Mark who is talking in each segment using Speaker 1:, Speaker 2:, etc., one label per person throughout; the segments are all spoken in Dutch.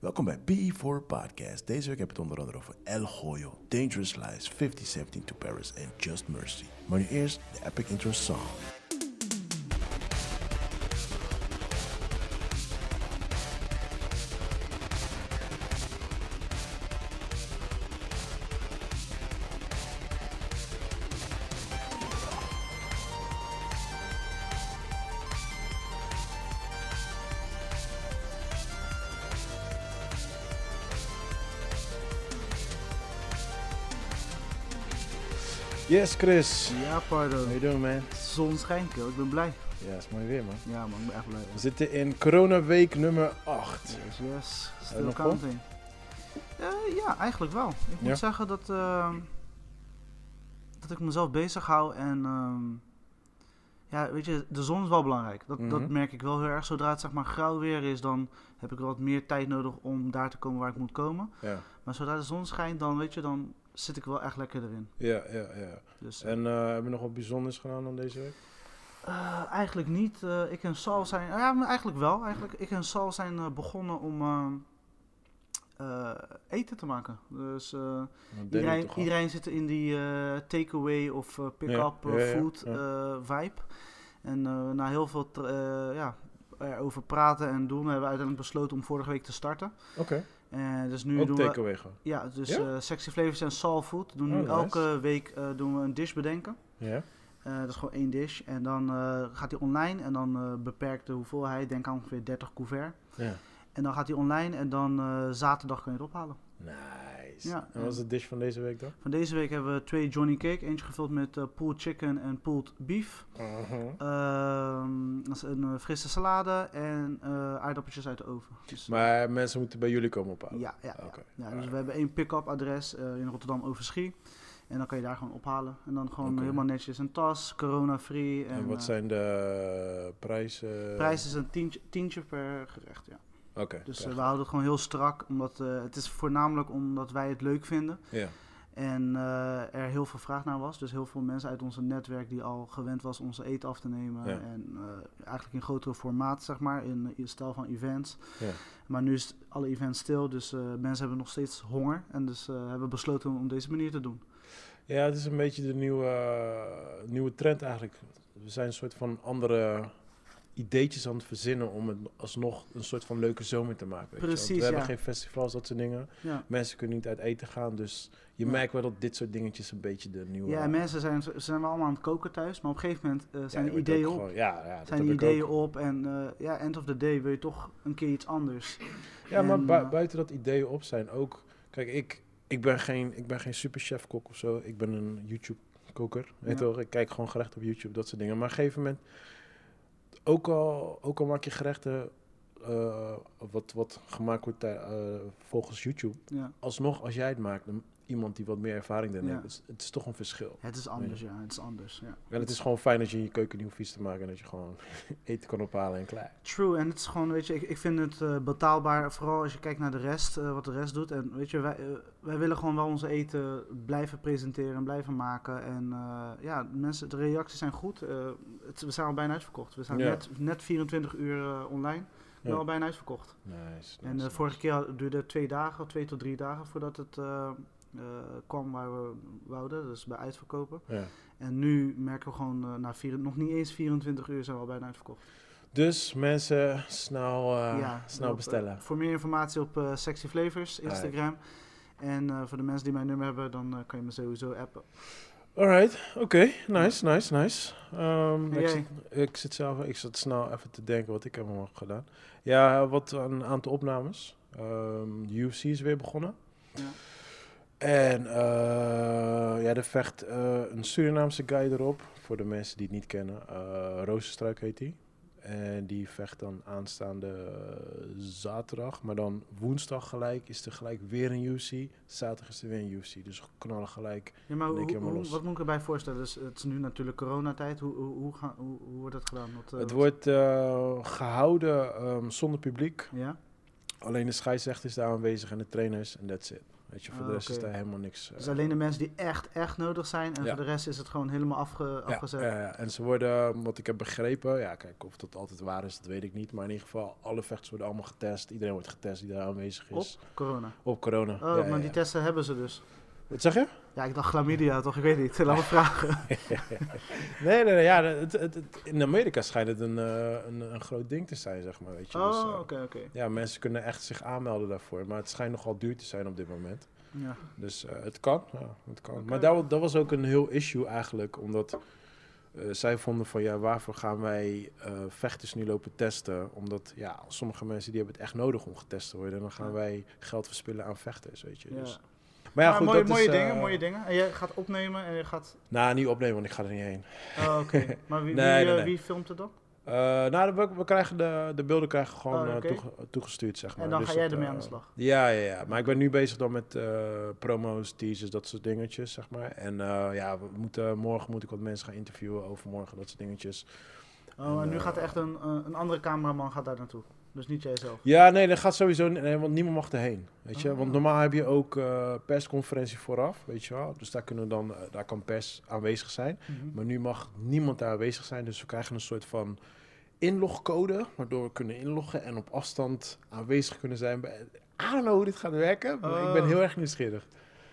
Speaker 1: Welkom bij P4 Podcast. Deze week heb ik het onder andere over El Goyo, Dangerous Lies, 5017 to Paris en Just Mercy. Maar nu eerst de epic intro song. Yes, Chris.
Speaker 2: Ja,
Speaker 1: How
Speaker 2: pardon.
Speaker 1: you doing, man?
Speaker 2: Zon schijnt, kerel. Ik ben blij.
Speaker 1: Ja, is mooi weer, man.
Speaker 2: Ja, man. Ik ben echt blij.
Speaker 1: We zitten in coronaweek nummer 8.
Speaker 2: Yes, yes.
Speaker 1: je
Speaker 2: Still
Speaker 1: nog
Speaker 2: counting. Eh, ja, eigenlijk wel. Ik moet
Speaker 1: Ja?
Speaker 2: zeggen dat, ehm, dat ik mezelf bezig hou en... ehm, ja, weet je, de zon is wel belangrijk. Dat,
Speaker 1: Mhm.
Speaker 2: dat merk ik wel heel erg. Zodra het zeg maar grauw weer is, dan heb ik wel wat meer tijd nodig om daar te komen waar ik moet komen.
Speaker 1: Ja,
Speaker 2: Maar zodra de zon schijnt, dan weet je, dan zit ik wel echt lekker erin.
Speaker 1: ja, ja. ja.
Speaker 2: Dus, eh,
Speaker 1: En eh, hebben we nog wat bijzonders gedaan dan deze week?
Speaker 2: Eh, eigenlijk niet. Eh, ik en Sal zijn. Ja, maar eigenlijk wel. Eigenlijk, ik en Sal zijn eh, begonnen om eh, eh, eten te maken. Dus eh,
Speaker 1: Want Danny
Speaker 2: iedereen,
Speaker 1: toch al-
Speaker 2: iedereen zit in die eh takeaway of eh, pick-up
Speaker 1: Ja,
Speaker 2: eh,
Speaker 1: ja, ja,
Speaker 2: food
Speaker 1: ja.
Speaker 2: eh, vibe. En eh, na heel veel tra- eh, ja, erover praten en doen, hebben we uiteindelijk besloten om vorige week te starten.
Speaker 1: Oké,
Speaker 2: En dus nu
Speaker 1: ook
Speaker 2: doen we.
Speaker 1: takeaway gewoon.
Speaker 2: Ja, dus
Speaker 1: Ja?
Speaker 2: eh, Sexy Flavors en Sal Food doen
Speaker 1: Oh,
Speaker 2: nu
Speaker 1: nice.
Speaker 2: elke week eh, doen we een dish bedenken.
Speaker 1: Ja,
Speaker 2: Eh, dat is gewoon één dish. En dan eh, gaat hij online en dan eh, beperkt de hoeveelheid. Denk aan ongeveer 30 couvert.
Speaker 1: ja.
Speaker 2: En dan gaat hij online en dan eh, zaterdag kun je het ophalen.
Speaker 1: Nice.
Speaker 2: Ja,
Speaker 1: en wat is de dish van deze week dan?
Speaker 2: Van deze week hebben we twee Johnny Cake. Eentje gevuld met eh pulled chicken en pulled beef. Uh-huh. Ehm, dat is een eh, frisse salade en eh, aardappeltjes uit de oven. Dus,
Speaker 1: Maar mensen moeten bij jullie komen ophalen?
Speaker 2: ja, ja, ja.
Speaker 1: Oké.
Speaker 2: ja. Dus
Speaker 1: alright.
Speaker 2: we hebben één pick-up adres eh, in Rotterdam Overschie. En dan kan je daar gewoon ophalen. En dan gewoon
Speaker 1: Oké.
Speaker 2: helemaal netjes een tas, corona-free. En,
Speaker 1: En wat
Speaker 2: eh,
Speaker 1: zijn eh, de prijzen?
Speaker 2: prijs is een tientje, tientje per gerecht, ja.
Speaker 1: Oké.
Speaker 2: Dus eh,
Speaker 1: prachtig.
Speaker 2: we houden het gewoon heel strak, omdat eh, het is voornamelijk omdat wij het leuk vinden.
Speaker 1: ja.
Speaker 2: En eh, er heel veel vraag naar was. Dus heel veel mensen uit ons netwerk die al gewend was onze eten af te nemen.
Speaker 1: Ja.
Speaker 2: En eh, eigenlijk in grotere formaat, zeg maar, in, in stijl van events.
Speaker 1: Ja.
Speaker 2: Maar nu is alle events stil, dus eh, mensen hebben nog steeds honger. En dus eh, hebben we besloten om op deze manier te doen.
Speaker 1: ja, het is een beetje de nieuwe, eh, nieuwe trend eigenlijk. We zijn een soort van andere ideetjes aan het verzinnen om het alsnog een soort van leuke zomer te maken. weet je wel.
Speaker 2: Precies,
Speaker 1: we
Speaker 2: ja.
Speaker 1: hebben geen festivals, dat soort dingen.
Speaker 2: Ja.
Speaker 1: Mensen kunnen niet uit eten gaan, dus je
Speaker 2: Ja.
Speaker 1: merkt wel dat dit soort dingetjes een beetje de nieuwe...
Speaker 2: Ja, en mensen zijn, ze zijn wel allemaal aan het koken thuis, maar op een gegeven moment eh,
Speaker 1: Ja,
Speaker 2: zijn
Speaker 1: je
Speaker 2: de
Speaker 1: wordt
Speaker 2: ideeën
Speaker 1: ook
Speaker 2: op.
Speaker 1: gewoon- ja, ja, dat heb
Speaker 2: Zijn de
Speaker 1: ik ook.
Speaker 2: ideeën op en eh, ja, end of the day wil je toch een keer iets anders.
Speaker 1: Ja, maar
Speaker 2: En,
Speaker 1: bui-
Speaker 2: eh,
Speaker 1: buiten dat ideeën op zijn ook. Kijk, ik, ik ben geen, ik ben geen superchef-kok of zo. Ik ben een YouTube-koker. Weet je
Speaker 2: Ja.
Speaker 1: wel, Ik kijk gewoon gerechten op YouTube, dat soort dingen. Maar op een gegeven moment, ook al, ook al maak je gerechten eh, wat, wat gemaakt wordt tij- eh, volgens YouTube,
Speaker 2: Ja.
Speaker 1: alsnog als jij het maakt, dan iemand die wat meer ervaring daarin
Speaker 2: Ja.
Speaker 1: heeft, het is, het is toch een verschil.
Speaker 2: Het is anders, ja. Het is anders, ja.
Speaker 1: En het is gewoon fijn dat je je keuken niet hoeft vies te maken en dat je gewoon eten kan ophalen en klaar.
Speaker 2: True, en het is gewoon, weet je, ik, ik vind het eh, betaalbaar, vooral als je kijkt naar de rest, eh, wat de rest doet. En weet je, wij, eh, wij willen gewoon wel onze eten blijven presenteren en blijven maken. En eh, ja, mensen, de reacties zijn goed. Eh, het, we zijn al bijna uitverkocht. We zijn
Speaker 1: Ja.
Speaker 2: net, net 24 uur eh, online, we
Speaker 1: Ja.
Speaker 2: al bijna uitverkocht.
Speaker 1: Nice. nice,
Speaker 2: en eh, de
Speaker 1: nice.
Speaker 2: vorige keer had- duurde het twee dagen, twee tot drie dagen voordat het eh, eh, kwam waar we wouden, dus bij uitverkopen.
Speaker 1: Ja.
Speaker 2: En nu merken we gewoon, eh, na vier, nog niet eens 24 uur zijn we al bijna uitverkocht.
Speaker 1: Dus mensen, snel, eh,
Speaker 2: Ja,
Speaker 1: snel
Speaker 2: op,
Speaker 1: bestellen.
Speaker 2: eh, voor meer informatie op eh, Sexy Flavors, Instagram. En eh, voor de mensen die mijn nummer hebben, dan eh, kan je me sowieso appen.
Speaker 1: Alright, oké, nice, nice, nice. Ehm,
Speaker 2: En
Speaker 1: ik,
Speaker 2: jij?
Speaker 1: zit, ik zit zelf, ik zat snel even te denken wat ik heb allemaal gedaan. Ja, wat een aantal opnames. Ehm, de UFC is weer begonnen.
Speaker 2: Ja.
Speaker 1: En eh, ja, er vecht eh, een Surinaamse guy erop, voor de mensen die het niet kennen. Eh Rozenstruik heet hij. En die vecht dan aanstaande eh, zaterdag. Maar dan woensdag gelijk is er gelijk weer een UFC. Zaterdag is er weer een UFC. Dus knallen gelijk
Speaker 2: Ja, maar
Speaker 1: Denk
Speaker 2: hoe-
Speaker 1: helemaal
Speaker 2: hoe-
Speaker 1: los.
Speaker 2: wat moet ik erbij voorstellen? Dus het is nu natuurlijk coronatijd. Hoe, hoe, hoe, gaan- hoe, hoe wordt dat gedaan? Wat, eh,
Speaker 1: Het
Speaker 2: wat-
Speaker 1: wordt eh, gehouden ehm, zonder publiek.
Speaker 2: Ja?
Speaker 1: Alleen de scheidsrechter is daar aanwezig en de trainers en that's it. Weet je, voor de
Speaker 2: Ah,
Speaker 1: rest is
Speaker 2: oké.
Speaker 1: daar helemaal niks. eh,
Speaker 2: Dus alleen de mensen die echt, echt nodig zijn. En
Speaker 1: Ja.
Speaker 2: voor de rest is het gewoon helemaal afge-
Speaker 1: ja,
Speaker 2: afgezet.
Speaker 1: ja, ja. en ze worden, ehm, wat ik heb begrepen, ja, kijk, of dat altijd waar is, dat weet ik niet. Maar in ieder geval, alle vechters worden allemaal getest. Iedereen wordt getest die daar aanwezig is.
Speaker 2: Op corona.
Speaker 1: Op, corona.
Speaker 2: Oh,
Speaker 1: Ja, ja,
Speaker 2: maar die
Speaker 1: ja.
Speaker 2: testen hebben ze dus.
Speaker 1: Wat zeg je?
Speaker 2: Ja, ik dacht chlamydia toch? Ik weet niet. Laat me vragen.
Speaker 1: Nee, nee, nee, ja, het, het, het- in Amerika schijnt het een, eh, een, een groot ding te zijn, zeg maar, weet je. Dus,
Speaker 2: Oh,
Speaker 1: eh,
Speaker 2: oké, oké.
Speaker 1: Ja, mensen kunnen echt zich aanmelden daarvoor. Maar het schijnt nogal duur te zijn op dit moment.
Speaker 2: Ja.
Speaker 1: Dus eh, het kan. Ja, het kan.
Speaker 2: Oké.
Speaker 1: Maar dat, wa- dat was ook een heel issue eigenlijk. Omdat eh, zij vonden van ja, waarvoor gaan wij eh, vechters nu lopen testen? Omdat ja, sommige mensen die hebben het echt nodig om getest te worden. En dan gaan
Speaker 2: Ja.
Speaker 1: wij geld verspillen aan vechters, weet je.
Speaker 2: Ja.
Speaker 1: Dus,
Speaker 2: Maar
Speaker 1: maar ja, goed,
Speaker 2: mooie,
Speaker 1: dat
Speaker 2: mooie
Speaker 1: is, eh,
Speaker 2: dingen, mooie dingen. En jij gaat opnemen en je gaat...
Speaker 1: Nou, niet opnemen, want ik ga er niet heen.
Speaker 2: Oh, oké. Maar wie,
Speaker 1: Nee,
Speaker 2: wie,
Speaker 1: nee,
Speaker 2: eh,
Speaker 1: nee.
Speaker 2: wie filmt het dan?
Speaker 1: Eh, nou, we, we krijgen de, de beelden krijgen we gewoon
Speaker 2: Oh,
Speaker 1: eh,
Speaker 2: oké.
Speaker 1: toege- toegestuurd, zeg maar.
Speaker 2: En dan
Speaker 1: Dus
Speaker 2: ga jij
Speaker 1: dat,
Speaker 2: ermee
Speaker 1: eh,
Speaker 2: aan de slag.
Speaker 1: Ja, ja, ja. Maar ik ben nu bezig dan met eh, promo's, teasers, dat soort dingetjes, zeg maar. En eh, ja, we moeten, morgen moet ik wat mensen gaan interviewen, overmorgen, dat soort dingetjes.
Speaker 2: Oh, en nu
Speaker 1: eh,
Speaker 2: gaat er echt een, eh, een andere cameraman gaat daar naartoe. Dus niet jijzelf.
Speaker 1: Ja, nee, dat gaat sowieso niet, nee, want niemand mag erheen, weet je.
Speaker 2: Ah.
Speaker 1: Want normaal heb je ook eh, persconferentie vooraf, weet je wel. Dus daar, kunnen dan, eh, daar kan pers aanwezig zijn.
Speaker 2: Mhm.
Speaker 1: Maar nu mag niemand daar aanwezig zijn, dus we krijgen een soort van inlogcode, waardoor we kunnen inloggen en op afstand aanwezig kunnen zijn. bij- I don't know hoe dit gaat werken, maar ik ben
Speaker 2: Oh.
Speaker 1: heel erg nieuwsgierig.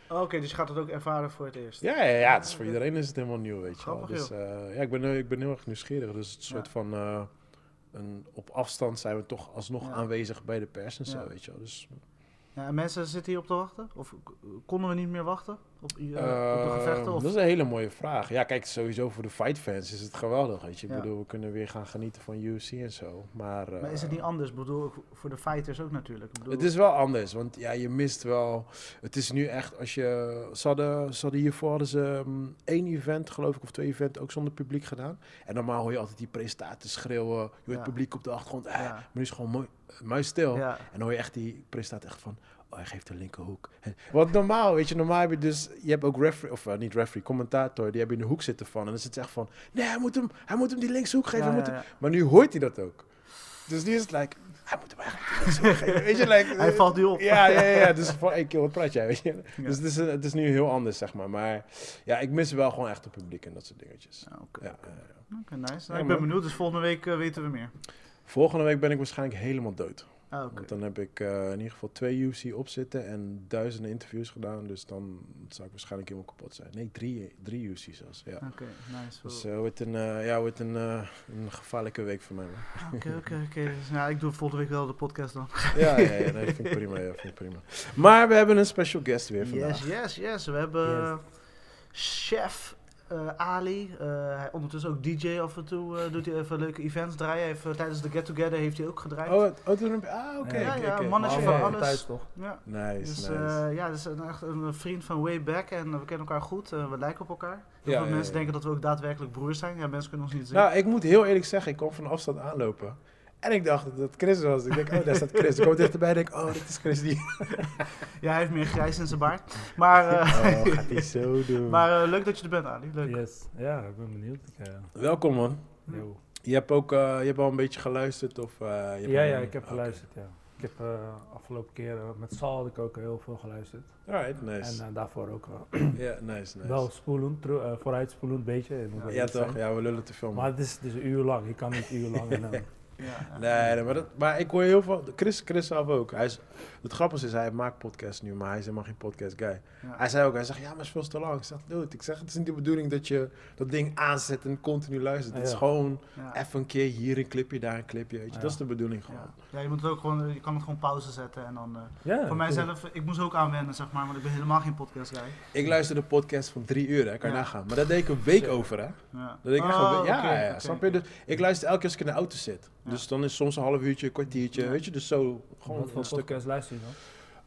Speaker 2: Oh, Oké, dus je gaat het ook ervaren voor het eerst.
Speaker 1: Ja, ja, ja het is
Speaker 2: Ah,
Speaker 1: voor
Speaker 2: dat-
Speaker 1: iedereen is het helemaal nieuw, weet je wel.
Speaker 2: Grappig,
Speaker 1: Dus, eh, ja, ik ben, eh, ik ben heel erg nieuwsgierig. Dus het is een soort
Speaker 2: Ja.
Speaker 1: van... eh, een, op afstand zijn we toch alsnog
Speaker 2: Ja.
Speaker 1: aanwezig bij de pers en zo,
Speaker 2: Ja.
Speaker 1: weet je wel. Dus,
Speaker 2: Ja, en mensen zitten hierop te wachten? Of k- konden we niet meer wachten op, eh, op de
Speaker 1: eh,
Speaker 2: gevechten? Of...
Speaker 1: Dat is een hele mooie vraag. Ja, kijk, sowieso voor de fightfans is het geweldig, weet je. Ik
Speaker 2: Ja.
Speaker 1: bedoel, we kunnen weer gaan genieten van UFC en zo. Maar, eh,
Speaker 2: Maar is het niet anders? Ik bedoel, ik- voor de fighters ook natuurlijk. Ik bedoel,
Speaker 1: Het is wel anders, want ja, je mist wel. Het is nu echt als je. Ze hadden, ze hadden hiervoor hadden ze mm, één event, geloof ik, of twee eventen ook zonder publiek gedaan. En normaal hoor je altijd die presentaties schreeuwen. Je hoort
Speaker 2: Ja.
Speaker 1: het publiek op de achtergrond. eh,
Speaker 2: Ja.
Speaker 1: Maar nu is het gewoon mooi, muisstil.
Speaker 2: Ja,
Speaker 1: En dan hoor je echt die presentator echt van. Oh, hij geeft de linkerhoek. En- Want normaal, weet je, normaal heb je dus... Je hebt ook referee, of eh, niet referee, commentator... die hebben in de hoek zitten van. En dan zit ze echt van... Nee, hij moet hem, hij moet hem die linkshoek geven. hij
Speaker 2: ja, ja,
Speaker 1: moet hem-
Speaker 2: ja.
Speaker 1: Maar nu hoort hij dat ook. Dus nu is het like... Hij moet hem eigenlijk die linkshoek geven. Weet je, like,
Speaker 2: Hij
Speaker 1: eh,
Speaker 2: valt nu op.
Speaker 1: ja, ja, ja, ja. Dus van, hey, kill, wat praat jij? Weet je?
Speaker 2: Ja.
Speaker 1: Dus het is, eh, het is nu heel anders, zeg maar. Maar ja, ik mis wel gewoon echt het publiek en dat soort dingetjes.
Speaker 2: Ja, Oké,
Speaker 1: Ja, eh,
Speaker 2: Oké, nice.
Speaker 1: Ja,
Speaker 2: Nou, ik ben
Speaker 1: man.
Speaker 2: benieuwd, dus volgende week eh, weten we meer.
Speaker 1: volgende week ben ik waarschijnlijk helemaal dood.
Speaker 2: Ah, oké.
Speaker 1: Want dan heb ik eh, in ieder geval twee UFC opzitten en duizenden interviews gedaan. Dus dan zou ik waarschijnlijk helemaal kapot zijn. Nee, drie, drie UFC zelfs. Ja.
Speaker 2: Oké, nice.
Speaker 1: Dus
Speaker 2: Oké,
Speaker 1: eh, wordt een, eh, ja, wordt een, eh, een gevaarlijke week voor mij. man.
Speaker 2: oké, oké. Dus, nou, ik doe volgende week wel de podcast dan.
Speaker 1: Ja, ja, ja nee, vind ik prima, ja, vind ik prima. Maar we hebben een special guest weer vandaag.
Speaker 2: Yes, yes, yes. We hebben eh, chef eh, Ali. Eh, hij ondertussen ook DJ af en toe. eh, doet hij even leuke events draaien. Hij Heeft, eh, tijdens de Get Together heeft hij ook gedraaid.
Speaker 1: Oh, het- oh, toen heb je- ah, oké.
Speaker 2: Ja,
Speaker 1: oké,
Speaker 2: ja,
Speaker 1: oké.
Speaker 2: mannetje
Speaker 1: Oh,
Speaker 2: van
Speaker 1: ja.
Speaker 2: alles.
Speaker 3: thuis toch?
Speaker 2: Ja.
Speaker 1: Nice,
Speaker 2: Dus
Speaker 1: nice.
Speaker 2: eh, ja, dus een, echt een vriend van way back en eh, we kennen elkaar goed, eh, we lijken op elkaar. Heel
Speaker 1: Ja,
Speaker 2: veel
Speaker 1: ja,
Speaker 2: mensen
Speaker 1: ja.
Speaker 2: denken dat we ook daadwerkelijk broers zijn. Ja, mensen kunnen ons niet zien.
Speaker 1: Nou, ik moet heel eerlijk zeggen, ik kwam van afstand aanlopen. En ik dacht dat het Chris was. Ik denk, oh, daar staat Chris. Ik kom dichterbij en denk, oh, dit is Chris die.
Speaker 2: Ja, hij heeft meer grijs in zijn baard. Maar, eh,
Speaker 1: Oh, gaat hij zo doen.
Speaker 2: maar eh, leuk dat je er bent, Ali. Leuk.
Speaker 3: Yes. Ja, ik ben benieuwd. Ik, eh,
Speaker 1: Welkom, man.
Speaker 3: yo.
Speaker 1: Je hebt ook eh, je hebt al een beetje geluisterd? Of, eh, je hebt
Speaker 3: Ja,
Speaker 1: al-
Speaker 3: ja, ik heb
Speaker 1: Oké.
Speaker 3: geluisterd. Ja. Ik heb eh, afgelopen keer eh, met Sal had ik ook heel veel geluisterd.
Speaker 1: Alright, nice.
Speaker 3: En eh, daarvoor ook wel.
Speaker 1: ja, nice, nice.
Speaker 3: wel spoelend, tru- eh, vooruitspoelend een beetje. je moet
Speaker 2: Ja,
Speaker 3: wel
Speaker 1: ja,
Speaker 3: eerlijk
Speaker 1: toch?
Speaker 3: zijn.
Speaker 1: Ja, we lullen te veel. man.
Speaker 3: Maar het is, het is een uur lang. Je kan niet een uur lang. en, eh,
Speaker 2: Ja.
Speaker 1: Nee, nee, maar, dat, maar ik hoor heel veel. Chris, Chris zelf ook. Hij is, het grappige is, hij maakt podcasts nu, maar hij is helemaal geen podcast guy.
Speaker 2: Ja.
Speaker 1: Hij zei ook, hij zegt, ja, maar het is veel te lang. Ik zeg, dude, ik zeg, het is niet de bedoeling dat je dat ding aanzet en continu luistert. Het is
Speaker 3: Ja.
Speaker 1: gewoon
Speaker 2: Ja.
Speaker 1: even een keer hier een clipje, daar een clipje. Weet je.
Speaker 3: Ja.
Speaker 1: Dat is de bedoeling gewoon.
Speaker 2: Ja. Ja, je, moet het ook gewoon, je kan het gewoon pauze zetten en dan... eh,
Speaker 3: ja,
Speaker 2: voor
Speaker 3: cool.
Speaker 2: mijzelf, ik moest ook aanwennen, zeg maar, want ik ben helemaal geen podcast guy.
Speaker 1: Ik luister de podcast van drie uur, hè, kan je
Speaker 2: Ja.
Speaker 1: nagaan. Maar daar deed ik een week over, hè.
Speaker 2: Ja.
Speaker 1: Dat ik echt wel-
Speaker 2: Oh,
Speaker 1: ja,
Speaker 2: oké,
Speaker 1: ja,
Speaker 2: oké,
Speaker 1: snap je?
Speaker 2: oké.
Speaker 1: Dus ik luister elke keer als ik in de auto zit.
Speaker 2: Ja.
Speaker 1: Dus dan is soms een half uurtje, een kwartiertje,
Speaker 2: Ja.
Speaker 1: weet je? Dus zo gewoon
Speaker 3: Wat voor
Speaker 1: een stuk.
Speaker 3: podcast luister je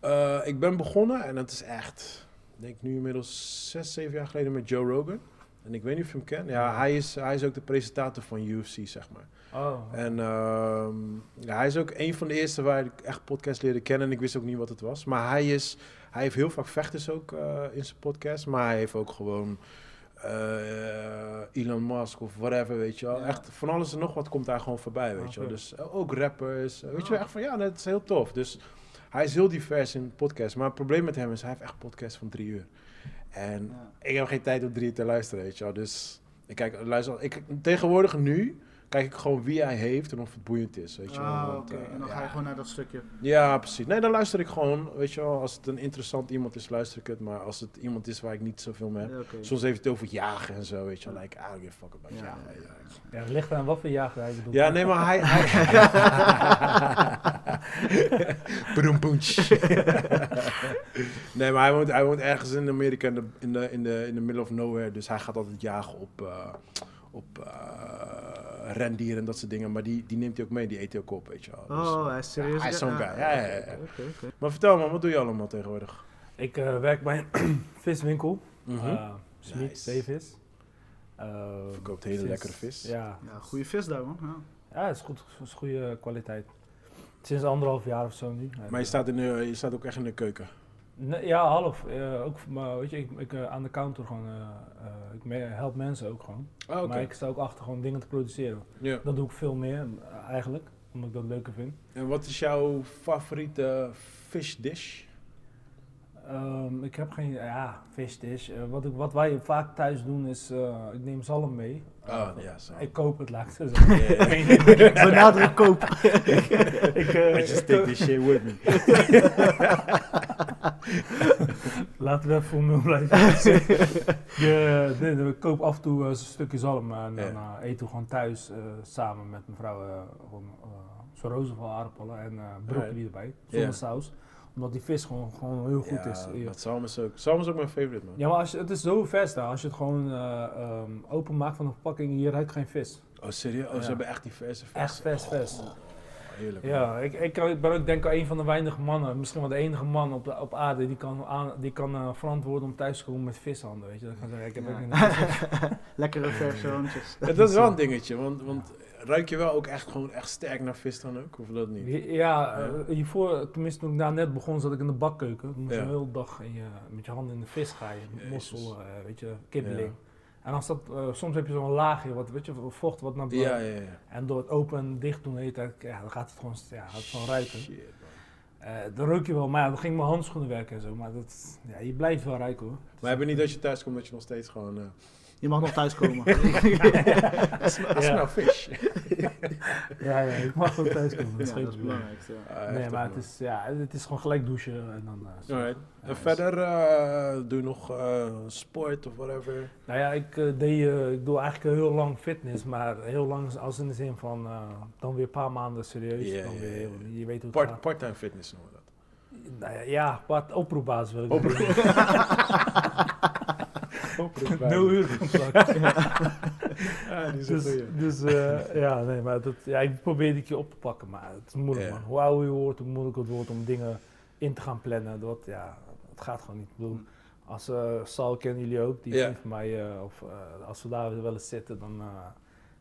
Speaker 3: dan?
Speaker 1: Eh, ik ben begonnen en dat is echt, ik denk nu inmiddels zes, zeven jaar geleden met Joe Rogan. En ik weet niet of je hem kent. Ja, hij is, hij is ook de presentator van UFC, zeg maar.
Speaker 3: Oh,
Speaker 1: En ehm, ja, hij is ook een van de eerste waar ik echt podcast leerde kennen. En ik wist ook niet wat het was. Maar hij, is, hij heeft heel vaak vechters ook eh, in zijn podcast. Maar hij heeft ook gewoon eh, eh, Elon Musk of whatever, weet je wel.
Speaker 2: Ja.
Speaker 1: Echt van alles en nog wat komt daar gewoon voorbij, weet je wel.
Speaker 3: Oké.
Speaker 1: Dus eh, ook rappers, eh, weet je wel.
Speaker 2: Ah.
Speaker 1: Echt van, ja, dat is heel tof. Dus hij is heel divers in podcasts. Maar het probleem met hem is, hij heeft echt podcasts van drie uur. En
Speaker 2: Ja.
Speaker 1: ik heb geen tijd om drie uur te luisteren, weet je wel. Dus ik kijk, luister, ik, tegenwoordig nu kijk ik gewoon wie hij heeft en of het boeiend is, weet je wel.
Speaker 2: Ah,
Speaker 1: Want,
Speaker 2: oké.
Speaker 1: eh,
Speaker 2: En dan ga je
Speaker 1: ja.
Speaker 2: gewoon naar dat stukje.
Speaker 1: Ja, precies. Nee, dan luister ik gewoon, weet je wel. Als het een interessant iemand is, luister ik het. Maar als het iemand is waar ik niet zoveel mee heb...
Speaker 2: Ja, oké.
Speaker 1: Soms heeft het over jagen en zo, weet je wel. Like, I don't give a fuck about
Speaker 2: Ja,
Speaker 1: jagen.
Speaker 2: ja,
Speaker 1: Ja,
Speaker 2: ja.
Speaker 3: Ja, het ligt aan wat voor jager hij bedoelt.
Speaker 1: nee, maar hij... hij... Broempoentsch. nee, maar hij woont, hij woont ergens in Amerika in de, in, de, in, de, in the middle of nowhere. Dus hij gaat altijd jagen op, eh, op eh, rendieren en dat soort dingen. Maar die, die neemt hij ook mee, die eet hij ook op, weet je wel. Dus,
Speaker 2: Oh, hij is serieus.
Speaker 1: ja, hij is zo'n guy. Ja, ja, ja, ja.
Speaker 2: Oké, oké.
Speaker 1: Maar vertel me, wat doe je allemaal tegenwoordig?
Speaker 3: Ik eh, werk bij een viswinkel.
Speaker 1: Mhm.
Speaker 3: eh Smit
Speaker 1: Nice.
Speaker 3: Zeevis. Eh,
Speaker 1: Verkoopt hele
Speaker 3: sinds-
Speaker 1: lekkere vis.
Speaker 3: Ja,
Speaker 2: Ja, goede vis daar, man. Ja.
Speaker 3: ja het is, goed, het is goede kwaliteit. Sinds anderhalf jaar of zo nu.
Speaker 1: Maar je staat, in de, je staat ook echt in de keuken.
Speaker 3: Nee, ja, half. Eh, ook, maar weet je, ik, ik, eh, aan de counter gewoon. eh, eh, ik me- help mensen ook gewoon.
Speaker 1: Oh,
Speaker 3: Maar ik sta ook achter gewoon dingen te produceren.
Speaker 1: Ja.
Speaker 3: Dat doe ik veel meer eh, eigenlijk, omdat ik dat leuker vind.
Speaker 1: En wat is jouw favoriete fish dish?
Speaker 3: Ehm, ik heb geen, ja, visdish. Eh, wat, ik, wat wij vaak thuis doen is, eh, ik neem zalm mee.
Speaker 1: Oh, ja, zo.
Speaker 3: Ik koop het, laat ik het zo zeggen.
Speaker 2: Benadruk koop.
Speaker 3: Ik, eh,
Speaker 1: I just take this shit with me.
Speaker 3: Laten we even voor nul blijven. Je, nee, nee, ik koop af en toe eh, een stukje zalm eh, en dan
Speaker 1: Ja.
Speaker 3: eh, eten we gewoon thuis eh, samen met mevrouw eh, gewoon eh, zo'n rozenval aardappelen en eh broccoli erbij, zonder
Speaker 1: Ja.
Speaker 3: saus. Omdat die vis gewoon, gewoon heel goed
Speaker 1: ja,
Speaker 3: is. Ja.
Speaker 1: Dat zalm is ook. Zalm is ook mijn favorite, man.
Speaker 3: Ja, maar als je, het is zo vers daar. Als je het gewoon eh, ehm, openmaakt van de verpakking, je ruikt geen vis.
Speaker 1: Oh, serieus? Oh,
Speaker 3: Ja.
Speaker 1: ze hebben echt die verse vis.
Speaker 3: Echt vers, vers.
Speaker 1: Heerlijk. man.
Speaker 3: Ja, ik, ik, ik ben ook denk ik een van de weinige mannen, misschien wel de enige man op, de, op aarde, die kan, aan, die kan eh, verantwoorden om thuis te komen met vishanden. Weet je, dat kan zeggen, ik heb ook een
Speaker 2: Lekkere verse
Speaker 1: Ja, dat is wel een dingetje, want, want ruik je wel ook echt gewoon echt sterk naar vis dan ook? Of dat niet?
Speaker 3: Ja, eh, hiervoor, tenminste toen ik daar net begon, zat ik in de bakkeuken. Dan moest je
Speaker 1: Ja.
Speaker 3: de hele dag in je, met je handen in de vis gaan, je
Speaker 1: Jezus.
Speaker 3: mossel, eh, weet je, kibbeling. En als dat, eh, soms heb je zo'n laagje, wat, weet je, vocht wat naar boven.
Speaker 1: Ja, ja, ja.
Speaker 3: En door het open en dicht doen, de hele tijd, ja, dan gaat het gewoon, ja, gaat het gewoon ruiken.
Speaker 1: Shit, man.
Speaker 3: Eh, dan rook je wel, maar ja, dan ging mijn handschoenen werken en zo. Maar dat, ja, je blijft wel ruiken hoor.
Speaker 1: Maar heb je niet dat je thuis komt dat je nog steeds gewoon... eh
Speaker 2: Je mag nog thuiskomen.
Speaker 1: I smell fish.
Speaker 3: Ja, ja, ik mag wel thuis komen.
Speaker 2: Ja, dat is belangrijk. Ja.
Speaker 1: Ah,
Speaker 3: Nee,
Speaker 1: heftig,
Speaker 3: maar het
Speaker 1: man.
Speaker 3: is, ja, het is gewoon gelijk douchen en dan... eh, zo.
Speaker 1: Alright.
Speaker 3: Ja,
Speaker 1: en
Speaker 3: is-
Speaker 1: verder eh, doe je nog eh, sport of whatever?
Speaker 3: Nou ja, ik, eh, deed, eh, ik doe eigenlijk heel lang fitness, maar heel lang als in de zin van eh, dan weer een paar maanden serieus.
Speaker 1: Ja,
Speaker 3: dan
Speaker 1: ja,
Speaker 3: weer,
Speaker 1: ja.
Speaker 3: heel- Je weet hoe het
Speaker 1: Part,
Speaker 3: gaat.
Speaker 1: part-time fitness noemen we dat.
Speaker 3: Nou ja, ja, part oproepbaas wil ik doen. Nul
Speaker 1: no.
Speaker 3: uur contract.
Speaker 1: ah, die is een
Speaker 3: dus
Speaker 1: goeie.
Speaker 3: dus eh, ja, nee, maar dat, ja, ik probeer het je op te pakken, maar het is moeilijk
Speaker 1: Ja.
Speaker 3: man. Hoe ouder je wordt, hoe moeilijker het wordt om dingen in te gaan plannen. Dat, ja, het gaat gewoon niet. Ik bedoel, als eh Sal kennen jullie ook, die
Speaker 1: Ja.
Speaker 3: vriend van mij, eh, of eh, als we daar wel eens zitten, dan eh,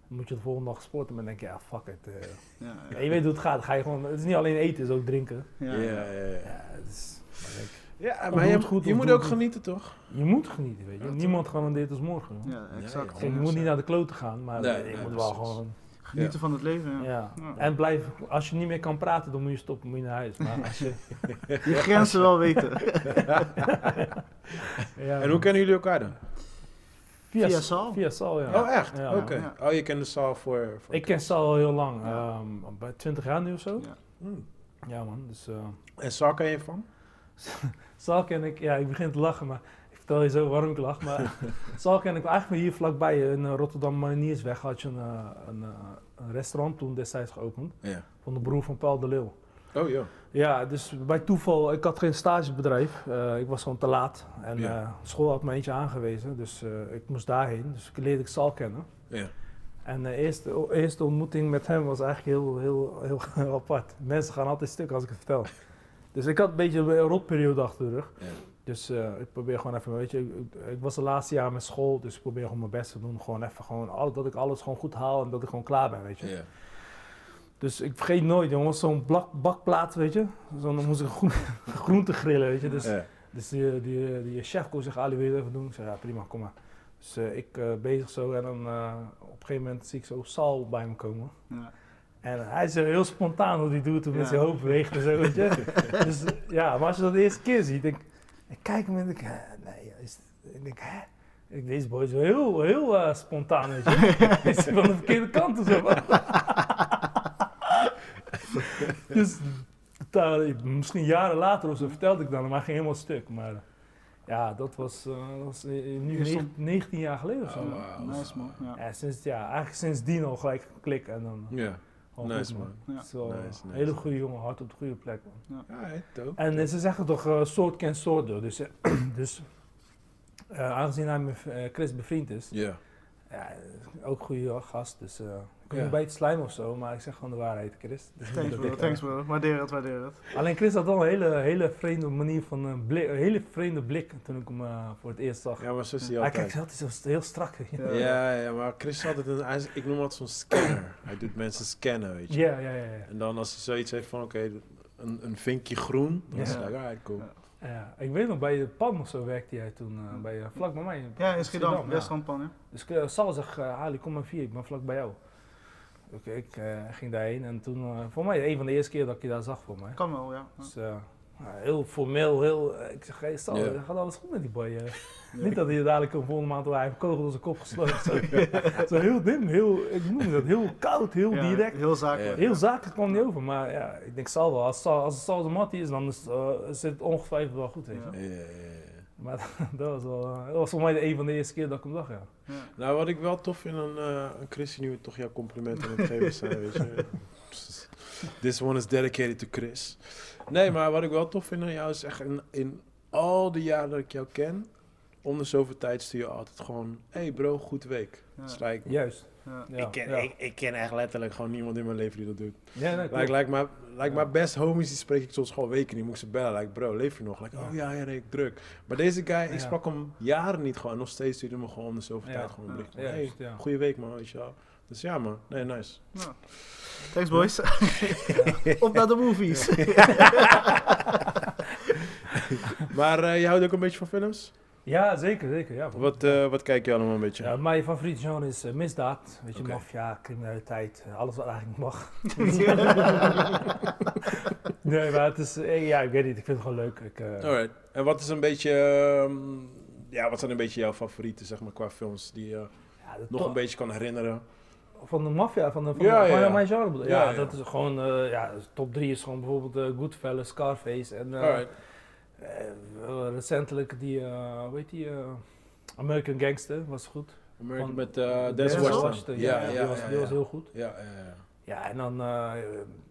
Speaker 3: moet je de volgende dag sporten, maar dan denk je, ja, fuck it. eh.
Speaker 2: Ja,
Speaker 3: Ja,
Speaker 2: ja.
Speaker 3: je weet hoe het gaat, ga je gewoon, het is niet alleen eten, het is ook drinken.
Speaker 1: Ja, ja, ja.
Speaker 3: Ja, het is, maar kijk,
Speaker 1: Ja,
Speaker 3: Of
Speaker 1: maar
Speaker 3: doe
Speaker 1: je,
Speaker 3: het goed,
Speaker 1: je
Speaker 3: of
Speaker 1: moet
Speaker 3: doe
Speaker 1: ook
Speaker 3: het
Speaker 1: genieten, toch?
Speaker 3: je moet genieten, weet je.
Speaker 1: Ja, toch.
Speaker 3: Niemand garandeert als morgen. joh.
Speaker 2: Ja, exact.
Speaker 1: Nee,
Speaker 3: Kijk, je moet niet naar de kloten gaan, maar
Speaker 1: Nee,
Speaker 3: eh, je
Speaker 1: nee,
Speaker 3: moet wel
Speaker 1: precies.
Speaker 3: gewoon...
Speaker 2: Genieten van het leven. Ja.
Speaker 3: Ja.
Speaker 2: Ja.
Speaker 3: En blijf, als je niet meer kan praten, dan moet je stoppen, moet je naar huis. Maar als je,
Speaker 2: Je grenzen wel weten.
Speaker 3: ja,
Speaker 1: En hoe kennen jullie elkaar dan?
Speaker 3: via,
Speaker 2: Via Sal?
Speaker 3: Via Sal, ja.
Speaker 1: Oh, echt?
Speaker 3: Ja.
Speaker 1: Oké.
Speaker 2: Ja.
Speaker 1: Oh, je kende Saal voor... voor
Speaker 3: Ik ken Sal al heel lang,
Speaker 2: Ja.
Speaker 3: ehm, bij 20 jaar nu of zo.
Speaker 2: Ja.
Speaker 3: Ja,
Speaker 1: Hmm.
Speaker 3: man, dus eh,
Speaker 1: En Saal ken je van?
Speaker 3: Sal ken ik, ja, ik begin te lachen, maar ik vertel je zo waarom ik lach. Maar Sal ken ik eigenlijk hier vlakbij, in eh, Rotterdam Mariniersweg had je een, eh, een, eh, een restaurant toen destijds geopend,
Speaker 1: Ja.
Speaker 3: van de broer van Paul de Leeuw.
Speaker 1: Oh, joh.
Speaker 3: Ja, dus bij toeval, ik had geen stagebedrijf. eh, ik was gewoon te laat. En
Speaker 1: Ja.
Speaker 3: eh, school had me eentje aangewezen, dus eh, ik moest daarheen. Dus ik leerde ik Sal kennen.
Speaker 1: Ja.
Speaker 3: En de eerste, o- eerste ontmoeting met hem was eigenlijk heel, heel, heel, apart. Mensen gaan altijd stuk als ik het vertel. Dus ik had een beetje een rotperiode achter de rug.
Speaker 1: Ja.
Speaker 3: Dus eh, ik probeer gewoon even, weet je, ik, ik was de laatste jaar met school, dus ik probeer gewoon mijn best te doen. Gewoon even, gewoon, al- dat ik alles gewoon goed haal en dat ik gewoon klaar ben, weet je.
Speaker 1: Ja.
Speaker 3: Dus ik vergeet nooit, jongens, zo'n blak- bakplaat, weet je. Zo, dan moest ik groen, groente grillen, weet je. Dus,
Speaker 1: Ja.
Speaker 3: dus die, die, die chef kon zich Ali weer even doen. Ik zei, ja prima, kom maar. Dus eh, ik eh, bezig zo en dan eh, op een gegeven moment zie ik zo Sal bij me komen.
Speaker 2: Ja.
Speaker 3: En hij is eh, heel spontaan hoe die doet, hoe met
Speaker 2: Ja.
Speaker 3: zijn hoofd beweegt en zo, weet je. dus eh, ja, maar als je dat de eerste keer ziet, ik, ik kijk hem en ik, eh, nee, is, ik denk, hè? Ik denk, deze boy is wel heel, heel eh, spontaan, weet je. is hij van de verkeerde kant of zo. dus daar- misschien jaren later of zo vertelde ik dan, maar hij ging helemaal stuk. Maar eh, ja, dat was, eh, dat was eh, nu
Speaker 2: Is dat-
Speaker 3: negen- 19 jaar geleden of zo.
Speaker 1: Oh, wauw.
Speaker 2: Nice man. Ja.
Speaker 3: Ja, sinds, ja, eigenlijk sindsdien al gelijk klik en dan...
Speaker 1: Ja,
Speaker 3: al
Speaker 1: nice
Speaker 3: goed,
Speaker 1: man.
Speaker 2: Ja.
Speaker 3: Het is wel
Speaker 1: Nice,
Speaker 3: een
Speaker 1: nice.
Speaker 3: hele goede jongen, hard op de goede plek. Man.
Speaker 1: Ja, hey, dope.
Speaker 3: En eh, ze zeggen toch, eh, soort kent soort door. Dus, eh, dus eh, aangezien hij met eh, Chris bevriend is,
Speaker 1: Ja,
Speaker 3: ja, eh, ook goede gast. Dus eh, ik kom
Speaker 1: Ja.
Speaker 3: een beetje slijm of zo, maar ik zeg gewoon de waarheid, Chris. Dus niet
Speaker 2: Thanks
Speaker 3: dat
Speaker 2: bro,
Speaker 3: ik, eh,
Speaker 2: thanks bro. Waardeer het, waardeer het.
Speaker 3: Alleen Chris had wel een hele, hele vreemde manier van eh, blik, een hele vreemde blik toen ik hem eh, voor het eerst zag.
Speaker 1: ja maar zo is hij
Speaker 3: hij kijkt
Speaker 1: altijd.
Speaker 3: altijd zo heel strak. weet je.
Speaker 2: Ja.
Speaker 1: Ja, ja, maar Chris is altijd een, hij is- ik noem dat zo'n scanner. Hij doet mensen scannen, weet je.
Speaker 3: Ja, ja, ja. ja.
Speaker 1: En dan als hij zoiets heeft van, oké, een, een vinkje groen, dan
Speaker 3: Ja.
Speaker 1: is hij like, alright, cool.
Speaker 2: Ja.
Speaker 3: Ja, ik weet nog, bij de PAM of zo werkte jij toen, eh, bij, eh, vlak bij mij. in
Speaker 2: Ja, in Schiedam,
Speaker 3: Schiedam, ja.
Speaker 2: Westlandpan, hè?
Speaker 3: Dus ik, eh, Sal zegt, eh, Ali, kom maar via, ik ben vlak bij jou. Oké, ik eh, ging daarheen en toen, eh, voor mij een van de eerste keer dat ik je daar zag voor mij.
Speaker 2: Kan wel, ja.
Speaker 3: Dus, eh, nou, heel formeel, heel, eh, ik zeg, hey Sal,
Speaker 1: Ja.
Speaker 3: gaat alles goed met die boy? eh? Niet dat hij dadelijk een volgende maand, waar hij heeft een kogel door zijn kop gesloten. zo, zo heel dim, heel, ik noem dat, heel koud, heel
Speaker 2: Ja,
Speaker 3: direct.
Speaker 2: Heel zakelijk.
Speaker 3: Heel zakelijk kwam niet over, maar ja, ik denk Sal wel, als Sal, als het Sal de mattie is, dan is, eh, zit het ongetwijfeld wel goed, weet je.
Speaker 2: Ja.
Speaker 1: Ja, ja, ja.
Speaker 3: Maar dat was wel, eh, dat was voor mij een van de eerste keer dat ik hem zag, ja.
Speaker 2: Ja.
Speaker 1: Nou, wat ik wel tof vind aan, eh aan Chris, die nu we toch jouw complimenten aan het geven zijn, weet je. This one is dedicated to Chris. Nee, maar wat ik wel tof vind aan jou is echt in, in al die jaren dat ik jou ken, om de zoveel tijd stuur je altijd gewoon, hey bro, goed week.
Speaker 2: Ja.
Speaker 1: Dus like,
Speaker 3: Juist.
Speaker 2: Ja.
Speaker 3: Ja,
Speaker 1: ik, ken,
Speaker 3: ja.
Speaker 1: ik, ik ken echt letterlijk gewoon niemand in mijn leven die dat doet.
Speaker 3: Ja,
Speaker 1: Like,
Speaker 3: nee, klopt.
Speaker 1: like, my, like
Speaker 3: Ja.
Speaker 1: my best homies, die spreek ik soms gewoon weken. Die moet ik ze bellen. Like, bro, leef je nog? Like,
Speaker 3: Ja.
Speaker 1: oh ja, ja, nee, ik druk. Maar deze guy, ik
Speaker 3: Ja.
Speaker 1: sprak hem jaren niet gewoon. En nog steeds stuurde hij me gewoon om de zoveel
Speaker 3: Ja.
Speaker 1: tijd gewoon een
Speaker 2: Ja.
Speaker 1: bericht. van,
Speaker 3: Ja,
Speaker 1: hey,
Speaker 3: juist, ja.
Speaker 1: goeie week, man, weet je wel. Dus ja, man. Nee, nice.
Speaker 2: Ja. Thanks boys. Op naar de movies.
Speaker 1: maar eh, je houdt ook een beetje van films?
Speaker 3: Ja, zeker, zeker. Ja,
Speaker 1: Wat, eh, wat kijk je allemaal een beetje?
Speaker 3: ja, mijn favoriete genre is eh, misdaad. Weet je,
Speaker 1: Oké.
Speaker 3: maffia, criminaliteit, eh, alles wat eigenlijk mag. nee, maar het is, eh, ja, ik weet niet, ik vind het gewoon leuk. Ik, eh,
Speaker 1: Alright. En wat is een beetje... ehm, ja, wat zijn een beetje jouw favorieten, zeg maar, qua films die je
Speaker 3: ja, de
Speaker 1: nog
Speaker 3: to-
Speaker 1: een beetje kan herinneren?
Speaker 3: Van de maffia, van, de, van,
Speaker 1: Ja,
Speaker 3: de-
Speaker 1: ja,
Speaker 3: van
Speaker 1: ja.
Speaker 3: mijn genre. bedoel-
Speaker 1: Ja,
Speaker 3: Ja,
Speaker 1: ja.
Speaker 3: dat is gewoon, eh, ja, top 3 is gewoon bijvoorbeeld eh, Goodfellas, Scarface en eh,
Speaker 1: Alright.
Speaker 3: eh, eh, recentelijk die, eh, hoe heet die, eh, American Gangster was goed.
Speaker 1: American
Speaker 3: van-
Speaker 1: met eh Denzel
Speaker 2: Denzel
Speaker 1: Washington.
Speaker 3: Ja,
Speaker 1: Ja, ja,
Speaker 3: die
Speaker 1: ja.
Speaker 3: was-
Speaker 1: ja,
Speaker 3: die was
Speaker 1: ja.
Speaker 3: heel goed.
Speaker 1: Ja, ja, ja.
Speaker 3: Ja, en dan, eh,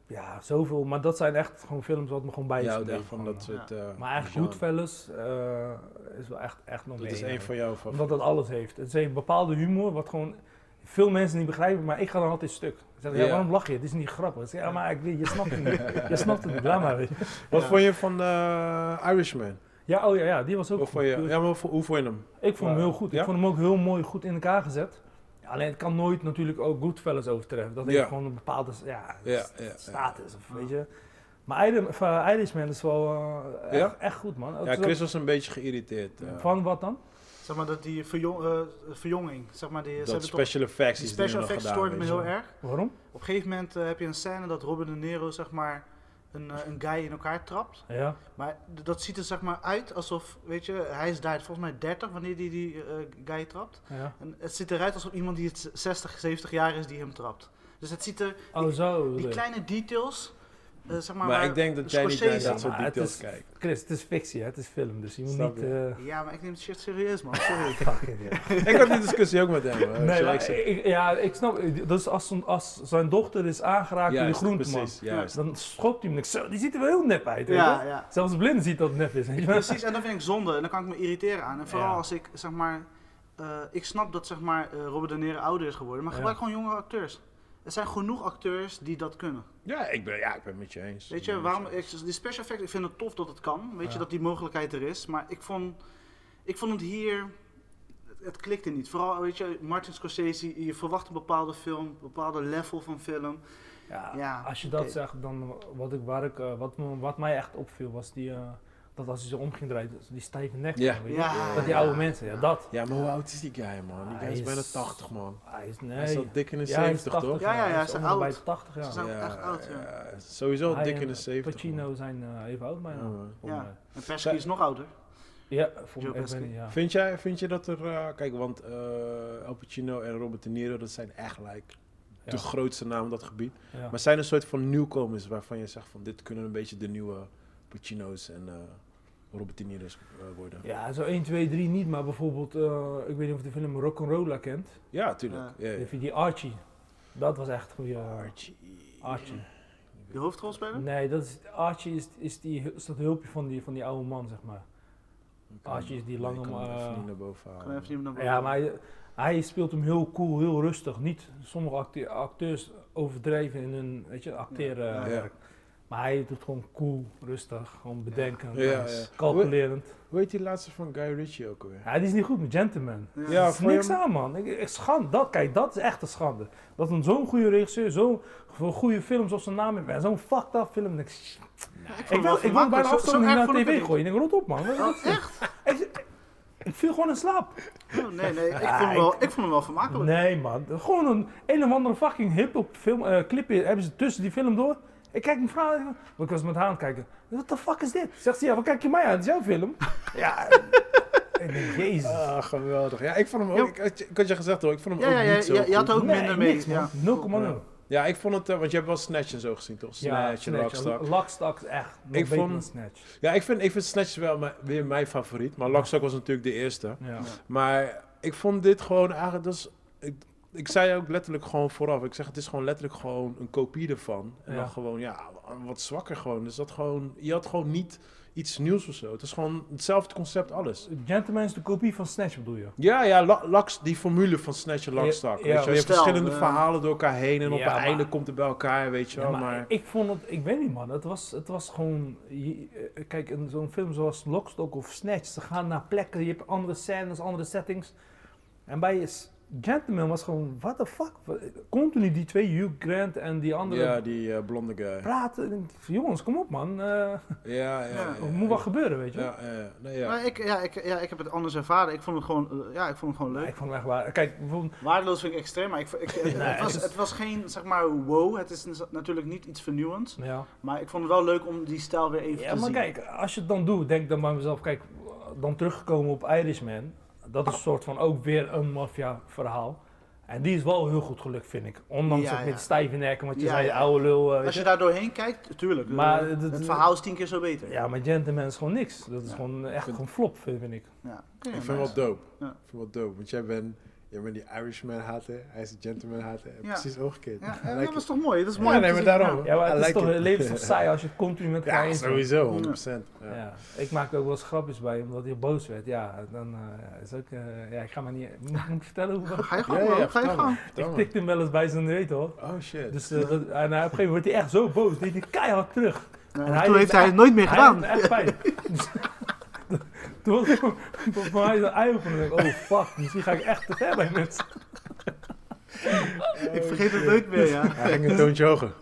Speaker 3: ja, zoveel. Maar dat zijn echt gewoon films wat me gewoon bij
Speaker 1: Je
Speaker 3: is
Speaker 1: houdt echt
Speaker 3: gebleven
Speaker 1: van
Speaker 3: gewoon,
Speaker 1: dat
Speaker 2: ja.
Speaker 1: soort... eh,
Speaker 3: eh. Maar eigenlijk
Speaker 1: genre.
Speaker 3: Goodfellas eh is wel echt, echt nog
Speaker 1: Dat
Speaker 3: mee,
Speaker 1: is
Speaker 3: ja.
Speaker 1: één van jouw
Speaker 3: Omdat
Speaker 1: favorieten.
Speaker 3: dat alles heeft. Het heeft een bepaalde humor wat gewoon veel mensen niet begrijpen, maar ik ga dan altijd stuk. Ze zeggen, ja,
Speaker 1: Ja.
Speaker 3: waarom lach je? Het is niet grappig. Ik zeg, ja, maar ik, weet- je snapt het niet. je snapt het niet, laat maar. weet je.
Speaker 1: Wat
Speaker 2: Ja.
Speaker 1: vond je van eh, Irishman?
Speaker 3: Ja, oh ja, ja, die was ook
Speaker 1: Wat
Speaker 3: goed.
Speaker 1: vond je,
Speaker 3: Die was-
Speaker 1: ja, maar vo- hoe vond je hem?
Speaker 3: Ik vond hem heel goed. Ik
Speaker 1: Ja?
Speaker 3: vond hem ook heel mooi goed in elkaar gezet. Ja, Alleen het kan nooit natuurlijk ook Goodfellas overtreffen. Dat heeft
Speaker 1: Ja.
Speaker 3: gewoon een bepaalde ja,
Speaker 1: Ja,
Speaker 3: st-
Speaker 1: ja, ja.
Speaker 3: status. Of, weet je. Maar Iron- of, eh, Irishman is wel eh, echt,
Speaker 1: Ja?
Speaker 3: echt goed, man. Het
Speaker 1: Ja,
Speaker 3: is ook-
Speaker 1: Chris was een beetje geïrriteerd. eh,
Speaker 3: Van wat dan?
Speaker 2: zeg maar dat die verjong, eh, verjonging, zeg maar die, ze
Speaker 1: dat
Speaker 2: hebben toch,
Speaker 1: special effects
Speaker 2: die
Speaker 1: is die
Speaker 2: special
Speaker 1: nog
Speaker 2: effects
Speaker 1: gedaan.
Speaker 2: stoorden me
Speaker 1: weet je
Speaker 2: heel
Speaker 1: wel.
Speaker 2: erg.
Speaker 3: Waarom?
Speaker 2: Op een gegeven moment eh, heb je een scène dat Robin De Niro zeg maar een, eh, een guy in elkaar trapt.
Speaker 3: Ja.
Speaker 2: Maar d- dat ziet er zeg maar uit alsof, weet je, hij is daar volgens mij 30 wanneer die, die eh, guy trapt.
Speaker 3: ja.
Speaker 2: En het ziet eruit alsof iemand die het 60, 70 jaar is die hem trapt. Dus het ziet er,
Speaker 3: Oh, zo.
Speaker 2: die
Speaker 3: bedoel je.
Speaker 2: kleine details, eh, zeg maar...
Speaker 1: Maar,
Speaker 2: waar-
Speaker 1: ik denk dat jij niet naar
Speaker 2: Scorsese.
Speaker 1: dat soort
Speaker 3: Maar het
Speaker 1: details
Speaker 3: is-
Speaker 1: kijkt.
Speaker 3: Chris, het is fictie, hè? het is film, dus je moet
Speaker 1: Snap
Speaker 3: niet.
Speaker 1: je.
Speaker 3: eh,
Speaker 2: Ja, maar ik neem het shit serieus, man. Sorry.
Speaker 3: fucking, ja.
Speaker 1: ik had die discussie ook met hem. hè. Dus
Speaker 3: Nee,
Speaker 1: ja,
Speaker 3: maar
Speaker 1: ik zeg-
Speaker 3: ik, ja, ik snap. Dus als, zijn- als zijn dochter is aangeraakt door de
Speaker 1: Juist,
Speaker 3: groenteman,
Speaker 1: Precies, juist.
Speaker 3: dan schopt hij hem. en ik, Zo, die ziet er wel heel nep uit. weet
Speaker 2: ja,
Speaker 3: je.
Speaker 2: ja.
Speaker 3: Zelfs blind ziet dat het nep is. weet je wel.
Speaker 2: Precies, en dat vind ik zonde. En daar kan ik me irriteren aan. En vooral
Speaker 3: Ja.
Speaker 2: als ik, zeg maar... eh, ik snap dat, zeg maar, eh, Robert De Niro ouder is geworden. Maar
Speaker 3: Ja.
Speaker 2: gebruik gewoon jongere acteurs. Er zijn genoeg acteurs die dat kunnen.
Speaker 1: Ja, ik ben, ja, ik ben het met je eens.
Speaker 2: Weet
Speaker 1: Ik ben
Speaker 2: je,
Speaker 1: met
Speaker 2: waarom...
Speaker 1: eens.
Speaker 2: Ik, die special effects, ik vind het tof dat het kan. Weet je,
Speaker 3: Ja.
Speaker 2: dat die mogelijkheid er is. Maar ik vond... Ik vond het hier... Het klikte niet. Vooral, weet je, Martin Scorsese, je verwacht een bepaalde film, een bepaalde level van film.
Speaker 3: Ja,
Speaker 2: Ja,
Speaker 3: als je dat
Speaker 2: oké.
Speaker 3: zegt, dan wat, ik, waar ik, eh, wat, me- wat mij echt opviel was die eh, dat als hij zo om ging draaien, dus die stijve nek.
Speaker 1: Ja.
Speaker 3: van, weet je.
Speaker 2: Ja,
Speaker 3: Dat die
Speaker 2: ja.
Speaker 3: oude mensen, ja, dat.
Speaker 1: Ja, maar hoe oud is die guy, man? Die
Speaker 3: Ah,
Speaker 1: guy
Speaker 3: hij
Speaker 1: is bijna
Speaker 3: is-
Speaker 1: 80, man.
Speaker 3: Hij is,
Speaker 1: Hij is
Speaker 3: nee.
Speaker 1: al dik in de
Speaker 3: Ja, hij is
Speaker 1: 70, toch?
Speaker 3: 80,
Speaker 2: Ja, ja, ja,
Speaker 3: hij is
Speaker 2: ze
Speaker 3: allemaal bij
Speaker 2: oud.
Speaker 3: de 80
Speaker 2: Ze
Speaker 3: jaar.
Speaker 2: zijn- ook echt oud, ja.
Speaker 1: ja, Sowieso al
Speaker 3: Hij
Speaker 1: dik
Speaker 3: en,
Speaker 1: in de
Speaker 3: eh,
Speaker 1: 70. man.
Speaker 3: Pacino zijn eh, even oud bijna.
Speaker 1: Ja, man.
Speaker 3: Voor mij.
Speaker 2: Ja. En Pesky is nog ouder.
Speaker 3: Ja, voor
Speaker 2: Joe
Speaker 3: mij. ik ben-
Speaker 2: Pesci.
Speaker 3: Ja.
Speaker 1: Vind, jij, vind je dat er... eh, kijk, want eh Al Pacino en Robert De Niro, dat zijn echt like, de
Speaker 3: Ja.
Speaker 1: grootste naam op dat gebied.
Speaker 3: Ja.
Speaker 1: Maar zijn er een soort van nieuwkomers waarvan je zegt van... Dit kunnen een beetje de nieuwe Pacino's en eh, Robert De Niro's eh, worden? Ja,
Speaker 3: Ja, zo 1, 2, 3 niet, maar bijvoorbeeld, eh, ik weet niet of je de film Rock'n'Rolla kent.
Speaker 1: tuurlijk. Ja.
Speaker 3: Dan heb je die Archie. Dat was echt goede
Speaker 1: Archie.
Speaker 3: Archie.
Speaker 2: De hoofdrolspeler?
Speaker 3: Nee, dat is, Archie is, is, die, is dat hulpje van die, van die oude man, zeg maar. Archie is die eh, lange
Speaker 1: Nee, ik kan hem
Speaker 3: ma-
Speaker 1: even niet naar boven
Speaker 2: Kan even
Speaker 1: halen.
Speaker 2: niet meer naar boven.
Speaker 3: Ja, maar hij, hij speelt hem heel cool, heel rustig. Niet sommige acte- acteurs overdrijven in hun weet je, acteren.
Speaker 2: Ja.
Speaker 3: eh, werk. Maar hij doet gewoon cool, rustig, gewoon bedenkend,
Speaker 1: Ja, ja.
Speaker 3: eh, calculerend.
Speaker 1: Hoe heet die laatste van Guy Ritchie ook alweer?
Speaker 3: Ja, die is niet goed met Gentleman.
Speaker 1: Ja,
Speaker 3: Er is
Speaker 1: voor
Speaker 3: niks
Speaker 1: hem-
Speaker 3: aan, man. Ik, ik- schande. Dat, kijk, dat is echt een schande. Dat een zo'n goede regisseur, zo'n voor goede films op zijn naam heeft en zo'n fucked up film. Ik,
Speaker 2: ik
Speaker 3: ik wil, ik wil bijna afstand naar tv gooien. Ik denk, rot op, man. Wat is dat?
Speaker 2: Oh, echt?
Speaker 3: Ik, ik viel gewoon in slaap.
Speaker 2: Oh, nee, nee, ik
Speaker 3: Ja,
Speaker 2: vond, hem
Speaker 3: ik-
Speaker 2: wel, ik vond hem wel vermakelijk.
Speaker 3: Nee, man. Gewoon een een of andere fucking hip-hop film, eh, clip hebben ze tussen die film door. Ik kijk mijn vrouw, ik- want ik was met haar aan het kijken. What the fuck is dit? Zegt ze, ja, wat kijk je mij aan? Het is jouw film. Ja. ik denk, jezus.
Speaker 2: Eh,
Speaker 1: Ah, geweldig. Ja ik vond hem ook... Ik, had je- ik had je gezegd hoor, ik vond hem
Speaker 2: Ja,
Speaker 1: ook
Speaker 2: ja, ja,
Speaker 1: niet zo
Speaker 2: ja, je had
Speaker 1: goed.
Speaker 2: ook
Speaker 3: Nee,
Speaker 2: minder mee.
Speaker 3: niks, man.
Speaker 2: ja.
Speaker 3: 0,0.
Speaker 1: Ja, ik vond het... eh, want je hebt wel Snatch en zo gezien, toch? Snatch en Rockstar.
Speaker 3: Lockstar is echt. nog
Speaker 1: Ik
Speaker 3: beter
Speaker 1: vond-
Speaker 3: dan Snatch.
Speaker 1: Ja, ik vind, ik vind Snatch wel mijn- weer mijn favoriet. Maar Lockstock was natuurlijk de eerste.
Speaker 3: Ja.
Speaker 1: Maar ik vond dit gewoon eigenlijk... Dat is, ik, ik zei ook letterlijk gewoon vooraf. Ik zeg, het is gewoon letterlijk gewoon een kopie ervan. En
Speaker 3: Ja.
Speaker 1: dan gewoon, ja, wat zwakker gewoon. Dus dat gewoon... Je had gewoon niet iets nieuws of zo. Het is gewoon hetzelfde concept, alles.
Speaker 3: Gentleman is de kopie van Snatch, bedoel je?
Speaker 1: Ja, ja, la- laks, die formule van Snatch en
Speaker 3: Ja,
Speaker 1: Lockstock.
Speaker 3: ja.
Speaker 1: weet je, wel. je hebt
Speaker 2: Stel,
Speaker 1: verschillende
Speaker 2: eh,
Speaker 1: verhalen door elkaar heen en op
Speaker 3: Ja,
Speaker 1: het
Speaker 3: maar-
Speaker 1: einde komt het bij elkaar, weet je
Speaker 3: Ja,
Speaker 1: wel.
Speaker 3: maar
Speaker 1: maar,
Speaker 3: ik vond het, ik weet niet man, het was, het was gewoon, je- eh, kijk in zo'n film zoals Lockstock of Snatch, ze gaan naar plekken, je hebt andere scènes, andere settings. En bij S- Gentleman was gewoon, what the fuck, Wa- continu die twee, Hugh Grant en die andere
Speaker 1: Ja, die eh, blonde guy.
Speaker 3: praten. Ik denk, jongens, kom op man, eh,
Speaker 1: Ja, ja, ja.
Speaker 3: er moet wat gebeuren, weet je.
Speaker 1: Ja, ja, ja. Nee, ja.
Speaker 2: Maar ik, ja, ik, ja, ik heb het anders ervaren. Ik vond het gewoon, eh, ja, ik vond het gewoon
Speaker 3: Ja,
Speaker 2: leuk.
Speaker 3: ik vond het echt waar, kijk, bijvoorbeeld,
Speaker 2: Waardeloos vind ik extreem, maar ik, vo- ik, het-
Speaker 3: Nee,
Speaker 2: het, was,
Speaker 3: het is-
Speaker 2: het was geen, zeg maar, wow. Het is n- natuurlijk niet iets vernieuwends.
Speaker 3: ja.
Speaker 2: Maar ik vond het wel leuk om die stijl weer even
Speaker 3: Ja,
Speaker 2: te
Speaker 3: maar
Speaker 2: zien.
Speaker 3: kijk, als je het dan doet, denk dan bij mezelf, kijk, dan teruggekomen op Irishman. Dat is een soort van ook weer een maffia verhaal. En die is wel heel goed gelukt, vind ik. Ondanks
Speaker 2: Ja,
Speaker 3: dat
Speaker 2: ja.
Speaker 3: met stijve nekken, want je
Speaker 2: Ja,
Speaker 3: zei
Speaker 2: ja.
Speaker 3: oude lul. eh, weet
Speaker 2: Als je
Speaker 3: je.
Speaker 2: daar doorheen kijkt, tuurlijk.
Speaker 3: Maar
Speaker 2: eh,
Speaker 3: het-
Speaker 2: het,
Speaker 3: het-
Speaker 2: verhaal is tien keer zo beter.
Speaker 3: Ja, maar Gentleman is gewoon niks. Dat is
Speaker 2: Ja.
Speaker 3: gewoon echt
Speaker 1: Vind-
Speaker 3: een flop, vind vind ik.
Speaker 2: Ja.
Speaker 1: Ik vind hem wel dope.
Speaker 2: Ja.
Speaker 1: Ik vind hem wel dope. Want jij bent, jij bent die Irishman haten, hij is een gentleman haten. En
Speaker 2: Ja.
Speaker 1: Precies omgekeerd.
Speaker 2: Ja,
Speaker 1: I
Speaker 2: eh,
Speaker 1: like
Speaker 2: dat is
Speaker 1: it.
Speaker 2: toch mooi? Dat is
Speaker 1: Ja,
Speaker 2: mooi. om
Speaker 1: nee,
Speaker 2: te
Speaker 1: maar
Speaker 2: zien,
Speaker 1: daarom.
Speaker 2: ja.
Speaker 3: Ja, maar het
Speaker 1: I
Speaker 3: is
Speaker 1: like
Speaker 3: toch,
Speaker 1: it.
Speaker 3: het leven is toch saai als je het continu met elkaar
Speaker 1: Ja,
Speaker 3: eens bent.
Speaker 1: sowieso, 100%. Ja.
Speaker 3: Ja. Ik maakte ook wel eens grapjes bij hem, omdat hij boos werd. Ja, dan eh, ja, is ook... eh, ja, ik ga maar niet... Moet ik vertellen hoe...
Speaker 2: Ga je
Speaker 1: Ja,
Speaker 2: gang,
Speaker 1: ja,
Speaker 2: man. Ga je
Speaker 1: vertel
Speaker 2: gang.
Speaker 1: maar, vertel
Speaker 3: Ik
Speaker 1: maar.
Speaker 3: tikte hem wel eens bij zijn reet, hoor.
Speaker 1: Oh shit.
Speaker 3: Dus, eh, dat- en hij- op een gegeven moment wordt hij echt zo boos, deed hij keihard terug.
Speaker 2: Nou,
Speaker 3: En hij
Speaker 2: toen
Speaker 3: deed
Speaker 2: heeft
Speaker 3: me
Speaker 2: hij het nooit meer
Speaker 3: Hij
Speaker 2: gedaan.
Speaker 3: deed me echt pijn. Toen was ik voor mij een ei openen en denk ik, oh fuck, misschien ga ik echt te ver bij mensen.
Speaker 2: Ik vergeet het nooit meer, ja.
Speaker 1: Hij ging een toontje hoger.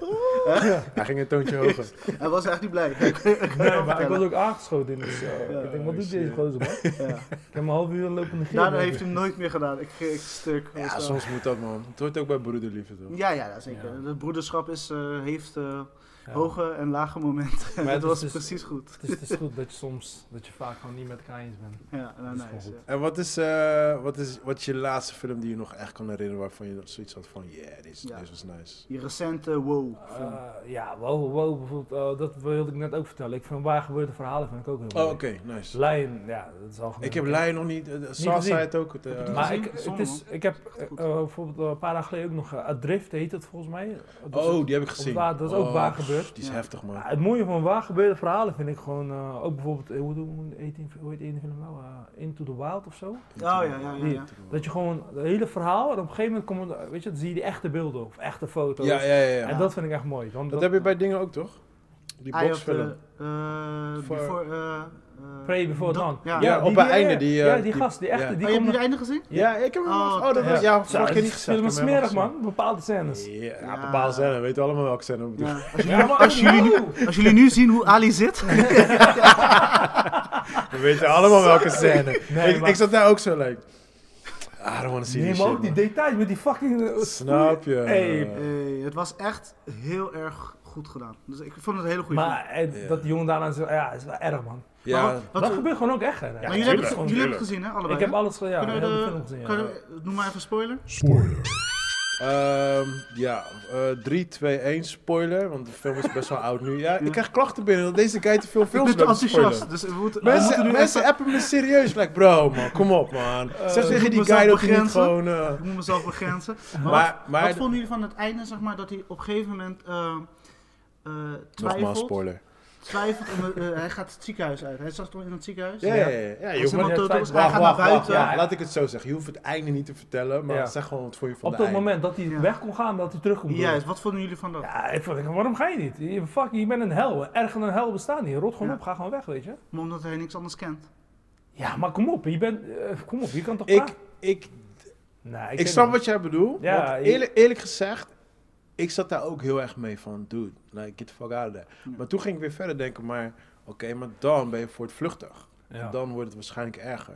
Speaker 1: Hij ging een toontje hoger.
Speaker 2: Hij was echt niet blij. Ik kan je
Speaker 3: Nee,
Speaker 2: wel
Speaker 3: maar ik was
Speaker 2: vertellen.
Speaker 3: ook aangeschoten in de show. ik denk, wat doet deze gozer man? Ik
Speaker 2: Ja.
Speaker 3: heb hem een half uur lopen negeren.
Speaker 2: Daarna Nou, heeft hij hem nooit meer gedaan. Ik, ik stuk.
Speaker 1: Ja,
Speaker 2: Dus, eh,
Speaker 1: soms moet dat man. Het hoort ook bij broederliefde toch?
Speaker 2: ja, ja, ja, zeker.
Speaker 3: Ja.
Speaker 2: Het broederschap is, eh, heeft eh,
Speaker 3: Ja.
Speaker 2: hoge en lage momenten. En
Speaker 3: Maar
Speaker 2: dat
Speaker 3: het is
Speaker 2: was
Speaker 3: dus-
Speaker 2: precies goed.
Speaker 3: Het is, het is goed dat je soms, dat je vaak gewoon niet met elkaar eens bent.
Speaker 2: Ja, nou,
Speaker 3: Dat is
Speaker 2: nice.
Speaker 3: gewoon
Speaker 2: ja.
Speaker 1: En wat is, eh, wat, is, wat is je laatste film die je nog echt kan herinneren waarvan je zoiets had van, yeah, dit
Speaker 2: Ja.
Speaker 1: dit was nice.
Speaker 2: Die recente wow. film.
Speaker 3: Eh, ja, wow, wow, bijvoorbeeld, eh, dat wilde ik net ook vertellen. Ik vind waar gebeurde verhalen vind ik ook heel
Speaker 1: Oh,
Speaker 3: mooi.
Speaker 1: oké, nice.
Speaker 3: Lion, ja, dat is al
Speaker 1: Ik heb Lion nog niet, uh, Saal zei
Speaker 3: gezien.
Speaker 1: het ook. Het, eh,
Speaker 2: Heb je
Speaker 3: Maar
Speaker 2: gezien?
Speaker 3: ik,
Speaker 2: Zonde,
Speaker 3: het is, ik heb eh,
Speaker 2: goed.
Speaker 3: eh, bijvoorbeeld een paar dagen geleden ook nog eh, Adrift heet het volgens mij. Dat is-
Speaker 1: oh, die heb ik
Speaker 3: op
Speaker 1: gezien.
Speaker 3: waar- dat is ook
Speaker 1: Oh,
Speaker 3: waar Ah, gebeurd.
Speaker 1: Die is
Speaker 2: Ja.
Speaker 1: heftig man.
Speaker 3: Maar het mooie van waar gebeurde verhalen vind ik gewoon, eh, ook bijvoorbeeld, eh, hoe, hoe, heet die- hoe heet die ene film nou? Eh, Into the Wild of zo.
Speaker 2: Oh ja, ja, ja. ja.
Speaker 3: Dat je gewoon het hele verhaal en op een gegeven moment komt, het- weet je, dan zie je die echte beelden of echte foto's.
Speaker 1: Ja, ja, ja.
Speaker 3: En dat vind ik echt mooi. Want
Speaker 1: Dat
Speaker 3: dat,
Speaker 1: heb je bij dingen ook, toch? Die
Speaker 2: Eye Ah, of eh, the,
Speaker 1: boxfilm.
Speaker 2: eh,
Speaker 1: Voor-
Speaker 2: before, eh, eh,
Speaker 3: Pray Before
Speaker 2: Dawn.
Speaker 3: Dawn.
Speaker 2: Ja.
Speaker 1: Ja, op het einde, die, eh,
Speaker 3: ja, die,
Speaker 1: die-
Speaker 3: gast, die
Speaker 1: ja.
Speaker 3: echte, die
Speaker 2: oh, je hebt
Speaker 3: komt...
Speaker 2: nu het einde gezien?
Speaker 1: Ja, ik heb hem
Speaker 2: Oh,
Speaker 1: al- Oh, dat
Speaker 2: ja.
Speaker 1: was... Ja,
Speaker 3: Ja,
Speaker 1: vorige keer
Speaker 3: het
Speaker 1: niet
Speaker 3: is-
Speaker 1: gezegd.
Speaker 3: Het
Speaker 1: maar we
Speaker 3: is wel
Speaker 1: hebben
Speaker 3: smerig,
Speaker 1: hem al
Speaker 3: man. Bepaalde scènes.
Speaker 1: gezien. Ja,
Speaker 2: Ja.
Speaker 1: bepaalde scène. We weten allemaal welke scène we bedoelen.
Speaker 2: Ja. Als, jullie,
Speaker 3: Ja, maar-
Speaker 2: als jullie nu zien hoe Ali zit.
Speaker 1: Weet je allemaal welke scène.
Speaker 3: Nee,
Speaker 1: ik,
Speaker 3: maar-
Speaker 1: ik zat daar ook zo like... I don't want to see
Speaker 3: Neem
Speaker 1: this
Speaker 3: maar
Speaker 1: shit.
Speaker 3: ook die
Speaker 1: man.
Speaker 3: details met die fucking... eh,
Speaker 1: Snap je?
Speaker 3: Hey,
Speaker 2: Hey, het was echt heel erg goed gedaan. Dus ik vond het een hele goede
Speaker 3: Maar eh,
Speaker 1: Ja.
Speaker 3: dat die jongen daarna zo... Ja, is wel erg, man.
Speaker 1: Ja,
Speaker 2: Maar
Speaker 3: dat gebeurt gewoon ook echt, hè?
Speaker 2: maar jullie, hebben, het-
Speaker 4: tuurlijk,
Speaker 2: jullie hebben het
Speaker 4: tuurlijk.
Speaker 2: gezien, hè? Allebei.
Speaker 3: Ik heb
Speaker 2: hè?
Speaker 3: alles gezien, ja.
Speaker 2: Kunnen
Speaker 3: Heel
Speaker 2: we
Speaker 3: de
Speaker 2: de-
Speaker 3: film gezien, ja.
Speaker 2: kunnen we- Noem maar even spoiler.
Speaker 1: Ehm, ja, eh 3, 2, 1, spoiler. Want de film is best wel oud nu. Ja, ik krijg klachten binnen dat deze guy te veel
Speaker 2: Ik
Speaker 1: films
Speaker 2: ben te
Speaker 1: blijft spoileren.
Speaker 2: enthousiast, dus we moeten, we moeten
Speaker 1: Mensen,
Speaker 2: nu
Speaker 1: mensen
Speaker 2: even... Eh,
Speaker 1: appen me serieus. Like, bro, man, kom op, man. zeg
Speaker 2: ik
Speaker 1: tegen
Speaker 2: moet
Speaker 1: die
Speaker 2: mezelf
Speaker 1: guy dat hij niet
Speaker 2: begrenzen.
Speaker 1: gewoon... eh,
Speaker 2: Ik moet mezelf begrenzen. Maar,
Speaker 1: maar,
Speaker 2: wat,
Speaker 1: maar...
Speaker 2: vonden jullie van het einde, zeg maar, dat hij op een gegeven moment eh, eh,
Speaker 1: Nogmaals,
Speaker 2: twijfelt,
Speaker 1: spoiler.
Speaker 2: twijfelt en eh, hij gaat het ziekenhuis uit. Hij zat toch in het ziekenhuis?
Speaker 1: Ja, ja, ja. ja je
Speaker 2: Als
Speaker 1: hoeft-
Speaker 2: iemand
Speaker 3: maar-
Speaker 2: dood is,
Speaker 3: Ja,
Speaker 2: hij
Speaker 1: Wacht,
Speaker 2: gaat naar
Speaker 1: wacht, wacht.
Speaker 2: buiten.
Speaker 1: Ja, laat ik het zo zeggen. Je hoeft het einde niet te vertellen, maar
Speaker 3: Ja.
Speaker 1: zeg gewoon wat voor je van
Speaker 3: Op
Speaker 1: de
Speaker 3: dat
Speaker 1: einde.
Speaker 3: moment dat hij
Speaker 2: Ja.
Speaker 3: weg kon gaan, dat hij terug kon doen.
Speaker 2: Juist, wat vonden jullie van dat?
Speaker 3: Ja, ik vond, waarom ga je niet? Je, fuck, je bent een hel. Erger dan een hel bestaan niet. Rot gewoon
Speaker 2: Ja.
Speaker 3: op, ga gewoon weg, weet je.
Speaker 2: Maar Omdat hij niks anders kent.
Speaker 3: Ja, maar kom op, je bent... eh, kom op, je kan toch
Speaker 1: Ik,
Speaker 3: praten?
Speaker 1: ik,
Speaker 3: Nee, ik
Speaker 1: ik,
Speaker 3: weet
Speaker 1: snap
Speaker 3: niet.
Speaker 1: wat jij bedoelt.
Speaker 3: Ja,
Speaker 1: want
Speaker 3: je-
Speaker 1: eerlijk, eerlijk gezegd, ik zat daar ook heel erg mee van, dude, like, get the fuck out of there.
Speaker 2: Ja.
Speaker 1: Maar toen ging ik weer verder denken, maar oké, maar dan ben je voortvluchtig.
Speaker 3: Ja,
Speaker 1: Dan wordt het waarschijnlijk erger.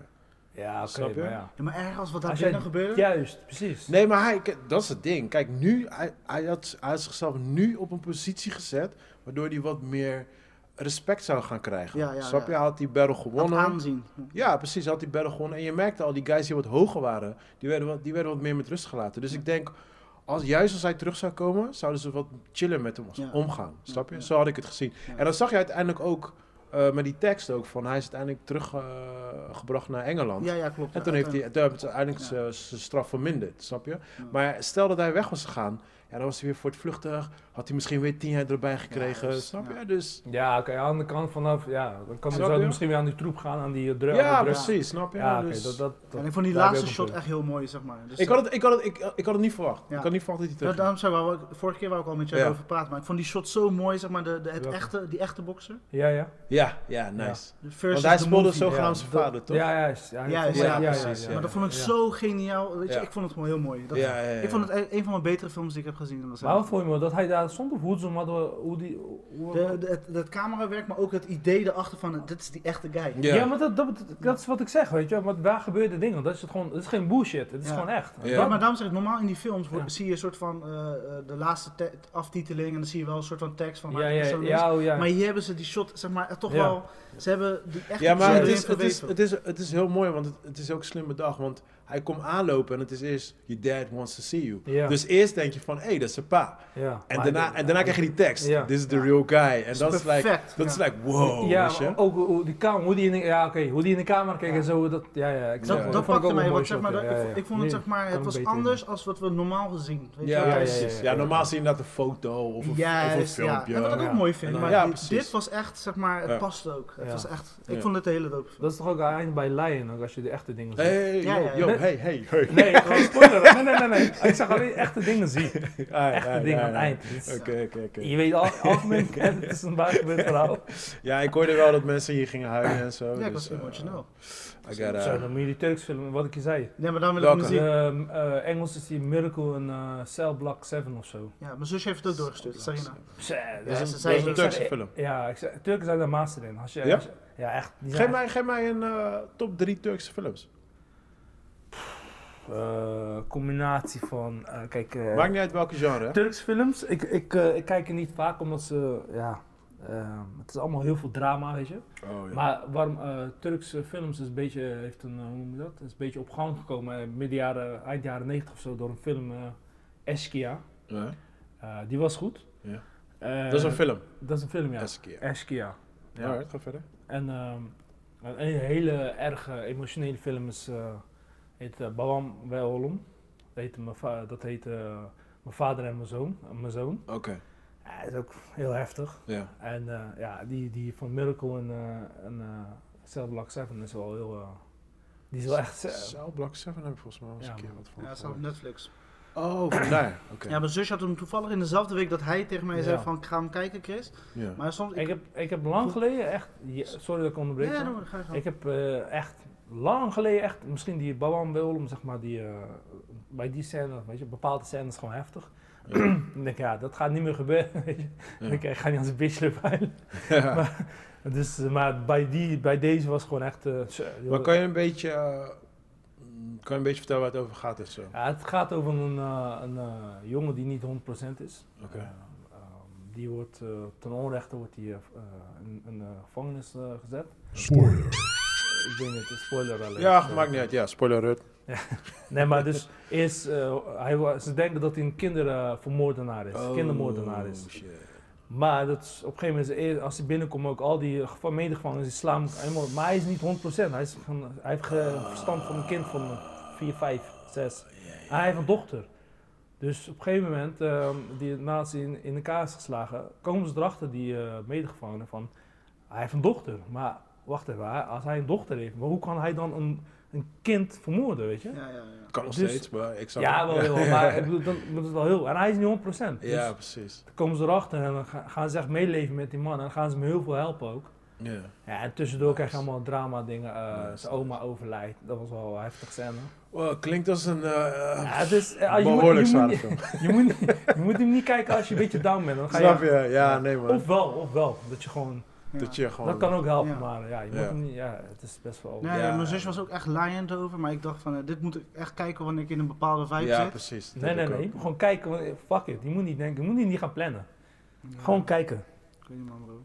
Speaker 3: ja oké,
Speaker 1: Snap je?
Speaker 3: maar ja.
Speaker 2: Ja, maar erg als wat daar
Speaker 3: Als jij-
Speaker 2: binnen gebeurde.
Speaker 3: Juist, precies.
Speaker 1: Nee, maar hij, k- dat is het ding. Kijk, nu, hij, hij, had, hij had zichzelf nu op een positie gezet, waardoor hij wat meer respect zou gaan krijgen.
Speaker 2: Ja, ja,
Speaker 1: Snap je?
Speaker 2: ja.
Speaker 1: Hij had die battle
Speaker 2: Had
Speaker 1: gewonnen.
Speaker 2: aanzien.
Speaker 1: Ja, precies. Had die battle gewonnen. En je merkte al, die guys die wat hoger waren, die werden wat, die werden wat meer met rust gelaten. Dus ik denk, als, juist als hij terug zou komen, zouden ze wat chiller met hem
Speaker 2: Ja.
Speaker 1: omgaan. Snap je?
Speaker 2: ja.
Speaker 1: Zo had ik het gezien.
Speaker 2: Ja.
Speaker 1: En dan zag je uiteindelijk ook, eh, met die tekst ook, van hij is uiteindelijk teruggebracht naar Engeland.
Speaker 2: Ja, ja, klopt.
Speaker 1: En
Speaker 2: ja,
Speaker 1: toen heeft hij
Speaker 2: uiteindelijk.
Speaker 1: toen hebben ze uiteindelijk
Speaker 2: Ja.
Speaker 1: zijn- zijn straf verminderd, snap je? Maar stel dat hij weg was gegaan, ja, dan was hij weer voortvluchtig. Had hij misschien weer tien jaar erbij gekregen,
Speaker 2: dus-
Speaker 1: snap je?
Speaker 2: ja.
Speaker 1: Dus
Speaker 3: Ja, oké, aan de kant vanaf, ja, dan kan
Speaker 1: Snap
Speaker 3: zou
Speaker 1: je?
Speaker 3: het misschien weer aan die troep gaan, aan die eh, druk.
Speaker 1: ja,
Speaker 3: druk.
Speaker 1: precies, snap je?
Speaker 3: Ja, oké,
Speaker 1: Dus-
Speaker 3: dat, dat, dat-
Speaker 2: En ik vond die
Speaker 3: daar heb je
Speaker 2: laatste
Speaker 3: ook
Speaker 2: shot
Speaker 3: een
Speaker 2: echt heel mooi, zeg maar. Dus
Speaker 1: ik, had het, ik, had het, ik, ik had het niet verwacht.
Speaker 2: Ja.
Speaker 1: Ik had niet verwacht dat hij
Speaker 2: Ja,
Speaker 1: terug
Speaker 2: daarom zei we, ook- vorige keer wou ik al met jou
Speaker 1: Ja.
Speaker 2: over praten, maar ik vond die shot zo mooi, zeg maar, de, de, het
Speaker 3: Welke?
Speaker 2: echte, die echte bokser.
Speaker 3: punt. Ja, ja.
Speaker 1: Ja, ja, nice.
Speaker 2: De Versus
Speaker 1: Want hij
Speaker 2: de
Speaker 1: speelde
Speaker 2: movie.
Speaker 1: zogenaamd
Speaker 3: Ja,
Speaker 1: zijn
Speaker 3: dat-
Speaker 1: vader, toch?
Speaker 3: Ja, juist. Ja,
Speaker 2: Ja,
Speaker 3: ik vond-
Speaker 2: ja,
Speaker 1: precies, ja.
Speaker 2: Maar dat vond ik
Speaker 3: ja.
Speaker 2: zo geniaal. Weet je,
Speaker 1: Ja.
Speaker 2: ik vond het gewoon heel mooi. Dat-
Speaker 1: Ja, ja, ja.
Speaker 2: Ik vond het e- een van mijn betere films die ik heb gezien.
Speaker 1: eh,
Speaker 2: Dat was
Speaker 3: Maar wat vond je me dat hij daar stond of hoe ze hem hadden, hoe die... Hoe,
Speaker 2: de, de, het, het camerawerk, maar ook het idee erachter van, dit is die echte guy.
Speaker 1: Ja.
Speaker 3: ja. maar dat, dat, dat is wat ik zeg, weet je. Maar waar gebeurde dingen? Dat is het gewoon, dat is geen bullshit. Het is
Speaker 2: Ja.
Speaker 3: gewoon echt.
Speaker 1: Ja.
Speaker 2: Ja, maar daarom zeg ik, normaal in die films wordt-
Speaker 3: Ja.
Speaker 2: zie je een soort van eh, eh, de laatste te- aftiteling en dan zie je wel een soort van tekst van waar
Speaker 3: ja,
Speaker 2: de
Speaker 3: ja,
Speaker 2: persoon is.
Speaker 3: ja, oh, ja.
Speaker 2: Maar hier hebben ze die shot, zeg maar, eh, toch
Speaker 3: Ja.
Speaker 2: wel, ze hebben die echte
Speaker 1: Ja, maar
Speaker 2: persoon
Speaker 1: het
Speaker 2: erin
Speaker 1: is, het, is,
Speaker 2: verweven.
Speaker 1: het, is, het is heel mooi, want het, het is ook een slimme dag. Want hij komt aanlopen en het is eerst, your dad wants to see you.
Speaker 3: Ja.
Speaker 1: Dus eerst denk je van, hé, hey, dat is zijn pa.
Speaker 3: ja.
Speaker 1: En
Speaker 3: Maar-
Speaker 1: daarna, en daarna krijg je die tekst,
Speaker 3: Ja.
Speaker 1: this is the
Speaker 2: Ja.
Speaker 1: real guy. En
Speaker 2: is
Speaker 1: dat is like,
Speaker 2: perfect,
Speaker 1: dat is
Speaker 2: ja.
Speaker 1: like wow,
Speaker 3: ja,
Speaker 1: Oh,
Speaker 3: oh,
Speaker 1: weet je?
Speaker 3: maar ook hoe- hoe die kamer, hoe die in de, ja, oké, hoe die in de kamer keek
Speaker 2: Ja.
Speaker 3: en zo, dat, ja, ja, ik snap
Speaker 2: Dat,
Speaker 1: Ja.
Speaker 3: het.
Speaker 2: dat
Speaker 3: vond ik ook
Speaker 2: pakte mij,
Speaker 3: een mooi
Speaker 2: want zeg
Speaker 3: shot,
Speaker 2: maar, dat-
Speaker 3: ja,
Speaker 2: ik
Speaker 3: ja,
Speaker 2: vond-
Speaker 3: ja.
Speaker 2: ik vond het
Speaker 3: Nee,
Speaker 2: zeg maar,
Speaker 3: kan
Speaker 2: het was
Speaker 3: beter in.
Speaker 2: anders als wat we normaal gezien. Weet
Speaker 1: Ja,
Speaker 2: je?
Speaker 3: ja, ja,
Speaker 1: precies. Ja,
Speaker 3: ja, ja.
Speaker 1: normaal zie je dat een foto of een, of een
Speaker 2: Juist, ja.
Speaker 1: filmpje.
Speaker 2: En wat ik ook
Speaker 3: Ja.
Speaker 2: mooi
Speaker 1: En
Speaker 2: vind,
Speaker 1: dan-
Speaker 2: maar
Speaker 1: ja,
Speaker 2: dit-
Speaker 1: precies.
Speaker 2: dit was echt, zeg maar, het
Speaker 1: Ja.
Speaker 2: past ook. Het
Speaker 3: Ja.
Speaker 2: was echt, ik
Speaker 1: Ja.
Speaker 2: vond het een hele dope film.
Speaker 3: Dat is toch ook aan het eind bij Lion, ook als je de echte dingen ziet.
Speaker 1: Hey,
Speaker 2: Ja,
Speaker 1: yo,
Speaker 2: ja, ja.
Speaker 1: yo, hey, hey, hey.
Speaker 3: Nee, gewoon spoiler. Nee, nee, nee, nee. Ik zag alleen echte dingen zien. Echte
Speaker 1: Echt
Speaker 3: dingen aan het eind. Het is-
Speaker 1: Oké, oké, oké.
Speaker 3: Je weet al, algemeen, het is een waargebeurd verhaal.
Speaker 1: Ja, ik hoorde wel dat mensen hier gingen huilen en zo.
Speaker 2: Ja, ik
Speaker 1: dus,
Speaker 2: was
Speaker 1: eh,
Speaker 2: emotioneel.
Speaker 1: I gotta-
Speaker 3: Zo, dan moet je die Turks filmen, wat ik je zei.
Speaker 2: Nee, maar dan wil ik
Speaker 1: Welke?
Speaker 2: muziek.
Speaker 3: Ehm, eh, Engels is die Miracle in eh, Cell Block 7 of zo.
Speaker 2: Ja, mijn zusje heeft het ook doorgestuurd, Sarina.
Speaker 3: Pse,
Speaker 1: Dat
Speaker 2: Ja,
Speaker 1: is
Speaker 2: ze
Speaker 1: een, dat
Speaker 2: zei-
Speaker 1: is een
Speaker 2: ze
Speaker 1: Turkse
Speaker 3: zei-
Speaker 1: film.
Speaker 3: Ja, ik zei, Turken zijn daar master in. Als je,
Speaker 1: Ja?
Speaker 3: als je- ja, echt. die zijn
Speaker 1: Geef mij, geef mij een eh, top 3 Turkse films.
Speaker 3: echt, eh, combinatie van, eh, kijk, eh,
Speaker 1: Maakt niet uit welke genre. hè?
Speaker 3: Turks films, ik, ik, eh, ik kijk er niet vaak omdat ze, ja, ehm, het is allemaal heel veel drama, weet je.
Speaker 1: Oh, ja.
Speaker 3: Maar waarom eh, Turkse films is een beetje, heeft een, eh, hoe noem je dat? Is een beetje op gang gekomen eh, midden jaren, eind jaren 90 of zo door een film eh Eskia.
Speaker 1: Ja.
Speaker 3: Eh, die was goed.
Speaker 1: Ja.
Speaker 3: Eh,
Speaker 1: Dat is een film.
Speaker 3: Dat is een film, ja.
Speaker 1: Eerste keer.
Speaker 3: Eskia. Ja.
Speaker 1: Alright, ga verder.
Speaker 3: En ehm, een hele erg eh, emotionele film is, eh, heet eh, Babam Welholm. Dat heet, mijn, va- dat heet eh, Mijn vader en mijn zoon. eh, mijn zoon.
Speaker 1: Oké.
Speaker 3: Ja, dat is ook heel heftig.
Speaker 1: Ja.
Speaker 3: En eh, ja, die, die van Miracle en, eh en eh, Cell Block 7 is wel heel... eh, die is wel echt... eh,
Speaker 1: Cell Block 7 heb ik volgens mij al eens
Speaker 3: Ja,
Speaker 1: een keer
Speaker 3: man.
Speaker 1: wat van.
Speaker 2: Ja, staat op
Speaker 1: gehoord.
Speaker 2: Netflix.
Speaker 1: Oh, vandaar. Oké.
Speaker 2: Ja, mijn zusje had hem toevallig in dezelfde week dat hij tegen mij zei
Speaker 3: Ja.
Speaker 2: van, ik ga hem kijken, Chris.
Speaker 1: Ja.
Speaker 2: Maar soms...
Speaker 3: ik, heb, ik heb lang geleden echt... ja, sorry dat ik onderbreek.
Speaker 2: Ja,
Speaker 3: maar-
Speaker 2: dan ga je gewoon.
Speaker 3: Ik heb eh, echt lang geleden, echt, misschien die Babam Wilhelm, zeg maar, die, eh, bij die scène, weet je, bepaalde scènes is gewoon heftig. dan denk ik, ja, dat gaat niet meer gebeuren. Weet je. Dan denk ik, ik ga niet aan zijn bitch lopen huilen.
Speaker 1: Ja.
Speaker 3: Maar Dus, eh, maar bij, die, bij deze was gewoon echt... eh, zo,
Speaker 1: Maar kan je een beetje, eh, mm, kan je een beetje vertellen waar het over gaat en zo?
Speaker 3: Ja, het gaat over een, eh, een eh, jongen die niet 100% is.
Speaker 1: Oké.
Speaker 3: Eh, ehm, die wordt eh, ten onrechte wordt die, eh, eh, in in de gevangenis eh, gezet. Spoiler. Ik denk het een spoiler alleen.
Speaker 1: Ja, maakt niet uit. Ja, spoiler alert.
Speaker 3: Nee, maar dus eerst, eh, hij, wa- ze denken dat hij een kindervermoordenaar is, kindermoordenaar is.
Speaker 1: Oh, shit.
Speaker 3: Maar dat is, op een gegeven moment, is hij- als hij binnenkomt, ook al die geva- medegevangenen die slaan hem helemaal. Maar hij is niet 100%. Hij, is, gewoon- hij heeft ge- verstand van een kind van eh, 4, 5, 6. Hij heeft een dochter. Dus op een gegeven moment, ehm, die, naast hij in, in elkaar is geslagen, komen ze erachter, die eh, medegevangenen, van hij heeft een dochter. Maar wacht even, hij- als hij een dochter heeft, maar hoe kan hij dan een, een kind vermoorden, weet je?
Speaker 2: Ja, ja, ja.
Speaker 1: Kan nog
Speaker 3: Dus-
Speaker 1: steeds, maar ik
Speaker 3: Ja,
Speaker 1: zou...
Speaker 3: wel heel, maar ik bedoel, dan, dat is wel heel. En hij is niet 100%. Dus
Speaker 1: Ja, precies.
Speaker 3: dan komen ze erachter en dan ga- gaan ze echt meeleven met die man. En dan gaan ze hem heel veel helpen ook.
Speaker 1: Ja.
Speaker 3: Ja, en tussendoor
Speaker 1: Nice.
Speaker 3: krijg je allemaal drama dingen. eh,
Speaker 1: Nice,
Speaker 3: zijn oma overlijdt. Dat was wel een heftig scène.
Speaker 1: Wow, klinkt als een... eh,
Speaker 3: Ja, het is, eh, je, moet,
Speaker 1: behoorlijk
Speaker 3: je, moet,
Speaker 1: zware
Speaker 3: niet-
Speaker 1: film.
Speaker 3: je, moet, niet- je moet hem niet kijken als je een beetje down bent. Dan ga
Speaker 1: Snap
Speaker 3: je,
Speaker 1: je? Ja, nee man.
Speaker 3: Ofwel, ofwel. Dat je gewoon...
Speaker 2: Ja.
Speaker 1: dat je gewoon...
Speaker 3: Dat kan ook helpen,
Speaker 2: Ja.
Speaker 3: maar ja, je moet
Speaker 1: Ja.
Speaker 3: hem niet... Ja, het is best wel...
Speaker 2: Ja,
Speaker 1: Ja.
Speaker 2: ja, mijn zus was ook echt laaiend over, maar ik dacht van, eh, dit moet ik echt kijken wanneer ik in een bepaalde vibe
Speaker 1: Ja,
Speaker 2: zit.
Speaker 1: precies. dat
Speaker 3: Nee,
Speaker 1: heb
Speaker 3: nee,
Speaker 1: ik
Speaker 3: nee. Je
Speaker 1: ook.
Speaker 3: moet gewoon kijken. want, eh, Fuck it. Je moet niet denken. Je moet niet gaan plannen.
Speaker 2: Ja,
Speaker 3: Gewoon kijken.
Speaker 2: Ik weet niet, man, bro.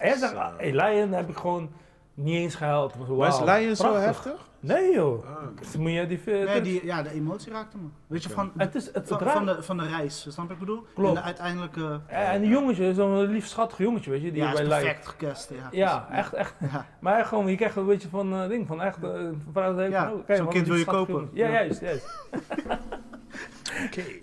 Speaker 3: En hij zegt,
Speaker 1: Zo.
Speaker 3: ah, hey, Lion heb ik gewoon niet eens gehuild.
Speaker 1: Maar is
Speaker 3: Wauw,
Speaker 1: Lion zo
Speaker 3: prachtig.
Speaker 1: heftig?
Speaker 3: Nee, joh.
Speaker 1: Ah, oké.
Speaker 3: Dus moet jij die...
Speaker 2: Nee, die, ja, de emotie raakte me. Weet je,
Speaker 1: Oké.
Speaker 2: van,
Speaker 3: Het is... Het,
Speaker 2: van,
Speaker 3: raakt-
Speaker 2: van de, van de reis, snap je wat ik bedoel?
Speaker 3: Klopt.
Speaker 2: En de uiteindelijke,
Speaker 3: Ja, en die jongetje, zo'n lief schattig jongetje, weet je, die
Speaker 2: ja, is
Speaker 3: bij Lion.
Speaker 2: perfect gecast, ja.
Speaker 3: Ja, echt, echt.
Speaker 2: Ja.
Speaker 3: Maar echt gewoon, je krijgt een beetje van eh, ding, van echt, eh, vanuit de hele-
Speaker 2: Ja,
Speaker 3: oh, kijk,
Speaker 2: zo'n
Speaker 3: wat
Speaker 2: kind
Speaker 3: een
Speaker 2: wil je kopen.
Speaker 3: schattig jongetje. Ja,
Speaker 2: Ja.
Speaker 3: juist, juist.
Speaker 1: Oké.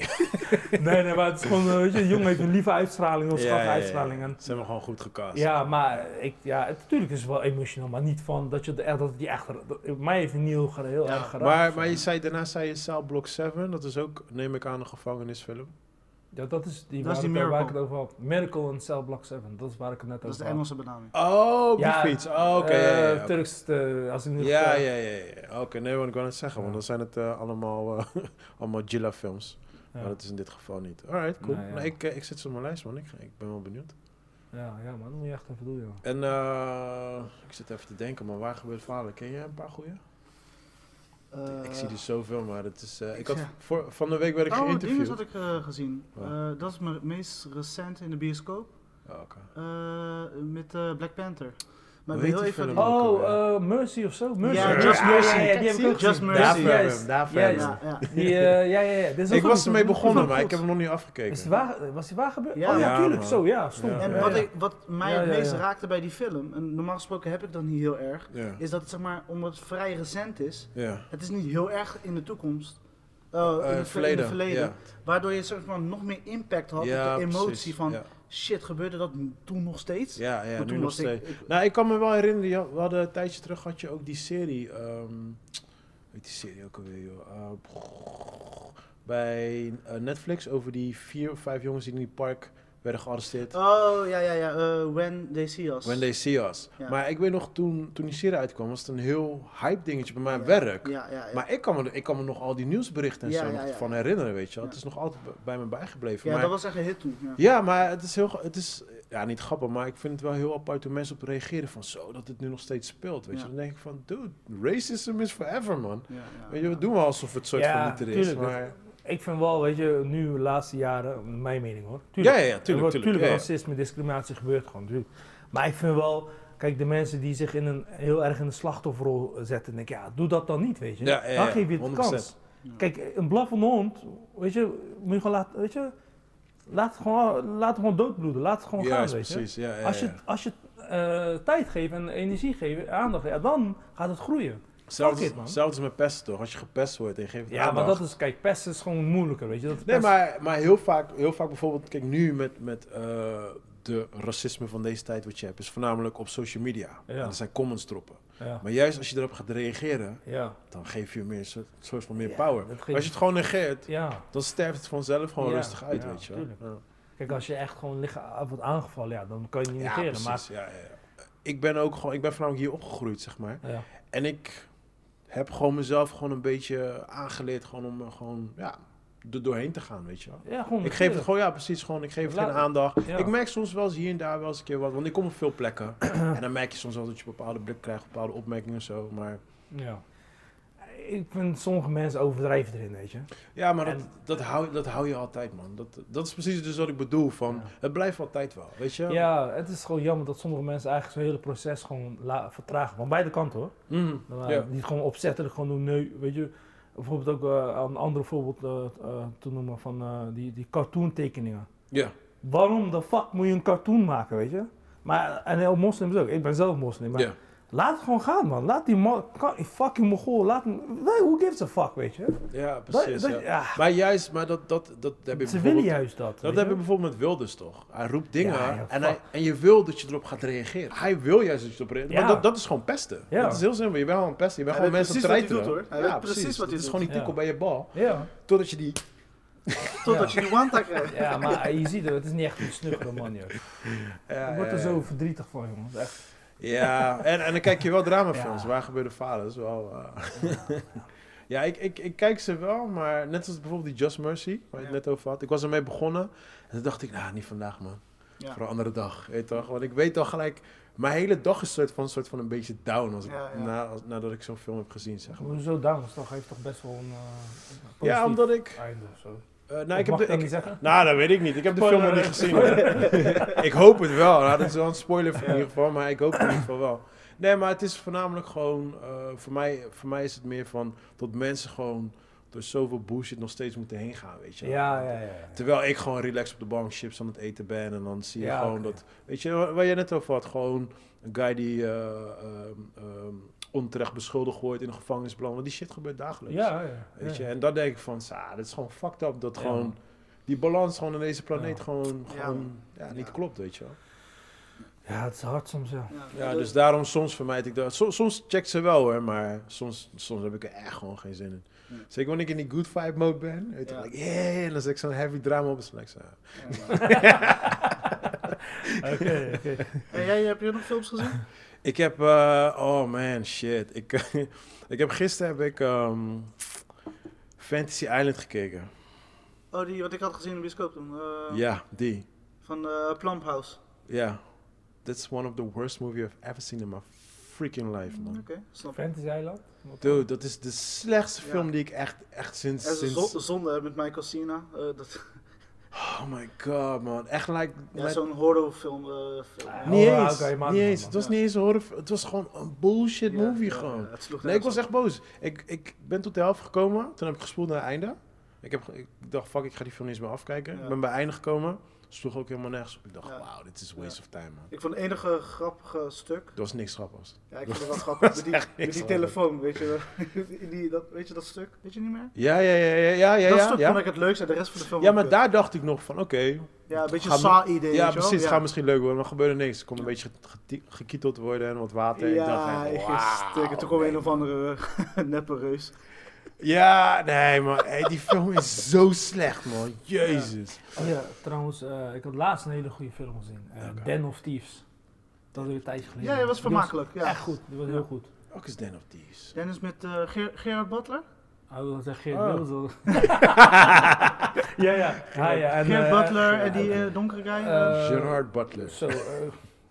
Speaker 3: Nee, nee, maar het is gewoon, eh, weet je, een jongen heeft een lieve uitstraling, een
Speaker 1: Ja,
Speaker 3: schattige
Speaker 1: ja, ja.
Speaker 3: uitstraling. En,
Speaker 1: Ze hebben gewoon goed gecast.
Speaker 3: ja, maar ik, ja, het, natuurlijk is het wel emotioneel, maar niet van dat je de, echt, dat die echt, dat- mij heeft een heel, ge- heel
Speaker 2: Ja.
Speaker 3: erg geraakt.
Speaker 1: Maar, maar je zei, daarna zei je Cell Block 7. Dat is ook, neem ik aan, een gevangenisfilm.
Speaker 3: ja, dat is die,
Speaker 2: Dat is
Speaker 3: waar
Speaker 2: die
Speaker 3: ik- waar ik
Speaker 2: Miracle.
Speaker 3: het over had. Miracle en Cell Block 7, dat is waar ik het net over
Speaker 2: Dat is de
Speaker 3: had.
Speaker 2: Engelse benaming.
Speaker 1: Oh, op
Speaker 3: Ja,
Speaker 1: die fiets. Oh, oké. ja,
Speaker 3: Eh,
Speaker 1: ja, ja, oké.
Speaker 3: Turks, eh, als ik nu
Speaker 1: Ja, ja, ja. ja. Oké, nee, want ik wou net zeggen. Want
Speaker 3: Ja.
Speaker 1: dan zijn het eh, allemaal, eh, allemaal Gilla-films.
Speaker 3: Ja.
Speaker 1: Maar dat is in dit geval niet. Alright, cool.
Speaker 3: Nou, ja.
Speaker 1: nee, ik, eh, ik zit ze op mijn lijst, man. Ik, ik ben wel benieuwd.
Speaker 3: Ja, ja, maar dat moet je echt even doen, joh.
Speaker 1: En eh, ik zit even te denken, maar waar gebeurt verhalen? Ken jij een paar goeie?
Speaker 2: Eh,
Speaker 1: ik zie er zoveel, maar het is... eh, ik had,
Speaker 2: ja.
Speaker 1: voor, van de week werd ik
Speaker 2: Oh, dingen
Speaker 1: geïnterviewd.
Speaker 2: had ik eh, gezien.
Speaker 1: Wat?
Speaker 2: Eh, dat is mijn meest recente in de bioscoop.
Speaker 1: Oh, oké.
Speaker 2: eh, met eh, Black Panther. Maar ik
Speaker 1: Weet
Speaker 2: wil heel
Speaker 1: die
Speaker 2: even...
Speaker 1: film?
Speaker 2: die-
Speaker 3: Oh,
Speaker 1: ook alweer.
Speaker 3: eh, Mercy of zo? Mercy.
Speaker 2: Ja, Just
Speaker 3: Ja,
Speaker 2: Mercy.
Speaker 3: Ja, ja, die heb ik ook
Speaker 2: Just
Speaker 3: gezien.
Speaker 2: Mercy.
Speaker 1: Daarvoor
Speaker 3: Ja,
Speaker 1: hebben we
Speaker 3: juist.
Speaker 1: hem, daarvoor
Speaker 3: Juist.
Speaker 1: hebben we
Speaker 2: Ja, ja.
Speaker 3: Die, eh, ja, ja, ja. Dit is
Speaker 1: hem. Ik
Speaker 3: ook
Speaker 1: was
Speaker 3: een-
Speaker 1: ermee
Speaker 3: dat is
Speaker 1: begonnen,
Speaker 3: ook
Speaker 1: maar ik
Speaker 3: goed.
Speaker 1: heb hem nog niet afgekeken.
Speaker 3: Is het waar, was die waar gebeurd?
Speaker 2: Ja.
Speaker 3: oh ja,
Speaker 1: Ja,
Speaker 3: tuurlijk.
Speaker 1: man.
Speaker 3: Zo, ja, stom.
Speaker 1: Ja.
Speaker 2: En
Speaker 1: Ja,
Speaker 2: wat,
Speaker 1: ja.
Speaker 2: Ik, wat mij
Speaker 3: Ja,
Speaker 2: het
Speaker 3: ja,
Speaker 2: meest
Speaker 3: ja.
Speaker 2: raakte bij die film, en normaal gesproken heb ik dat niet heel erg,
Speaker 1: Ja.
Speaker 2: is dat het zeg maar, omdat het vrij recent is,
Speaker 1: Ja.
Speaker 2: het is niet heel erg in de toekomst, eh,
Speaker 1: Eh,
Speaker 2: in, het verleden, in het verleden
Speaker 1: Ja,
Speaker 2: waardoor je zeg maar, nog meer impact had
Speaker 1: Ja,
Speaker 2: op de emotie
Speaker 1: precies.
Speaker 2: van,
Speaker 1: Ja,
Speaker 2: shit, gebeurde dat toen nog steeds?
Speaker 1: ja, ja,
Speaker 2: Maar
Speaker 1: nu
Speaker 2: toen
Speaker 1: nog
Speaker 2: was ik-
Speaker 1: steeds.
Speaker 2: ik-
Speaker 1: Nou, ik kan me wel herinneren, je had- we hadden een tijdje terug had je ook die serie. ehm hoe heet die serie ook alweer, joh? Eh, bij eh, Netflix over die vier of vijf jongens die in die park werden gearresteerd.
Speaker 2: Oh, ja, ja, ja, eh, When They See Us.
Speaker 1: When they see us.
Speaker 2: Ja.
Speaker 1: Maar ik weet nog, toen, toen die serie uitkwam, was het een heel hype dingetje bij mijn
Speaker 2: Ja,
Speaker 1: werk.
Speaker 2: Ja, ja, ja.
Speaker 1: Maar ik kan, me, ik kan me nog al die nieuwsberichten en
Speaker 2: Ja,
Speaker 1: zo
Speaker 2: ja,
Speaker 1: nog
Speaker 2: ja.
Speaker 1: van herinneren, weet je wel.
Speaker 2: Ja.
Speaker 1: Het is nog altijd b- bij me bijgebleven.
Speaker 2: ja,
Speaker 1: maar
Speaker 2: dat was echt een hit toen. Ja.
Speaker 1: Ja, maar het is heel. ge- Het is, ja, niet grappig, maar ik vind het wel heel apart hoe mensen op reageren. Van zo dat het nu nog steeds speelt. Weet
Speaker 2: Ja.
Speaker 1: je, dan denk ik van, dude, racism is forever, man.
Speaker 2: Ja, ja,
Speaker 1: Weet je,
Speaker 2: ja.
Speaker 1: we doen wel alsof het soort
Speaker 3: Ja,
Speaker 1: van niet er is.
Speaker 3: tuurlijk, dat-
Speaker 1: maar,
Speaker 3: Ik vind wel, weet je, nu de laatste jaren, mijn mening hoor.
Speaker 1: ja,
Speaker 3: Tuurlijk.
Speaker 1: ja, ja,
Speaker 3: Er
Speaker 1: tuurlijk.
Speaker 3: wordt
Speaker 1: tuurlijk,
Speaker 3: natuurlijk
Speaker 1: ja, ja.
Speaker 3: racisme, discriminatie gebeurt gewoon, natuurlijk. Maar ik vind wel, kijk, de mensen die zich in een, heel erg in de slachtofferrol zetten, denk ik, ja, doe dat dan niet, weet je.
Speaker 1: Ja, ja, ja,
Speaker 3: dan geef je het
Speaker 1: 100%.
Speaker 3: kans.
Speaker 2: Ja.
Speaker 3: Kijk, een blaffende hond, weet je, moet je gewoon laten, weet je, laat het gewoon, laat het gewoon doodbloeden, laat het gewoon
Speaker 1: Ja,
Speaker 3: gaan,
Speaker 1: is
Speaker 3: weet je.
Speaker 1: precies. Ja, ja, ja.
Speaker 3: Als je, als je eh, tijd geeft en energie geeft, aandacht, ja, dan gaat het groeien.
Speaker 1: Zelfs,
Speaker 3: Fuck it, man.
Speaker 1: zelfs met pesten, toch? Als je gepest wordt en je geeft het
Speaker 3: Ja, maar
Speaker 1: aandacht.
Speaker 3: dat is, kijk, pesten is gewoon moeilijker, weet je. Dat is
Speaker 1: Nee,
Speaker 3: pest-
Speaker 1: maar, maar heel, vaak, heel vaak bijvoorbeeld, kijk nu met, met eh, de racisme van deze tijd wat je hebt, is voornamelijk op social media.
Speaker 3: Ja.
Speaker 1: En er zijn comments droppen.
Speaker 3: Ja,
Speaker 1: Maar juist als je erop gaat reageren,
Speaker 3: ja,
Speaker 1: dan geef je meer, een soort- soort van meer
Speaker 3: Ja,
Speaker 1: power.
Speaker 3: dat geeft-
Speaker 1: Maar als je het gewoon negeert,
Speaker 3: ja.
Speaker 1: dan sterft het vanzelf gewoon
Speaker 3: Ja,
Speaker 1: rustig uit,
Speaker 3: ja,
Speaker 1: weet je wel.
Speaker 3: tuurlijk.
Speaker 1: Ja.
Speaker 3: Kijk, als je echt gewoon lichaam wordt aangevallen, ja, dan kan je het niet
Speaker 1: Ja,
Speaker 3: negeren.
Speaker 1: precies.
Speaker 3: maar,
Speaker 1: Ja, ja, ja. Ik ben ook gewoon, ik ben voornamelijk hier opgegroeid, zeg maar.
Speaker 3: ja.
Speaker 1: En ik heb gewoon mezelf gewoon een beetje aangeleerd gewoon om eh, gewoon, ja, er doorheen te gaan, weet je wel.
Speaker 3: Ja, gewoon.
Speaker 1: Ik geef het
Speaker 3: natuurlijk.
Speaker 1: gewoon, ja precies, gewoon, ik geef het geen
Speaker 3: Laat-
Speaker 1: aandacht.
Speaker 3: ja.
Speaker 1: Ik merk soms wel eens hier en daar wel eens een keer wat, want ik kom op veel plekken. en dan merk je soms wel dat je bepaalde blik krijgt, bepaalde opmerkingen en zo. Maar
Speaker 3: Ja. Ik vind sommige mensen overdrijven erin, weet je.
Speaker 1: ja, maar dat,
Speaker 3: En-
Speaker 1: dat, hou, dat hou je altijd, man. Dat, dat is precies dus wat ik bedoel, van
Speaker 3: Ja.
Speaker 1: het blijft altijd wel, weet je.
Speaker 3: Ja, het is gewoon jammer dat sommige mensen eigenlijk zo'n hele proces gewoon la- vertragen. Van beide kanten hoor.
Speaker 1: Mhm,
Speaker 3: Dan, eh,
Speaker 1: ja.
Speaker 3: Die het gewoon opzettelijk gewoon doen. Nee, weet je. Bijvoorbeeld ook eh, een ander voorbeeld eh, eh, te noemen van eh, die, die cartoontekeningen.
Speaker 1: ja,
Speaker 3: Waarom de fuck moet je een cartoon maken, weet je? Maar, en heel moslims ook. Ik ben zelf moslim. Maar
Speaker 1: ja.
Speaker 3: laat het gewoon gaan, man. Laat die man, kan- fucking Mongool, laat hem, nee, who gives a fuck, weet je?
Speaker 1: Ja,
Speaker 3: Dat-
Speaker 1: precies.
Speaker 3: dat-
Speaker 1: ja.
Speaker 3: ja.
Speaker 1: Maar juist, maar dat, dat, dat, heb je
Speaker 3: Ze willen
Speaker 1: bijvoorbeeld-
Speaker 3: juist dat.
Speaker 1: Dat
Speaker 3: weet
Speaker 1: heb
Speaker 3: je?
Speaker 1: ik bijvoorbeeld met Wilders toch. Hij roept dingen
Speaker 3: Ja, ja,
Speaker 1: en,
Speaker 3: fuck.
Speaker 1: hij, en je wil dat je erop gaat reageren. Hij wil juist dat je erop reageert.
Speaker 3: Ja.
Speaker 1: Maar dat, dat is gewoon pesten.
Speaker 3: Ja.
Speaker 1: Dat is heel simpel. Je bent gewoon een pesten. Je bent
Speaker 4: Hij
Speaker 1: gewoon
Speaker 4: weet
Speaker 1: mensen
Speaker 4: precies wat hij
Speaker 1: treiteren.
Speaker 4: doet, hoor. Hij weet precies wat hij
Speaker 1: Het is
Speaker 4: doet.
Speaker 1: gewoon die tikkel
Speaker 3: Ja.
Speaker 1: bij je bal.
Speaker 3: Ja.
Speaker 1: Totdat je die...
Speaker 2: Totdat je die wanta krijgt.
Speaker 3: ja, maar je ziet het, het is niet echt een snuggere man, joh.
Speaker 1: Ja,
Speaker 3: Ik word er
Speaker 1: ja,
Speaker 3: zo verdrietig van, jongens. Echt.
Speaker 1: Ja, en, en dan kijk je wel dramafilms.
Speaker 3: Ja.
Speaker 1: Waar gebeuren falen? Dat is wel... eh, ja, ik, ik, ik kijk ze wel, maar net als bijvoorbeeld die Just Mercy, waar je het
Speaker 2: Ja.
Speaker 1: net over had. Ik was ermee begonnen en toen dacht ik, nou, niet vandaag, man.
Speaker 2: Ja.
Speaker 1: Voor een andere dag, weet je toch? Want ik weet al gelijk, mijn hele dag is soort van, soort van een beetje down als ik,
Speaker 2: Ja, ja.
Speaker 1: Na, als- nadat ik zo'n film heb gezien, zeg maar.
Speaker 3: Hoezo down is toch, heeft toch best wel een eh, positief
Speaker 1: Ja, omdat ik...
Speaker 3: einde of zo.
Speaker 1: eh, nou,
Speaker 3: Of
Speaker 1: ik heb
Speaker 3: mag
Speaker 1: de,
Speaker 3: dat
Speaker 1: ik-
Speaker 3: niet zeggen?
Speaker 1: Nou, dat weet ik niet. Ik heb de film
Speaker 3: Spoiler
Speaker 1: nog niet
Speaker 3: alert.
Speaker 1: gezien. ik hoop het wel. Nou, dat is wel een spoiler in ieder geval, maar ik hoop het in ieder geval wel. Nee, maar het is voornamelijk gewoon... eh, voor, mij, voor mij is het meer van dat mensen gewoon door zoveel bullshit nog steeds moeten heen gaan, weet je.
Speaker 3: Ja, ja, ja.
Speaker 1: Terwijl ik gewoon relaxed op de bank chips aan het eten ben en dan zie je
Speaker 3: Ja,
Speaker 1: gewoon
Speaker 3: oké.
Speaker 1: dat... Weet je, waar, waar je net over had, gewoon een guy die eh, ehm, ehm, onterecht beschuldigd wordt in een gevangenisbeland. Want die shit gebeurt dagelijks.
Speaker 3: Ja, ja.
Speaker 1: Weet
Speaker 3: ja.
Speaker 1: je, en dan denk ik van, sa, dat is gewoon fucked up dat
Speaker 3: Ja.
Speaker 1: gewoon die balans gewoon in deze planeet
Speaker 3: Ja.
Speaker 1: gewoon,
Speaker 2: Ja.
Speaker 1: gewoon ja. niet
Speaker 2: Ja.
Speaker 1: klopt, weet je wel.
Speaker 3: Ja, het is hard soms, ja.
Speaker 1: Ja, dus daarom soms vermijd ik dat. So- soms check ze wel hoor, maar soms, soms heb ik er echt gewoon geen zin in.
Speaker 2: Ja.
Speaker 1: Zeker wanneer ik in die good vibe mode ben, weet je
Speaker 2: Ja.
Speaker 1: wel, like, yeah, en dan zet ik zo'n heavy drama op, dan is like, sa.
Speaker 3: Oké, oké.
Speaker 2: En jij, heb je nog films gezien?
Speaker 1: Ik heb, eh, oh man, shit. Ik, ik heb gisteren heb ik ehm, Fantasy Island gekeken.
Speaker 2: Oh, die wat ik had gezien in de bioscoop toen. eh,
Speaker 1: Ja, die.
Speaker 2: Van eh Plumphouse.
Speaker 1: Ja. That's one of the worst movie I've ever seen in my freaking life, man.
Speaker 2: Oké, snap ik.
Speaker 3: Fantasy Island? Wat
Speaker 1: Dude, dat is de slechtste
Speaker 2: Ja.
Speaker 1: film die ik echt, echt sinds...
Speaker 2: Er is een
Speaker 1: sinds...
Speaker 2: zo- zonde hè, met Michael Cena. eh, dat,
Speaker 1: Oh my god, man. Echt like...
Speaker 2: ja,
Speaker 1: like-
Speaker 2: zo'n horrorfilm. eh, film.
Speaker 3: Ah,
Speaker 1: Niet
Speaker 3: Oh,
Speaker 1: eens.
Speaker 3: oké, maak
Speaker 1: niet
Speaker 3: het
Speaker 1: eens.
Speaker 3: maar,
Speaker 1: Het was
Speaker 2: ja.
Speaker 1: niet eens een horror... Het was gewoon een bullshit
Speaker 2: Ja,
Speaker 1: movie
Speaker 2: ja,
Speaker 1: gewoon.
Speaker 2: ja, het sloeg
Speaker 1: nee, ik
Speaker 2: nergens
Speaker 1: was
Speaker 2: op.
Speaker 1: echt boos. Ik, ik ben tot de helft gekomen. Toen heb ik gespoeld naar het einde. Ik, heb, ge- ik dacht, fuck, ik ga die film niet eens meer afkijken.
Speaker 2: Ja.
Speaker 1: Ik ben bij het einde gekomen. Sloeg ook helemaal nergens op. Ik dacht,
Speaker 2: Ja.
Speaker 1: wauw, dit is a waste of time, man.
Speaker 2: Ik vond het enige grappige stuk.
Speaker 1: Er was niks grappigs.
Speaker 2: Ja, ik vond het wel grappig. Met die,
Speaker 1: echt
Speaker 2: met
Speaker 1: niks
Speaker 2: die
Speaker 1: grappig.
Speaker 2: telefoon, weet je wel. In die, dat, weet je dat stuk? Weet je niet meer?
Speaker 1: Ja, ja, ja, ja, ja, ja.
Speaker 2: dat
Speaker 1: ja,
Speaker 2: stuk
Speaker 1: ja.
Speaker 2: vond ik het leukste, de rest van de film.
Speaker 1: Ja,
Speaker 2: vond
Speaker 1: maar
Speaker 2: ik
Speaker 1: daar dacht ik nog van, oké,
Speaker 2: kut. Ja, een beetje
Speaker 1: gaan we-
Speaker 2: Saw-idee.
Speaker 1: Ja,
Speaker 2: weet je wel?
Speaker 1: precies. Het gaat misschien leuk worden, maar er gebeurde niks. Er kon een beetje ge- ge- gekieteld worden en wat water. en ik dacht,
Speaker 2: Ja,
Speaker 1: echt,
Speaker 2: ik
Speaker 1: wauw,
Speaker 2: stuk. En toen kwam een
Speaker 1: nee,
Speaker 2: of andere eh, neppe reus.
Speaker 1: man. Ja, nee, man. Hey, die film is zo slecht, man. Jezus.
Speaker 3: Oh ja, trouwens, eh, ik had laatst een hele goede film gezien. Eh,
Speaker 1: Oké.
Speaker 3: Den of Thieves. Dat is weer een tijdje geleden.
Speaker 2: Ja, dat was
Speaker 3: Die
Speaker 2: vermakelijk. Ja.
Speaker 3: Echt goed, die was heel goed.
Speaker 1: Ook is Den of Thieves.
Speaker 2: Dennis met eh, Ger- Gerard Butler?
Speaker 3: Hij wil zeggen Geert
Speaker 1: Oh.
Speaker 3: Wilders. al. ja, ja. ja, ja. En,
Speaker 2: Gerard
Speaker 3: eh,
Speaker 2: Butler
Speaker 3: eh,
Speaker 2: en die
Speaker 1: oké.
Speaker 2: eh, donkere guy. eh,
Speaker 3: eh,
Speaker 1: Gerard Butler.
Speaker 3: Zo, eh,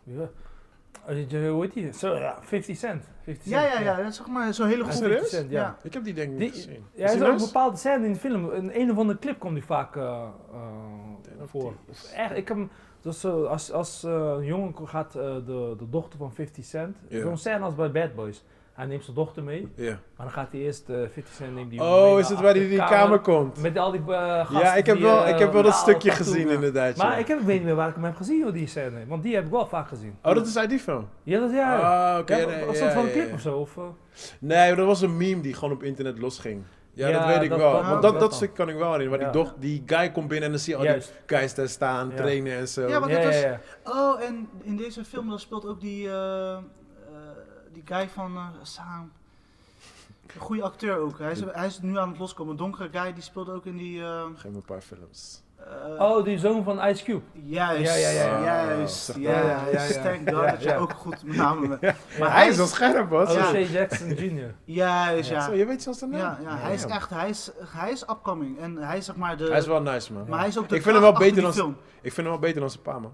Speaker 3: ja. Eh, je- Hoe heet die? Zo, ja, 50 cent. 50
Speaker 2: ja,
Speaker 3: cent,
Speaker 2: ja, ja, zeg maar zo'n hele
Speaker 1: Is
Speaker 2: groep.
Speaker 1: er eens?
Speaker 3: 50 cent, ja.
Speaker 1: Ik heb die denk ik
Speaker 3: Die-
Speaker 1: niet gezien.
Speaker 3: Ja,
Speaker 1: Is die
Speaker 3: er is ook een
Speaker 1: nice?
Speaker 3: bepaalde scène in de film. In een of andere clip komt die vaak eh, eh,
Speaker 1: Den of
Speaker 3: voor.
Speaker 1: Thieves.
Speaker 3: Echt, ik heb hem, dat is zo, als als eh, een jongen gaat eh, de, de dochter van 50 Cent,
Speaker 1: Ja.
Speaker 3: zo'n scène als bij Bad Boys. Hij neemt zijn dochter mee,
Speaker 1: Ja.
Speaker 3: maar dan gaat hij eerst eh 50 Cent neemt die mee
Speaker 1: Oh, is
Speaker 3: naar
Speaker 1: het waar die
Speaker 3: achter
Speaker 1: die
Speaker 3: de
Speaker 1: kamer komt?
Speaker 3: Met al die eh, gasten
Speaker 1: Ja, ik heb
Speaker 3: die,
Speaker 1: wel,
Speaker 3: eh,
Speaker 1: ik heb wel dat
Speaker 3: nou,
Speaker 1: stukje
Speaker 3: tattoo,
Speaker 1: gezien
Speaker 3: ja.
Speaker 1: inderdaad.
Speaker 3: Maar
Speaker 1: ja.
Speaker 3: ik heb, ik weet niet meer waar ik hem heb gezien, joh, die scène. Want die heb ik wel vaak gezien.
Speaker 1: Oh, dat is uit die film?
Speaker 3: Ja, dat ja.
Speaker 1: Ah, oké.
Speaker 3: ja,
Speaker 1: nee,
Speaker 3: was
Speaker 1: ja,
Speaker 3: dat van een
Speaker 1: ja,
Speaker 3: clip
Speaker 1: ja.
Speaker 3: of zo? Of, eh?
Speaker 1: Nee, dat was een meme die gewoon op internet losging. Ja,
Speaker 3: Ja,
Speaker 1: dat weet ik
Speaker 3: dat-
Speaker 1: wel.
Speaker 3: dat-
Speaker 1: Want
Speaker 3: dat
Speaker 1: dat, dat
Speaker 3: dan.
Speaker 1: stuk kan ik wel herinneren. Want
Speaker 3: Ja.
Speaker 1: die, doch, die guy komt binnen en dan zie je al
Speaker 3: Juist.
Speaker 1: oh, die guys daar staan,
Speaker 3: Ja.
Speaker 1: trainen en zo.
Speaker 2: Ja, maar- Want
Speaker 3: Ja,
Speaker 2: het
Speaker 3: ja,
Speaker 2: was-
Speaker 3: ja.
Speaker 2: Oh, en in deze film dan speelt ook die, eh, eh, die guy van eh, Saam. Een goede acteur ook. Hij is, hij is nu aan het loskomen. Een donkere guy die speelde ook in die. eh,
Speaker 1: Geef me een paar films.
Speaker 2: eh, Eh,
Speaker 3: Oh, die zoon van Ice Cube.
Speaker 2: Juist,
Speaker 3: Ja, ja, ja,
Speaker 1: ja.
Speaker 2: juist,
Speaker 1: Ah,
Speaker 2: ja,
Speaker 3: zeg maar.
Speaker 2: juist.
Speaker 3: Ja, ja, ja.
Speaker 2: Thank God
Speaker 3: Ja,
Speaker 2: dat je
Speaker 3: ja.
Speaker 2: ook goed met namen bent. Maar
Speaker 1: hij is wel scherp, was.
Speaker 2: Ja.
Speaker 3: O.J. Oh, Jackson Jr.
Speaker 2: Juist, ja.
Speaker 1: Zo, je weet zelfs de naam.
Speaker 2: Ja, ja, hij is echt, hij is, hij is upcoming. En hij is zeg maar de...
Speaker 1: Hij is wel nice, man.
Speaker 2: Maar hij is ook de
Speaker 1: Ik vind hem wel
Speaker 2: kracht achter
Speaker 1: beter
Speaker 2: die
Speaker 1: dan-
Speaker 2: film.
Speaker 1: Ik vind hem wel beter dan zijn pa, man.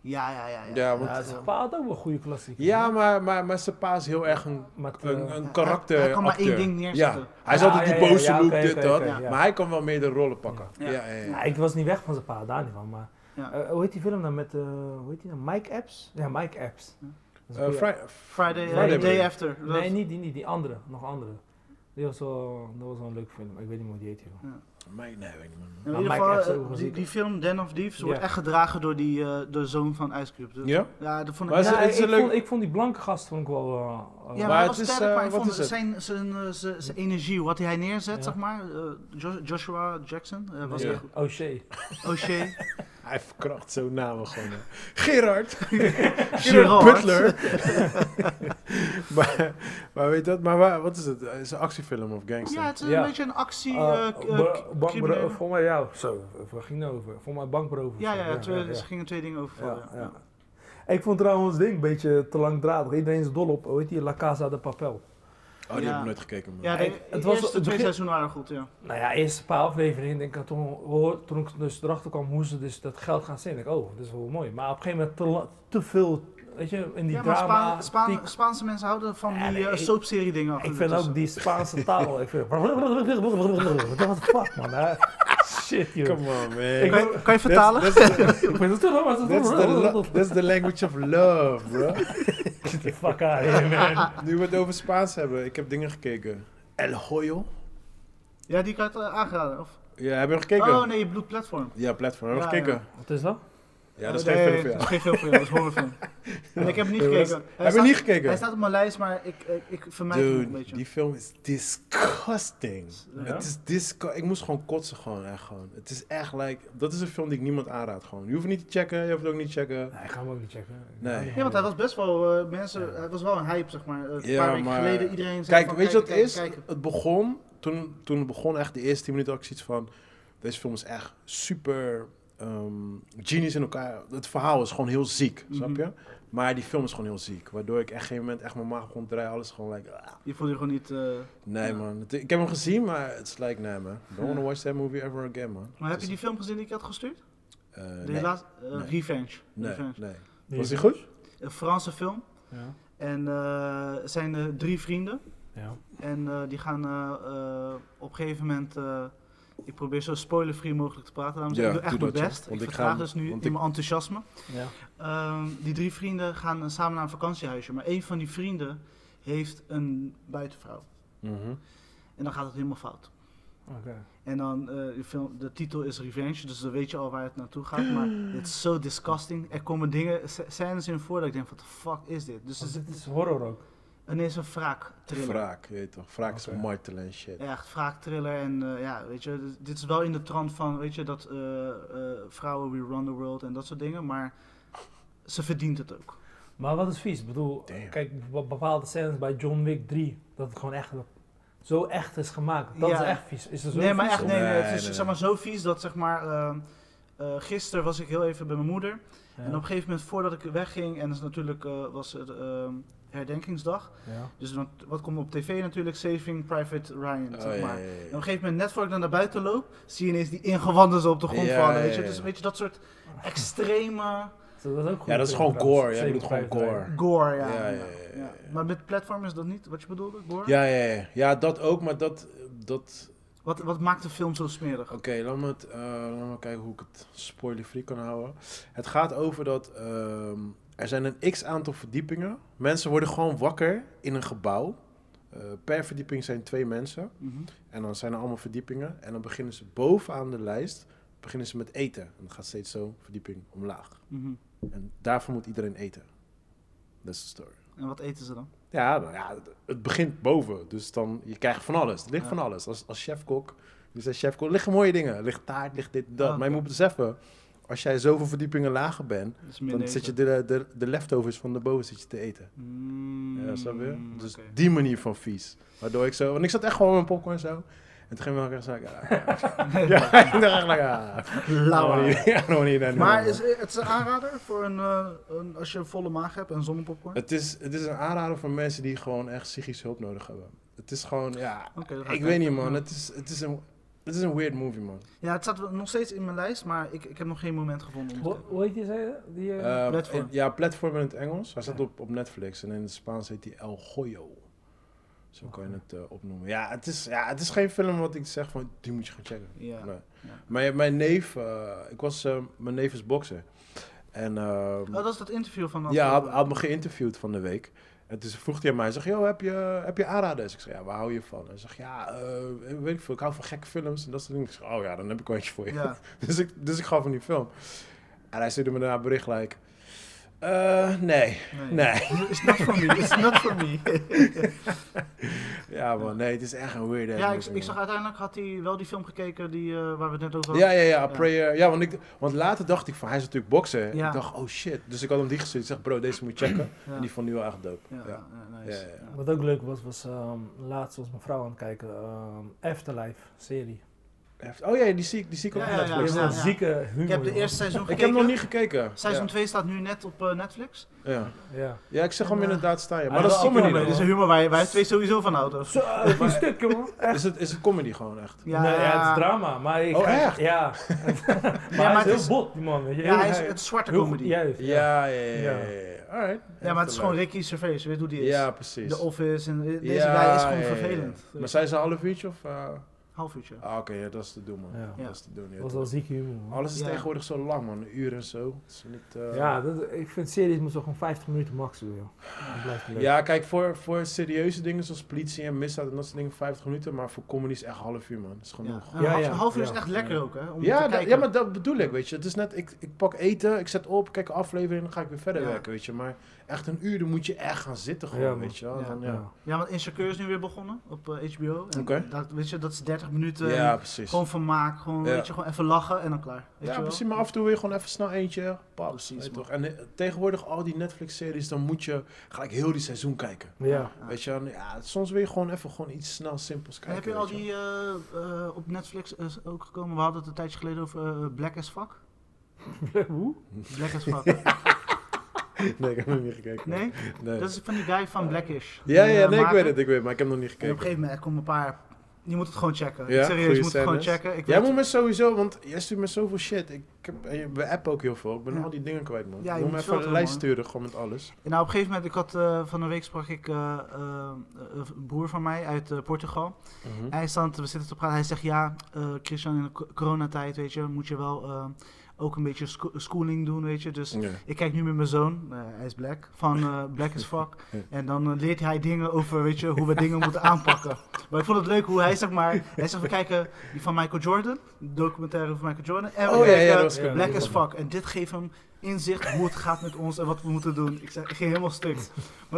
Speaker 2: Ja, ja, ja. Ja,
Speaker 1: Ja, want-
Speaker 3: Ja, zijn pa had ook wel een goede klassieker.
Speaker 1: Ja, maar, maar, maar zijn pa is heel erg een,
Speaker 3: Met, eh,
Speaker 1: een, een
Speaker 2: hij-
Speaker 1: karakter.
Speaker 2: hij kan maar één
Speaker 1: acteur.
Speaker 2: ding neerzetten.
Speaker 1: Ja. Hij is
Speaker 3: Ja,
Speaker 1: altijd die
Speaker 3: ja, ja,
Speaker 1: boze
Speaker 3: ja,
Speaker 1: look,
Speaker 3: oké,
Speaker 1: dit,
Speaker 3: oké,
Speaker 1: dat.
Speaker 3: oké, ja.
Speaker 1: Maar hij kan wel meerdere rollen pakken. Ja, ja, ja.
Speaker 3: Ja, ik was niet weg van zijn pa, daar niet van. Maar eh, hoe heet die film dan met, eh, hoe heet die dan? Mike Epps? Ja, Mike Epps.
Speaker 2: Ja.
Speaker 3: Dat is een
Speaker 1: Eh,
Speaker 3: goeie-
Speaker 1: Fri-
Speaker 2: Friday,
Speaker 3: Friday
Speaker 2: eh, Day
Speaker 1: Day.
Speaker 2: After. Dat-
Speaker 3: Nee, niet die, niet die andere. Nog een andere. Die was wel, dat was wel een leuk film. Ik weet niet hoe die heet. joh.
Speaker 1: Mike- nee, weet ik niet, man.
Speaker 2: In
Speaker 3: Maar
Speaker 2: ieder
Speaker 3: Mike
Speaker 2: geval,
Speaker 3: Epps
Speaker 2: eh,
Speaker 3: ook wel
Speaker 2: die,
Speaker 3: ziek.
Speaker 2: die film Den of Thieves wordt
Speaker 3: Ja.
Speaker 2: echt gedragen door die eh, de zoon van Ice Cube. Dus-
Speaker 1: Ja?
Speaker 2: Ja, dat vond ik...
Speaker 1: Maar
Speaker 2: Ja,
Speaker 1: ze-
Speaker 3: Nou,
Speaker 1: het is
Speaker 3: ik,
Speaker 1: een leuk-
Speaker 3: vond, ik vond die blanke gast vond ik wel... eh, eh,
Speaker 2: ja, maar
Speaker 1: maar
Speaker 2: hij
Speaker 1: het
Speaker 2: was
Speaker 1: is,
Speaker 2: sterk,
Speaker 1: eh,
Speaker 2: maar ik
Speaker 1: wat
Speaker 2: vond
Speaker 1: is het?
Speaker 2: zijn, zijn, eh, zijn, zijn energie, wat hij neerzet,
Speaker 3: Ja.
Speaker 2: zeg maar. eh, Jo- Joshua Jackson eh, was
Speaker 1: Ja.
Speaker 2: echt goed.
Speaker 3: Oh shit.
Speaker 2: O'Shea,
Speaker 1: Hij verkracht zo'n namen gewoon. hè. Gerard. Gerard
Speaker 2: Gerard.
Speaker 1: Butler. maar, maar weet je dat? Maar waar- wat is het? Eh, Is het een actiefilm of gangster?
Speaker 2: Ja, het is
Speaker 3: Ja.
Speaker 2: een beetje een actie... eh, k- eh, k-
Speaker 3: Uh,
Speaker 2: criminele.
Speaker 3: bankbro, voor mij ja, zo, waar ging het nou over? Voor mij bankberoven.
Speaker 2: Ja, ja, ja, twee,
Speaker 3: ja,
Speaker 2: er gingen twee dingen over.
Speaker 3: ja,
Speaker 2: vallen, ja.
Speaker 3: ja. Ik vond trouwens het ding een beetje te langdradig. Iedereen is dol op, hoe heet die, La Casa de Papel.
Speaker 1: Oh, die
Speaker 2: Ja.
Speaker 1: heb ik nooit gekeken, man.
Speaker 2: Ja, de
Speaker 3: Kijk, het was-
Speaker 2: eerste
Speaker 3: het
Speaker 2: twee
Speaker 3: begin-
Speaker 2: seizoenen waren goed, ja.
Speaker 3: Nou ja, eerste paar afleveringen, denk ik, toen, hoor- toen ik dus erachter kwam hoe ze dus dat geld gaan zien, denk ik, oh, dat is wel mooi. Maar op een gegeven moment te, la- te veel, weet je, in die
Speaker 2: ja, maar
Speaker 3: drama.
Speaker 2: Spaan- Spaan-
Speaker 3: tiek-
Speaker 2: Spaanse mensen houden van
Speaker 3: Ja,
Speaker 2: die
Speaker 3: nee,
Speaker 2: eh,
Speaker 3: ik-
Speaker 2: soapserie dingen. af en
Speaker 3: ik vind
Speaker 2: toe
Speaker 3: ook die Spaanse taal, ik vind, what the fuck man, hè? shit joh.
Speaker 1: Come on, man.
Speaker 3: Ik-
Speaker 2: Kan je, kan je vertalen?
Speaker 1: That's, that's, the-
Speaker 3: Ik ben het
Speaker 1: that's the lo- that's the language of love, bro.
Speaker 3: Get the fuck out of here, man.
Speaker 1: Nu we het over Spaans hebben, ik heb dingen gekeken. El Hoyo.
Speaker 2: Ja, die kan je eh, aangeraden. Of...
Speaker 1: Ja, heb je gekeken?
Speaker 2: Oh nee, Blue Platform.
Speaker 1: Ja, platform. Heb je
Speaker 2: Ja,
Speaker 1: gekeken?
Speaker 2: ja.
Speaker 1: Ja,
Speaker 3: Wat is dat?
Speaker 1: dat is
Speaker 2: Oh, Nee,
Speaker 1: geen film voor
Speaker 2: Dat is
Speaker 1: jou.
Speaker 2: geen film voor jou, dat is horrorfilm. En ik heb hem niet
Speaker 1: Ja, maar dat is-
Speaker 2: gekeken. Hij
Speaker 1: Heb je
Speaker 2: staat-
Speaker 1: niet
Speaker 2: Hij
Speaker 1: gekeken?
Speaker 2: staat op mijn lijst, maar ik, ik, ik vermijd hem een
Speaker 1: Dude,
Speaker 2: beetje.
Speaker 1: die film is disgusting.
Speaker 2: Ja.
Speaker 1: Het is disco. Ik moest gewoon kotsen, gewoon echt gewoon. Het is echt like. Dat is een film die ik niemand aanraad, gewoon. Je hoeft het niet te checken, je hoeft het ook niet te checken.
Speaker 3: Nee, ik ga hem ook niet checken.
Speaker 1: Nee.
Speaker 2: Ja, want hij was best wel, eh, mensen, hij was wel een hype, zeg maar. Eh, Een
Speaker 1: Ja,
Speaker 2: paar weken
Speaker 1: maar-
Speaker 2: geleden, iedereen zei
Speaker 1: Kijk,
Speaker 2: van,
Speaker 1: weet je wat het
Speaker 2: kijken,
Speaker 1: is?
Speaker 2: kijken, kijken.
Speaker 1: Het begon, toen, toen het begon echt de eerste 10 minuten had ik zoiets van... Deze film is echt super ehm, genius in elkaar. Het verhaal is gewoon heel ziek,
Speaker 2: Mhm.
Speaker 1: snap je? Maar die film is gewoon heel ziek. Waardoor ik echt geen moment echt mijn maag kon draaien. Alles gewoon like... ah,
Speaker 2: Je voelde je gewoon niet... eh,
Speaker 1: nee,
Speaker 2: Ja.
Speaker 1: man. Het- ik heb hem gezien, maar het is like, nee, man. Don't wanna watch that movie ever again, man.
Speaker 2: Maar heb
Speaker 1: Het
Speaker 2: je die film gezien die ik had gestuurd?
Speaker 1: is- eh,
Speaker 2: De
Speaker 1: nee,
Speaker 2: laatste, eh,
Speaker 1: Nee.
Speaker 2: Revenge.
Speaker 1: nee,
Speaker 2: Revenge.
Speaker 1: nee. Was die goed?
Speaker 2: Een Franse film.
Speaker 3: Ja.
Speaker 2: En eh, het zijn eh, drie vrienden.
Speaker 3: Ja.
Speaker 2: En eh, die gaan eh, eh, op een gegeven moment. eh, ik probeer zo spoilervrij mogelijk te praten. Daarom zeg
Speaker 1: Ja,
Speaker 2: ik doe echt
Speaker 1: doe
Speaker 2: mijn
Speaker 1: dat, ja.
Speaker 2: best.
Speaker 1: Want
Speaker 2: ik
Speaker 1: ik ga
Speaker 2: vertraag
Speaker 1: hem-
Speaker 2: dus nu in
Speaker 1: want ik-
Speaker 2: mijn enthousiasme.
Speaker 3: ja.
Speaker 2: Ehm, die drie vrienden gaan eh, samen naar een vakantiehuisje. Maar één van die vrienden heeft een buitenvrouw.
Speaker 1: Mhm.
Speaker 2: En dan gaat het helemaal fout.
Speaker 3: Oké.
Speaker 2: En dan, eh, de, film, de titel is Revenge, dus dan weet je al waar het naartoe gaat. Maar het is zo disgusting. Er komen dingen, sc- scènes in voor dat ik denk, wat de fuck is dit? Dus
Speaker 3: Dus
Speaker 2: het
Speaker 3: dit is horror ook.
Speaker 2: ineens een wraak thriller.
Speaker 1: Wraak, je weet toch. Wraak is
Speaker 3: Oké.
Speaker 1: martelen en shit.
Speaker 2: Ja, echt wraaktriller en eh, ja, weet je, dit- dit is wel in de trant van, weet je, dat eh, eh, vrouwen we run the world en dat soort dingen, maar ze verdient het ook.
Speaker 3: Maar wat is vies? Ik bedoel,
Speaker 1: Damn.
Speaker 3: kijk, be- bepaalde scènes bij John Wick 3, dat het gewoon echt zo echt is gemaakt. Dat
Speaker 2: Ja.
Speaker 3: is echt vies. Is er zo
Speaker 2: nee, maar
Speaker 3: vies
Speaker 2: echt,
Speaker 3: om?
Speaker 2: nee, nee,
Speaker 1: Nee,
Speaker 2: het is
Speaker 1: nee,
Speaker 2: zeg
Speaker 1: nee.
Speaker 2: maar zo vies dat zeg maar, eh, eh, gisteren was ik heel even bij mijn moeder en op een gegeven moment voordat ik wegging, en dat is natuurlijk eh, was het eh, herdenkingsdag,
Speaker 3: Ja.
Speaker 2: dus wat, wat komt op tv natuurlijk, Saving Private Ryan,
Speaker 1: Oh,
Speaker 2: zeg
Speaker 1: ja,
Speaker 2: maar.
Speaker 1: ja,
Speaker 2: En
Speaker 1: ja.
Speaker 2: op een gegeven moment, net voordat ik naar buiten loop, zie je ineens die ingewanden zo op de grond
Speaker 1: Ja,
Speaker 2: vallen,
Speaker 1: ja,
Speaker 2: weet je.
Speaker 1: ja,
Speaker 2: Dus
Speaker 1: ja.
Speaker 2: weet je, dat soort extreme...
Speaker 3: Zo, Dat is ook goed.
Speaker 1: Ja, dat is gewoon gore. Ja, je bedoelt gewoon gore.
Speaker 2: Gore, ja.
Speaker 1: Ja,
Speaker 2: ja,
Speaker 1: ja, ja, ja.
Speaker 2: Maar met platform is dat niet wat je bedoelde, gore?
Speaker 1: Ja, ja, ja. ja, dat ook, maar dat, dat
Speaker 2: Wat, wat maakt de film zo smerig?
Speaker 1: Oké, laat me het, eh, laat me kijken hoe ik het spoiler-free kan houden. Het gaat over dat ehm, er zijn een x-aantal verdiepingen. Mensen worden gewoon wakker in een gebouw. Eh, per verdieping zijn twee mensen.
Speaker 2: Mhm.
Speaker 1: En dan zijn er allemaal verdiepingen. En dan beginnen ze bovenaan de lijst beginnen ze met eten. En dan gaat steeds zo verdieping omlaag.
Speaker 2: Mhm.
Speaker 1: En daarvoor moet iedereen eten. That's the story.
Speaker 2: En wat eten ze dan?
Speaker 1: Ja, nou ja, het begint boven. Dus dan, je krijgt van alles. Er ligt
Speaker 2: Ja.
Speaker 1: van alles. Als, als chefkok, dus als chefkok, liggen mooie dingen. Er ligt taart, ligt dit, dat.
Speaker 2: Ah,
Speaker 1: maar je moet beseffen, als jij zoveel verdiepingen lager bent,
Speaker 2: Dat is
Speaker 1: dan zit je de, de, de leftovers van de boven zit je te eten.
Speaker 2: Mm,
Speaker 1: Dus Ja, snap je? Dus die manier van vies. Waardoor ik zo, want ik zat echt gewoon met mijn popcorn zo. En toen ging we echt zeggen, ja, ik dacht echt, ja,
Speaker 2: Lauw.
Speaker 1: I don't need that
Speaker 2: Maar
Speaker 1: anymore.
Speaker 2: is, het is een aanrader voor een, eh, een- als je een volle maag hebt en zonnepopcorn?
Speaker 1: Het is, het is een aanrader voor mensen die gewoon echt psychische hulp nodig hebben. Het is gewoon, ja,
Speaker 2: Oké, dan ga
Speaker 1: ik weet niet man, het is, het is, een, het is een weird movie man.
Speaker 2: Ja, het staat nog steeds in mijn lijst, maar ik, ik heb nog geen moment gevonden. om
Speaker 3: Hoe
Speaker 2: het te-
Speaker 3: hoe heet die, zei je? Die, eh,
Speaker 1: Eh,
Speaker 2: Platform.
Speaker 1: in- ja, platform in het Engels. Hij staat op, op Netflix en in het Spaans heet hij El Goyo. Zo kan je het eh, opnoemen. Ja het, is, ja, het is geen film wat ik zeg van, die moet je gaan checken.
Speaker 2: Ja.
Speaker 1: Nee.
Speaker 2: ja.
Speaker 1: Mijn, mijn neef, eh, ik was, eh, mijn neef is bokser. En, ehm,
Speaker 2: Oh, dat is dat interview van...
Speaker 1: Ja, hij had,
Speaker 2: afgelopen-
Speaker 1: hij had me geïnterviewd van de week. En toen vroeg hij aan mij, hij zegt, joh, heb je, heb je aanraders? Ik zeg, ja, waar hou je van? Hij zegt, ja, eh, weet ik veel, ik hou van gekke films en dat soort dingen. Ik zeg, oh ja, dan heb ik wel eentje voor je.
Speaker 2: Ja.
Speaker 1: Dus, ik, dus ik gaf hem die film. En hij stuurde me daarna een bericht, like, eh, nee, nee.
Speaker 2: It's not for me, it's not for me.
Speaker 1: Ja man, nee, het is echt een weird
Speaker 2: ja, ik, ik zag uiteindelijk had hij wel die film gekeken die, eh, waar we het net over hadden.
Speaker 1: Ja, ja, ja, prayer. Ja, want, ik, want later dacht ik van, hij is natuurlijk bokser.
Speaker 2: Ja.
Speaker 1: Ik dacht, oh shit. Dus ik had hem die gestuurd. Ik zeg, bro, deze moet je checken.
Speaker 2: Ja.
Speaker 1: En die vond nu wel echt dope.
Speaker 2: Ja,
Speaker 1: Ja.
Speaker 2: ja, ja, nice.
Speaker 1: Ja, ja, ja.
Speaker 3: Wat ook leuk was, was ehm, laatst was mijn vrouw aan het kijken. ehm, Afterlife serie.
Speaker 1: Oh ja, die zie ik, die zie ik op
Speaker 2: Ja, ja, ja,
Speaker 3: Dat
Speaker 1: Netflix.
Speaker 3: is
Speaker 2: ja,
Speaker 3: een
Speaker 2: ja.
Speaker 3: zieke humor.
Speaker 2: Ik heb de
Speaker 3: joh.
Speaker 2: eerste seizoen
Speaker 1: Ik
Speaker 2: gekeken.
Speaker 1: heb nog niet gekeken.
Speaker 2: Seizoen
Speaker 1: Ja.
Speaker 2: 2 staat nu net op eh, Netflix.
Speaker 1: Ja.
Speaker 3: Ja.
Speaker 1: ja, ik zeg hem
Speaker 2: En, eh,
Speaker 1: inderdaad staan. Ja.
Speaker 3: hij
Speaker 1: Maar dat is
Speaker 3: wil
Speaker 1: comedy
Speaker 3: altijd
Speaker 1: dan?
Speaker 2: dit
Speaker 3: wel
Speaker 2: is een
Speaker 1: hoor.
Speaker 2: humor waar wij twee sowieso van houden.
Speaker 3: Zo, dat is stuk, jongen.
Speaker 1: Is het, is het comedy gewoon echt?
Speaker 3: Ja, nee, ja, het is drama, maar ik...
Speaker 1: Oh, echt?
Speaker 3: Ja. maar hij
Speaker 2: het
Speaker 3: is heel
Speaker 2: is-
Speaker 3: bot, die man, weet je.
Speaker 2: Ja,
Speaker 3: Heel-
Speaker 2: hij is het is zwarte
Speaker 3: heel-
Speaker 2: comedy. Ja,
Speaker 3: Juist, ja.
Speaker 1: Ja, ja, ja. ja, ja, ja. Alright.
Speaker 2: maar het is gewoon Ricky Gervais, weet hoe die is.
Speaker 1: Ja, precies.
Speaker 2: The Office en deze
Speaker 1: Ja,
Speaker 2: guy is gewoon
Speaker 1: ja, ja, ja.
Speaker 2: vervelend.
Speaker 1: Maar zijn ze een half uurtje of... eh?
Speaker 2: Half uurtje.
Speaker 1: Ah, oké, ja, dat is te doen, man.
Speaker 3: Ja.
Speaker 2: Ja.
Speaker 1: Dat is te doen, ja.
Speaker 3: Dat was wel zieke humor. man.
Speaker 1: Alles is
Speaker 2: Ja.
Speaker 1: tegenwoordig zo lang, man. Een uur en zo. Het is niet, eh,
Speaker 3: Ja, dat, ik vind series moeten gewoon 50 minuten max doen, joh. Dat blijft leuk.
Speaker 1: Ja, kijk, voor, voor serieuze dingen zoals politie en misdaad en dat soort dingen 50 minuten, maar voor comedy is echt een half uur, man. Dat is
Speaker 2: Ja.
Speaker 1: genoeg.
Speaker 2: Een
Speaker 3: Ja,
Speaker 2: half,
Speaker 3: ja,
Speaker 2: een half uur is
Speaker 3: ja.
Speaker 2: echt lekker ook, hè? Om
Speaker 1: Ja,
Speaker 2: te
Speaker 1: da-
Speaker 2: kijken.
Speaker 1: ja, maar dat bedoel ik, weet je. Het is net, ik, ik pak eten, ik zet op, kijk een aflevering en dan ga ik weer verder
Speaker 2: Ja.
Speaker 1: werken, weet je. Maar echt een uur, dan moet je echt gaan zitten gewoon,
Speaker 3: Ja, man.
Speaker 1: weet je. wel.
Speaker 2: Ja.
Speaker 1: Dan, ja.
Speaker 3: Ja.
Speaker 2: Ja, want Insecure is nu weer begonnen op eh, HBO. En
Speaker 1: Oké.
Speaker 2: dat, weet je, dat is 30 minuten.
Speaker 1: Ja, precies.
Speaker 2: ehm, Gewoon vermaak, gewoon,
Speaker 1: Ja.
Speaker 2: weet je, gewoon even lachen en dan klaar. Weet
Speaker 1: ja,
Speaker 2: je wel?
Speaker 1: precies. Maar af en toe weer gewoon even snel eentje. Pap,
Speaker 2: Precies,
Speaker 1: weet je
Speaker 2: man.
Speaker 1: toch. En eh, tegenwoordig al die Netflix-series, dan moet je gelijk heel die seizoen kijken.
Speaker 3: Ja.
Speaker 2: Ja.
Speaker 1: Weet je, en ja, soms wil je gewoon even gewoon iets snel simpels
Speaker 2: En
Speaker 1: kijken.
Speaker 2: heb je al
Speaker 1: weet
Speaker 2: die eh, eh, op Netflix eh, ook gekomen? We hadden het een tijdje geleden over eh, Black as Fuck.
Speaker 3: Hoe?
Speaker 2: Black as Fuck.
Speaker 1: Nee, ik heb nog niet gekeken.
Speaker 2: Nee?
Speaker 1: Nee.
Speaker 2: Dat is van die guy van Blackish.
Speaker 1: Ja,
Speaker 2: Die,
Speaker 1: ja,
Speaker 2: eh,
Speaker 1: nee, ik
Speaker 2: maker.
Speaker 1: weet het, ik weet het, maar ik heb nog niet
Speaker 2: En op een
Speaker 1: gekeken.
Speaker 2: gegeven moment komen een paar... Je moet het gewoon checken.
Speaker 1: Ja,
Speaker 2: Serieus,
Speaker 1: goeie
Speaker 2: je moet het gewoon
Speaker 1: scènes.
Speaker 2: checken. Ik
Speaker 1: Jij
Speaker 2: weet-
Speaker 1: moet me sowieso, want jij stuurt me zoveel shit. Ik heb, eh, we appen ook heel veel. Ik ben
Speaker 2: Ja.
Speaker 1: al die dingen kwijt, man.
Speaker 2: Ja, je
Speaker 1: Doe
Speaker 2: moet
Speaker 1: me even een
Speaker 2: filteren,
Speaker 1: lijst
Speaker 2: man.
Speaker 1: sturen, gewoon met alles.
Speaker 2: Nou, op een gegeven moment, ik had, eh, van een week sprak ik eh, eh, een broer van mij uit eh, Portugal.
Speaker 1: Mhm.
Speaker 2: Hij is aan het, we zitten te praten. Hij zegt ja, eh, Christian, in de co- coronatijd, weet je, moet je wel eh, ook een beetje scho- schooling doen, weet je. Dus
Speaker 1: Ja.
Speaker 2: ik kijk nu met mijn zoon, eh, hij is black, van eh, Black as Fuck. En dan eh, leert hij dingen over, weet je, hoe we dingen moeten aanpakken. Maar ik vond het leuk hoe hij, zeg maar, hij zegt we kijken die van Michael Jordan, documentaire over Michael Jordan. En we
Speaker 1: Oh, ja, ja,
Speaker 2: kijken
Speaker 1: dat was
Speaker 3: cool.
Speaker 2: Black
Speaker 3: Ja,
Speaker 2: as
Speaker 3: dat was
Speaker 2: Fuck. En dit geeft hem inzicht hoe het gaat met ons en wat we moeten doen. Ik, zeg, ik ging helemaal stuk. Maar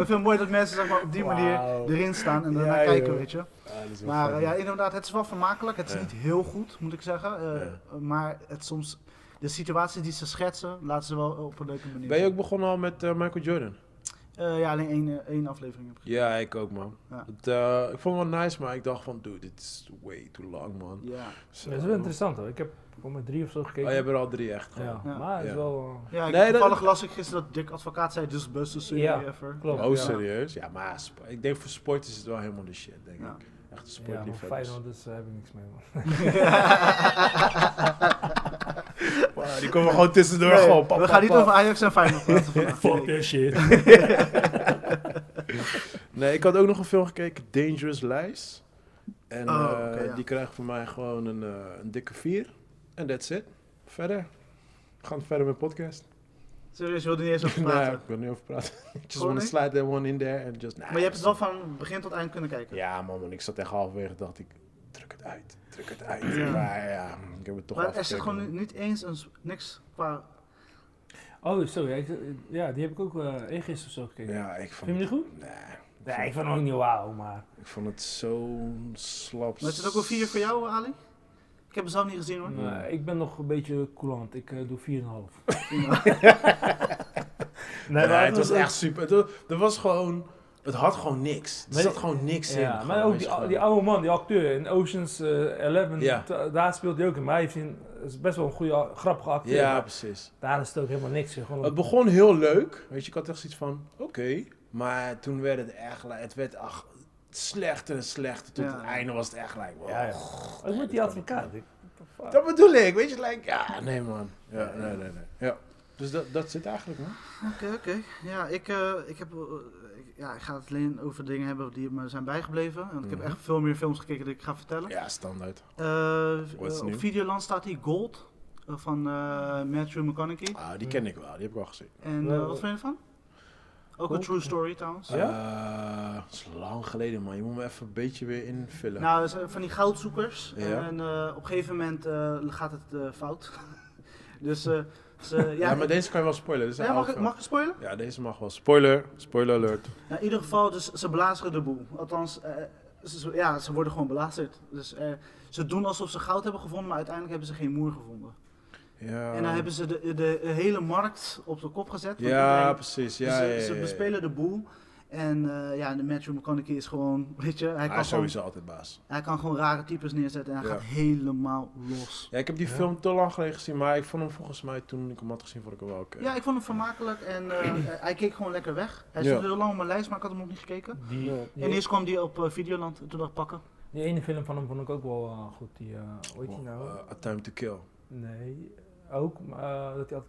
Speaker 2: ik vind het mooi dat mensen, zeg maar, op die manier
Speaker 1: Wauw.
Speaker 2: erin staan en daarna
Speaker 1: Ja, joh.
Speaker 2: kijken, weet je.
Speaker 1: Ja, dat is wel
Speaker 2: Maar
Speaker 1: fijn.
Speaker 2: eh, ja, inderdaad, het is wel vermakelijk. Het is
Speaker 1: Ja.
Speaker 2: niet heel goed, moet ik zeggen. eh,
Speaker 1: Ja.
Speaker 2: Maar het soms, de situaties die ze schetsen, laten ze wel op een leuke manier.
Speaker 1: Ben je
Speaker 2: zien.
Speaker 1: ook begonnen al met eh, Michael Jordan?
Speaker 2: Eh, ja, alleen één, eh, één aflevering heb ik
Speaker 1: Ja, ik ook, man.
Speaker 2: Ja.
Speaker 1: Het, eh, ik vond het wel nice, maar ik dacht van, dude, dit is way too long, man.
Speaker 2: gezien. Ja.
Speaker 1: Zo.
Speaker 3: Dat is wel interessant, hoor. Ik heb gewoon met drie of zo
Speaker 1: Oh,
Speaker 3: gekeken.
Speaker 1: jij hebt er al drie echt
Speaker 3: ja.
Speaker 1: gewoon.
Speaker 2: Ja.
Speaker 3: maar het is
Speaker 1: Ja.
Speaker 3: wel... eh,
Speaker 2: Ja, ik-
Speaker 1: Nee, dat-
Speaker 2: toevallig las ik gisteren dat Dick Advocaat zei, dus best een serie
Speaker 3: Ja,
Speaker 2: ever.
Speaker 3: klopt.
Speaker 1: Oh,
Speaker 3: Ja.
Speaker 1: serieus? Ja, maar sp- ik denk voor sport is het wel helemaal de shit, denk
Speaker 2: Ja.
Speaker 1: ik. Echt de
Speaker 3: Ja, maar
Speaker 1: sportliefhebbers.
Speaker 3: Feyenoord, dus daar heb ik niks mee, man.
Speaker 1: Wow, Ah, die komen gewoon tussendoor,
Speaker 2: Nee,
Speaker 1: gewoon pap,
Speaker 2: we
Speaker 1: pap,
Speaker 2: gaan niet
Speaker 1: pap.
Speaker 2: over Ajax en Feyenoord praten vandaag.
Speaker 3: Fuck that shit.
Speaker 1: Nee, ik had ook nog een film gekeken, Dangerous Lies. En
Speaker 2: Oh,
Speaker 1: eh,
Speaker 2: oké, ja.
Speaker 1: die krijgt voor mij gewoon een, eh, een dikke vier. En that's it. Verder. We gaan verder met podcast.
Speaker 2: Serieus, je wilde niet eens over
Speaker 1: Nee,
Speaker 2: praten.
Speaker 1: ik wil niet over praten. just
Speaker 2: Oh,
Speaker 1: want to
Speaker 2: nee?
Speaker 1: slide that one in there and just... nah,
Speaker 2: Maar je hebt het wel van begin tot eind kunnen kijken.
Speaker 1: Ja, man, man, ik zat echt halverwege dacht ik, druk het uit, druk het uit.
Speaker 2: Ja.
Speaker 1: Maar ja, ik heb het toch
Speaker 2: maar er zit
Speaker 1: afgekeken,
Speaker 2: gewoon
Speaker 1: man.
Speaker 2: ni- niet eens een, s- niks qua...
Speaker 3: Oh, sorry. ik- Ja, die heb ik ook eh eergisteren of zo gekeken.
Speaker 1: Ja, ik vond...
Speaker 3: Vind je hem niet
Speaker 1: goed? Nee,
Speaker 3: Nee, ik vond hem ook niet wauw, maar...
Speaker 1: ik vond het zo slap.
Speaker 2: Maar is het ook wel vier voor jou, Ali? Ik heb het zelf niet gezien hoor.
Speaker 3: Nee, ik ben nog een beetje coulant. Ik eh, doe 4,5. nee,
Speaker 1: Nee, het was echt super. Het wa- Er was gewoon...
Speaker 2: Het
Speaker 1: Het had gewoon niks. Er
Speaker 3: Maar-
Speaker 1: zat gewoon niks in.
Speaker 3: Ja,
Speaker 1: gewoon,
Speaker 3: maar ook
Speaker 1: weet
Speaker 3: die,
Speaker 1: je wel.
Speaker 3: die oude man, die acteur in Ocean's eh, 11,
Speaker 1: Ja.
Speaker 3: da- daar speelt hij ook in. Maar hij heeft een- is best wel een goede, grappige acteur.
Speaker 1: Ja,
Speaker 3: maar
Speaker 1: precies.
Speaker 3: Daar is het ook helemaal niks. in. Gewoon
Speaker 1: Het begon heel leuk. Weet je, ik had echt zoiets van, oké. Maar toen werd het echt, li- het werd ach, slechter en slechter. Tot
Speaker 2: Ja.
Speaker 1: het einde was het echt like, wow.
Speaker 3: ja, ja. Ook met die advocaat. ik- what the fuck?
Speaker 1: Dat bedoel ik, weet je, like, ja, nee man. Ja, nee, nee, nee. Ja. Dus dat, dat zit eigenlijk, man.
Speaker 2: Oké, oké. Ja, ik, eh, ik, heb, eh, ik- ja, ik ga het alleen over dingen hebben die me zijn bijgebleven. Want ik heb
Speaker 1: Mhm.
Speaker 2: echt veel meer films gekeken dan ik ga vertellen.
Speaker 1: Ja, standaard.
Speaker 2: Eh,
Speaker 1: What's
Speaker 2: eh, op
Speaker 1: new?
Speaker 2: Videoland staat hier Gold eh, van eh, Matthew McConaughey.
Speaker 1: Ah, die ken ik wel, die heb ik al gezien.
Speaker 2: En
Speaker 3: Wel-
Speaker 2: eh, wat vind je ervan? Ook een
Speaker 3: Gold?
Speaker 2: true story trouwens.
Speaker 3: Ja?
Speaker 1: Eh, dat is lang geleden, man. Je moet me even een beetje weer invullen.
Speaker 2: Nou, dat zijn van die goudzoekers.
Speaker 1: Ja.
Speaker 2: En eh, op een gegeven moment eh, gaat het eh, fout. dus eh, ze, ja,
Speaker 1: ja, maar deze kan je wel spoilen. Dit is een
Speaker 2: ja, mag,
Speaker 1: oude
Speaker 2: ik,
Speaker 1: film.
Speaker 2: mag ik spoilen?
Speaker 1: Ja, deze mag wel. Spoiler, spoiler alert.
Speaker 2: Nou, in ieder geval, dus ze belazeren de boel. Althans, eh, ze, ze- ja, ze worden gewoon belazerd. Dus eh, ze doen alsof ze goud hebben gevonden, maar uiteindelijk hebben ze geen moer gevonden.
Speaker 1: Ja,
Speaker 2: En dan hebben ze de, de hele markt op de kop gezet. want
Speaker 1: ja
Speaker 2: iedereen-
Speaker 1: precies.
Speaker 2: dus
Speaker 1: Ja,
Speaker 2: ze,
Speaker 1: ja, ja,
Speaker 2: ze
Speaker 1: ja.
Speaker 2: bespelen de boel. En eh, ja, de Matthew McConaughey is gewoon, weet je, hij
Speaker 1: Hij
Speaker 2: kan,
Speaker 1: is
Speaker 2: gewoon,
Speaker 1: sowieso altijd baas.
Speaker 2: hij kan gewoon rare types neerzetten en hij
Speaker 1: Ja.
Speaker 2: gaat helemaal los.
Speaker 1: Ja, ik heb die
Speaker 3: Ja.
Speaker 1: film te lang geleden gezien, maar ik vond hem volgens mij toen ik hem had gezien, vond ik hem wel oké.
Speaker 2: Ja, ik vond hem vermakelijk en eh, hij keek gewoon lekker weg. Hij
Speaker 1: Ja.
Speaker 2: stond heel lang op mijn lijst, maar ik had hem nog niet gekeken.
Speaker 3: Die,
Speaker 2: En
Speaker 3: die,
Speaker 2: eerst kwam die op eh, Videoland en toen dacht ik pakken.
Speaker 3: die ene film van hem vond ik ook wel eh, goed. Die, eh hoe heet die nou?
Speaker 1: Eh, A Time to Kill.
Speaker 3: Nee, ook eh, dat hij had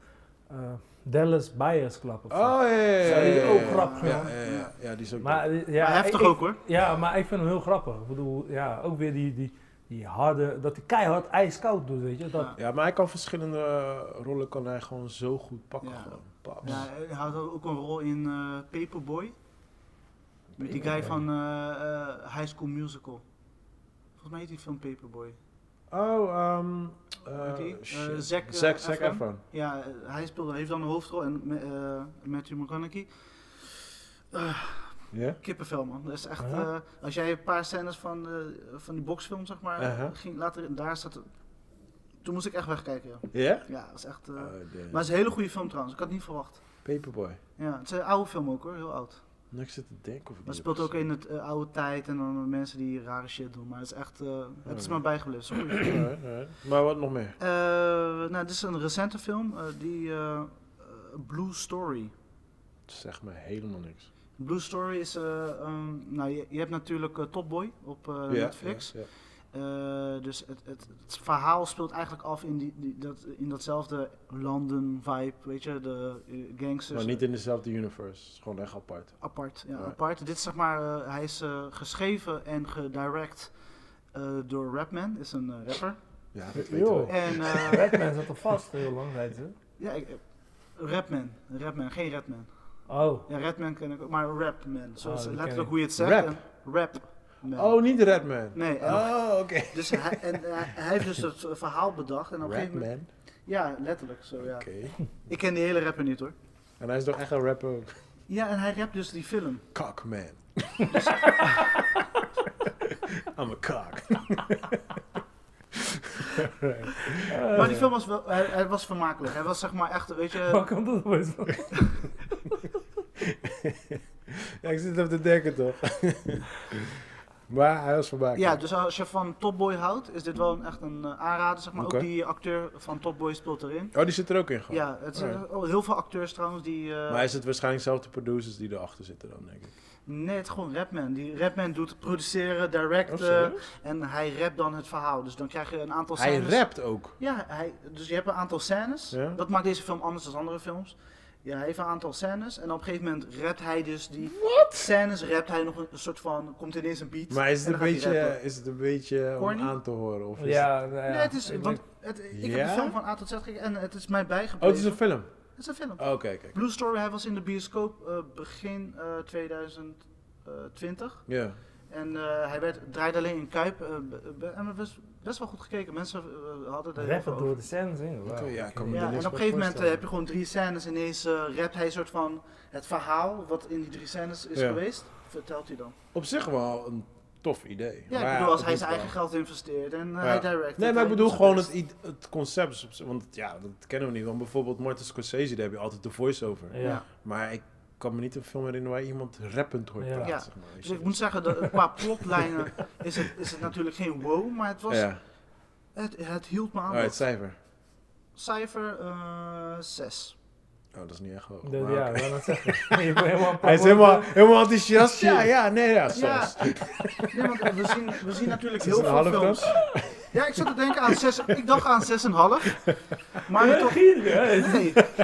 Speaker 3: eh, Dallas Buyers Club of zo.
Speaker 1: Oh, ja, ja, ja,
Speaker 3: Zou die
Speaker 1: ja,
Speaker 3: ook
Speaker 1: ja,
Speaker 3: grappig
Speaker 1: ja,
Speaker 2: zijn?
Speaker 1: ja, ja, ja. Ja, die is ook
Speaker 3: Maar, eh, ja,
Speaker 2: maar heftig
Speaker 3: ik-
Speaker 2: ook hoor.
Speaker 3: Ja, maar ik vind hem heel grappig. Ik bedoel, ja, ook weer die, die, die harde, dat hij keihard ijskoud doet, weet je. Dat,
Speaker 2: Ja.
Speaker 1: Ja, maar hij kan verschillende eh, rollen kan hij gewoon zo goed pakken.
Speaker 2: Ja.
Speaker 1: Gewoon. Paps.
Speaker 2: Ja, hij had ook een rol in eh, Paperboy. Met die guy
Speaker 1: Paperboy.
Speaker 2: van eh, eh, High School Musical. Volgens mij heet die film Paperboy.
Speaker 1: Oh, ehm
Speaker 2: Weet
Speaker 1: eh
Speaker 2: die? Eh,
Speaker 1: shit.
Speaker 2: Zac, eh,
Speaker 1: Zac, Zac
Speaker 2: Efron?
Speaker 1: Efron.
Speaker 2: Ja, eh, hij speelde, heeft dan een hoofdrol en me- eh, Matthew McConaughey. Eh,
Speaker 1: Ja?
Speaker 2: kippenvel man, dat is echt,
Speaker 3: Ja.
Speaker 2: eh, als jij een paar scènes van, eh, van die boxfilm zeg maar,
Speaker 3: Uh-huh.
Speaker 1: Aha.
Speaker 2: ging later, daar zat, toen moest ik echt wegkijken ja.
Speaker 1: Ja?
Speaker 2: Ja, dat is echt, eh, maar
Speaker 1: Oh, damn.
Speaker 2: het is een hele goede film trouwens, ik had het niet verwacht.
Speaker 1: Paperboy.
Speaker 2: Ja, het is een oude film ook hoor, heel oud.
Speaker 1: Nou, ik zit te denken of ik
Speaker 2: Maar het
Speaker 1: die
Speaker 2: speelt
Speaker 1: heb
Speaker 2: ook in het eh, oude tijd en dan mensen die rare shit doen, maar het is echt, eh, het is
Speaker 1: Ja.
Speaker 2: me bijgebleven. Het is een goede film.
Speaker 1: gezien. Alright, alright. Maar wat nog meer?
Speaker 2: Eh, nou, dit is een recente film, eh, die eh, eh, Blue Story.
Speaker 1: Zeg me helemaal niks.
Speaker 2: Blue Story is, eh, ehm, nou je, je hebt natuurlijk eh, Top Boy op eh, Netflix.
Speaker 1: Ja, ja.
Speaker 2: Eh, dus het, het, het verhaal speelt eigenlijk af in, die, die, dat, in datzelfde London vibe, weet je, de eh, gangsters.
Speaker 1: Maar niet in dezelfde universe. Het is gewoon echt apart.
Speaker 2: Apart, ja,
Speaker 1: Alright.
Speaker 2: apart. Dit is zeg maar, eh, hij is eh, geschreven en gedirect eh, door Rapman, is een eh, rapper.
Speaker 1: Ja, dat
Speaker 3: Joh.
Speaker 1: weten we.
Speaker 2: En eh,
Speaker 3: Batman zat al vast heel lang, zei ze.
Speaker 2: ja, ik, eh, Rapman, Rapman, geen Redman.
Speaker 3: Oh,
Speaker 2: Ja, Redman ken ik ook, maar Rapman,
Speaker 3: Oh,
Speaker 2: zoals
Speaker 3: die ken
Speaker 2: letterlijk
Speaker 3: ik.
Speaker 2: hoe je het zegt.
Speaker 1: Rap.
Speaker 2: en Rapman.
Speaker 1: Oh, niet Redman.
Speaker 2: Nee, en-
Speaker 1: Oh, oké.
Speaker 2: Dus hij, en, eh, hij heeft dus het eh, verhaal bedacht en op een gegeven moment...
Speaker 1: Redman.
Speaker 2: Ja, letterlijk zo, ja.
Speaker 1: Oké.
Speaker 2: Ik ken die hele rapper niet hoor.
Speaker 1: En hij is toch echt een rapper? ook?
Speaker 2: Ja, en hij rapt dus die film.
Speaker 1: Oh, Cockman. I'm a cock.
Speaker 2: maar eh, die film was wel... Hij, hij was vermakelijk. Hij was zeg maar echt, weet je...
Speaker 3: waar komt dat opeens van?
Speaker 1: Ja, ik zit even te denken toch. maar hij was voorbij.
Speaker 2: Ja, dus als je van Top Boy houdt, is dit wel een- echt een eh, aanrader, zeg maar.
Speaker 1: Oké.
Speaker 2: Ook die acteur van Top Boy speelt erin.
Speaker 1: Oh, die zit er ook in gewoon.
Speaker 2: Ja, het zijn oh, heel veel acteurs trouwens die... eh,
Speaker 1: Maar is het waarschijnlijk zelf de producers die erachter zitten dan, denk ik.
Speaker 2: Nee, het is gewoon Rapman. Die Rapman doet produceren, directen
Speaker 1: Oh, serieus?
Speaker 2: en hij rapt dan het verhaal. Dus dan krijg je een aantal
Speaker 1: Hij
Speaker 2: scènes...
Speaker 1: rapt ook.
Speaker 2: Ja, hij, dus je hebt een aantal scènes.
Speaker 1: Ja.
Speaker 2: Dat maakt deze film anders dan andere films. Ja, hij heeft een aantal scènes en op een gegeven moment rapt hij dus die scènes, rapt hij nog een soort van, komt ineens een beat.
Speaker 1: Maar is
Speaker 2: en
Speaker 1: het
Speaker 2: dan
Speaker 1: een
Speaker 2: gaat hij
Speaker 1: beetje,
Speaker 2: rappen.
Speaker 1: is het een beetje om
Speaker 2: Corny?
Speaker 1: aan te horen? Of is het...
Speaker 3: Ja, nou ja.
Speaker 2: Nee, het is,
Speaker 3: Ik
Speaker 2: want
Speaker 3: denk-
Speaker 2: het, ik heb
Speaker 1: eh, Ja?
Speaker 2: de film van A tot Z gekeken en het is mij
Speaker 1: Oh, het is
Speaker 2: bijgebleven.
Speaker 1: een film.
Speaker 2: het is een film.
Speaker 1: Oh, kijk, kijk.
Speaker 2: Blue Story, hij was in de bioscoop eh, begin eh, 2020.
Speaker 1: Ja.
Speaker 2: En eh, hij werd, draaide alleen in Kuip. eh, be- be- en het was best wel goed gekeken. Mensen eh, hadden er heel veel
Speaker 3: Rappen
Speaker 2: over.
Speaker 3: door de scènes heen. wauw.
Speaker 1: Oké, ja, ik kan me
Speaker 2: Ja,
Speaker 1: er
Speaker 2: en
Speaker 1: niks
Speaker 2: op een
Speaker 1: bij
Speaker 2: gegeven moment eh,
Speaker 1: voorstellen.
Speaker 2: heb je gewoon drie scènes en ineens eh, rapt hij een soort van het verhaal wat in die drie scènes is
Speaker 1: Ja.
Speaker 2: geweest, vertelt hij dan.
Speaker 1: Op zich wel een tof idee.
Speaker 2: Ja,
Speaker 1: Maar
Speaker 2: ik bedoel, als
Speaker 1: het
Speaker 2: hij
Speaker 1: moet
Speaker 2: zijn eigen
Speaker 1: wel.
Speaker 2: geld investeert en eh,
Speaker 1: Ja.
Speaker 2: hij direct.
Speaker 1: Nee, maar ik bedoel gewoon het, i- het concept. is op zich- Want ja, dat kennen we niet. Want bijvoorbeeld Martin Scorsese, daar heb je altijd de voice-over.
Speaker 3: Ja.
Speaker 2: Ja.
Speaker 1: Maar ik kan me niet een film herinneren waar iemand rappend hoort
Speaker 3: Ja.
Speaker 1: praten.
Speaker 2: Ja.
Speaker 1: Zeg maar, weet
Speaker 2: Dus
Speaker 1: je.
Speaker 2: ik moet zeggen, dat, qua plotlijnen is het, is het natuurlijk geen wow, maar het was...
Speaker 1: Ja,
Speaker 2: Het, het hield me aan.
Speaker 1: alright,
Speaker 2: dat-
Speaker 1: cijfer.
Speaker 2: Cijfer eh 6.
Speaker 1: Oh, dat is niet echt hoog.
Speaker 3: De-
Speaker 1: maar
Speaker 3: Ja,
Speaker 1: oké.
Speaker 3: ik wou net zeggen. Je bent helemaal
Speaker 1: Hij is helemaal, helemaal enthousiast. Ja, ja, nee, ja,
Speaker 2: Ja.
Speaker 1: soms.
Speaker 2: Nee, want we zien, we zien natuurlijk
Speaker 1: Is het
Speaker 2: heel
Speaker 1: een
Speaker 2: veel
Speaker 1: half
Speaker 2: films. Ja, ik zat te denken aan 6. Ik dacht aan 6,5. Maar
Speaker 3: Maar
Speaker 2: toch. Nee.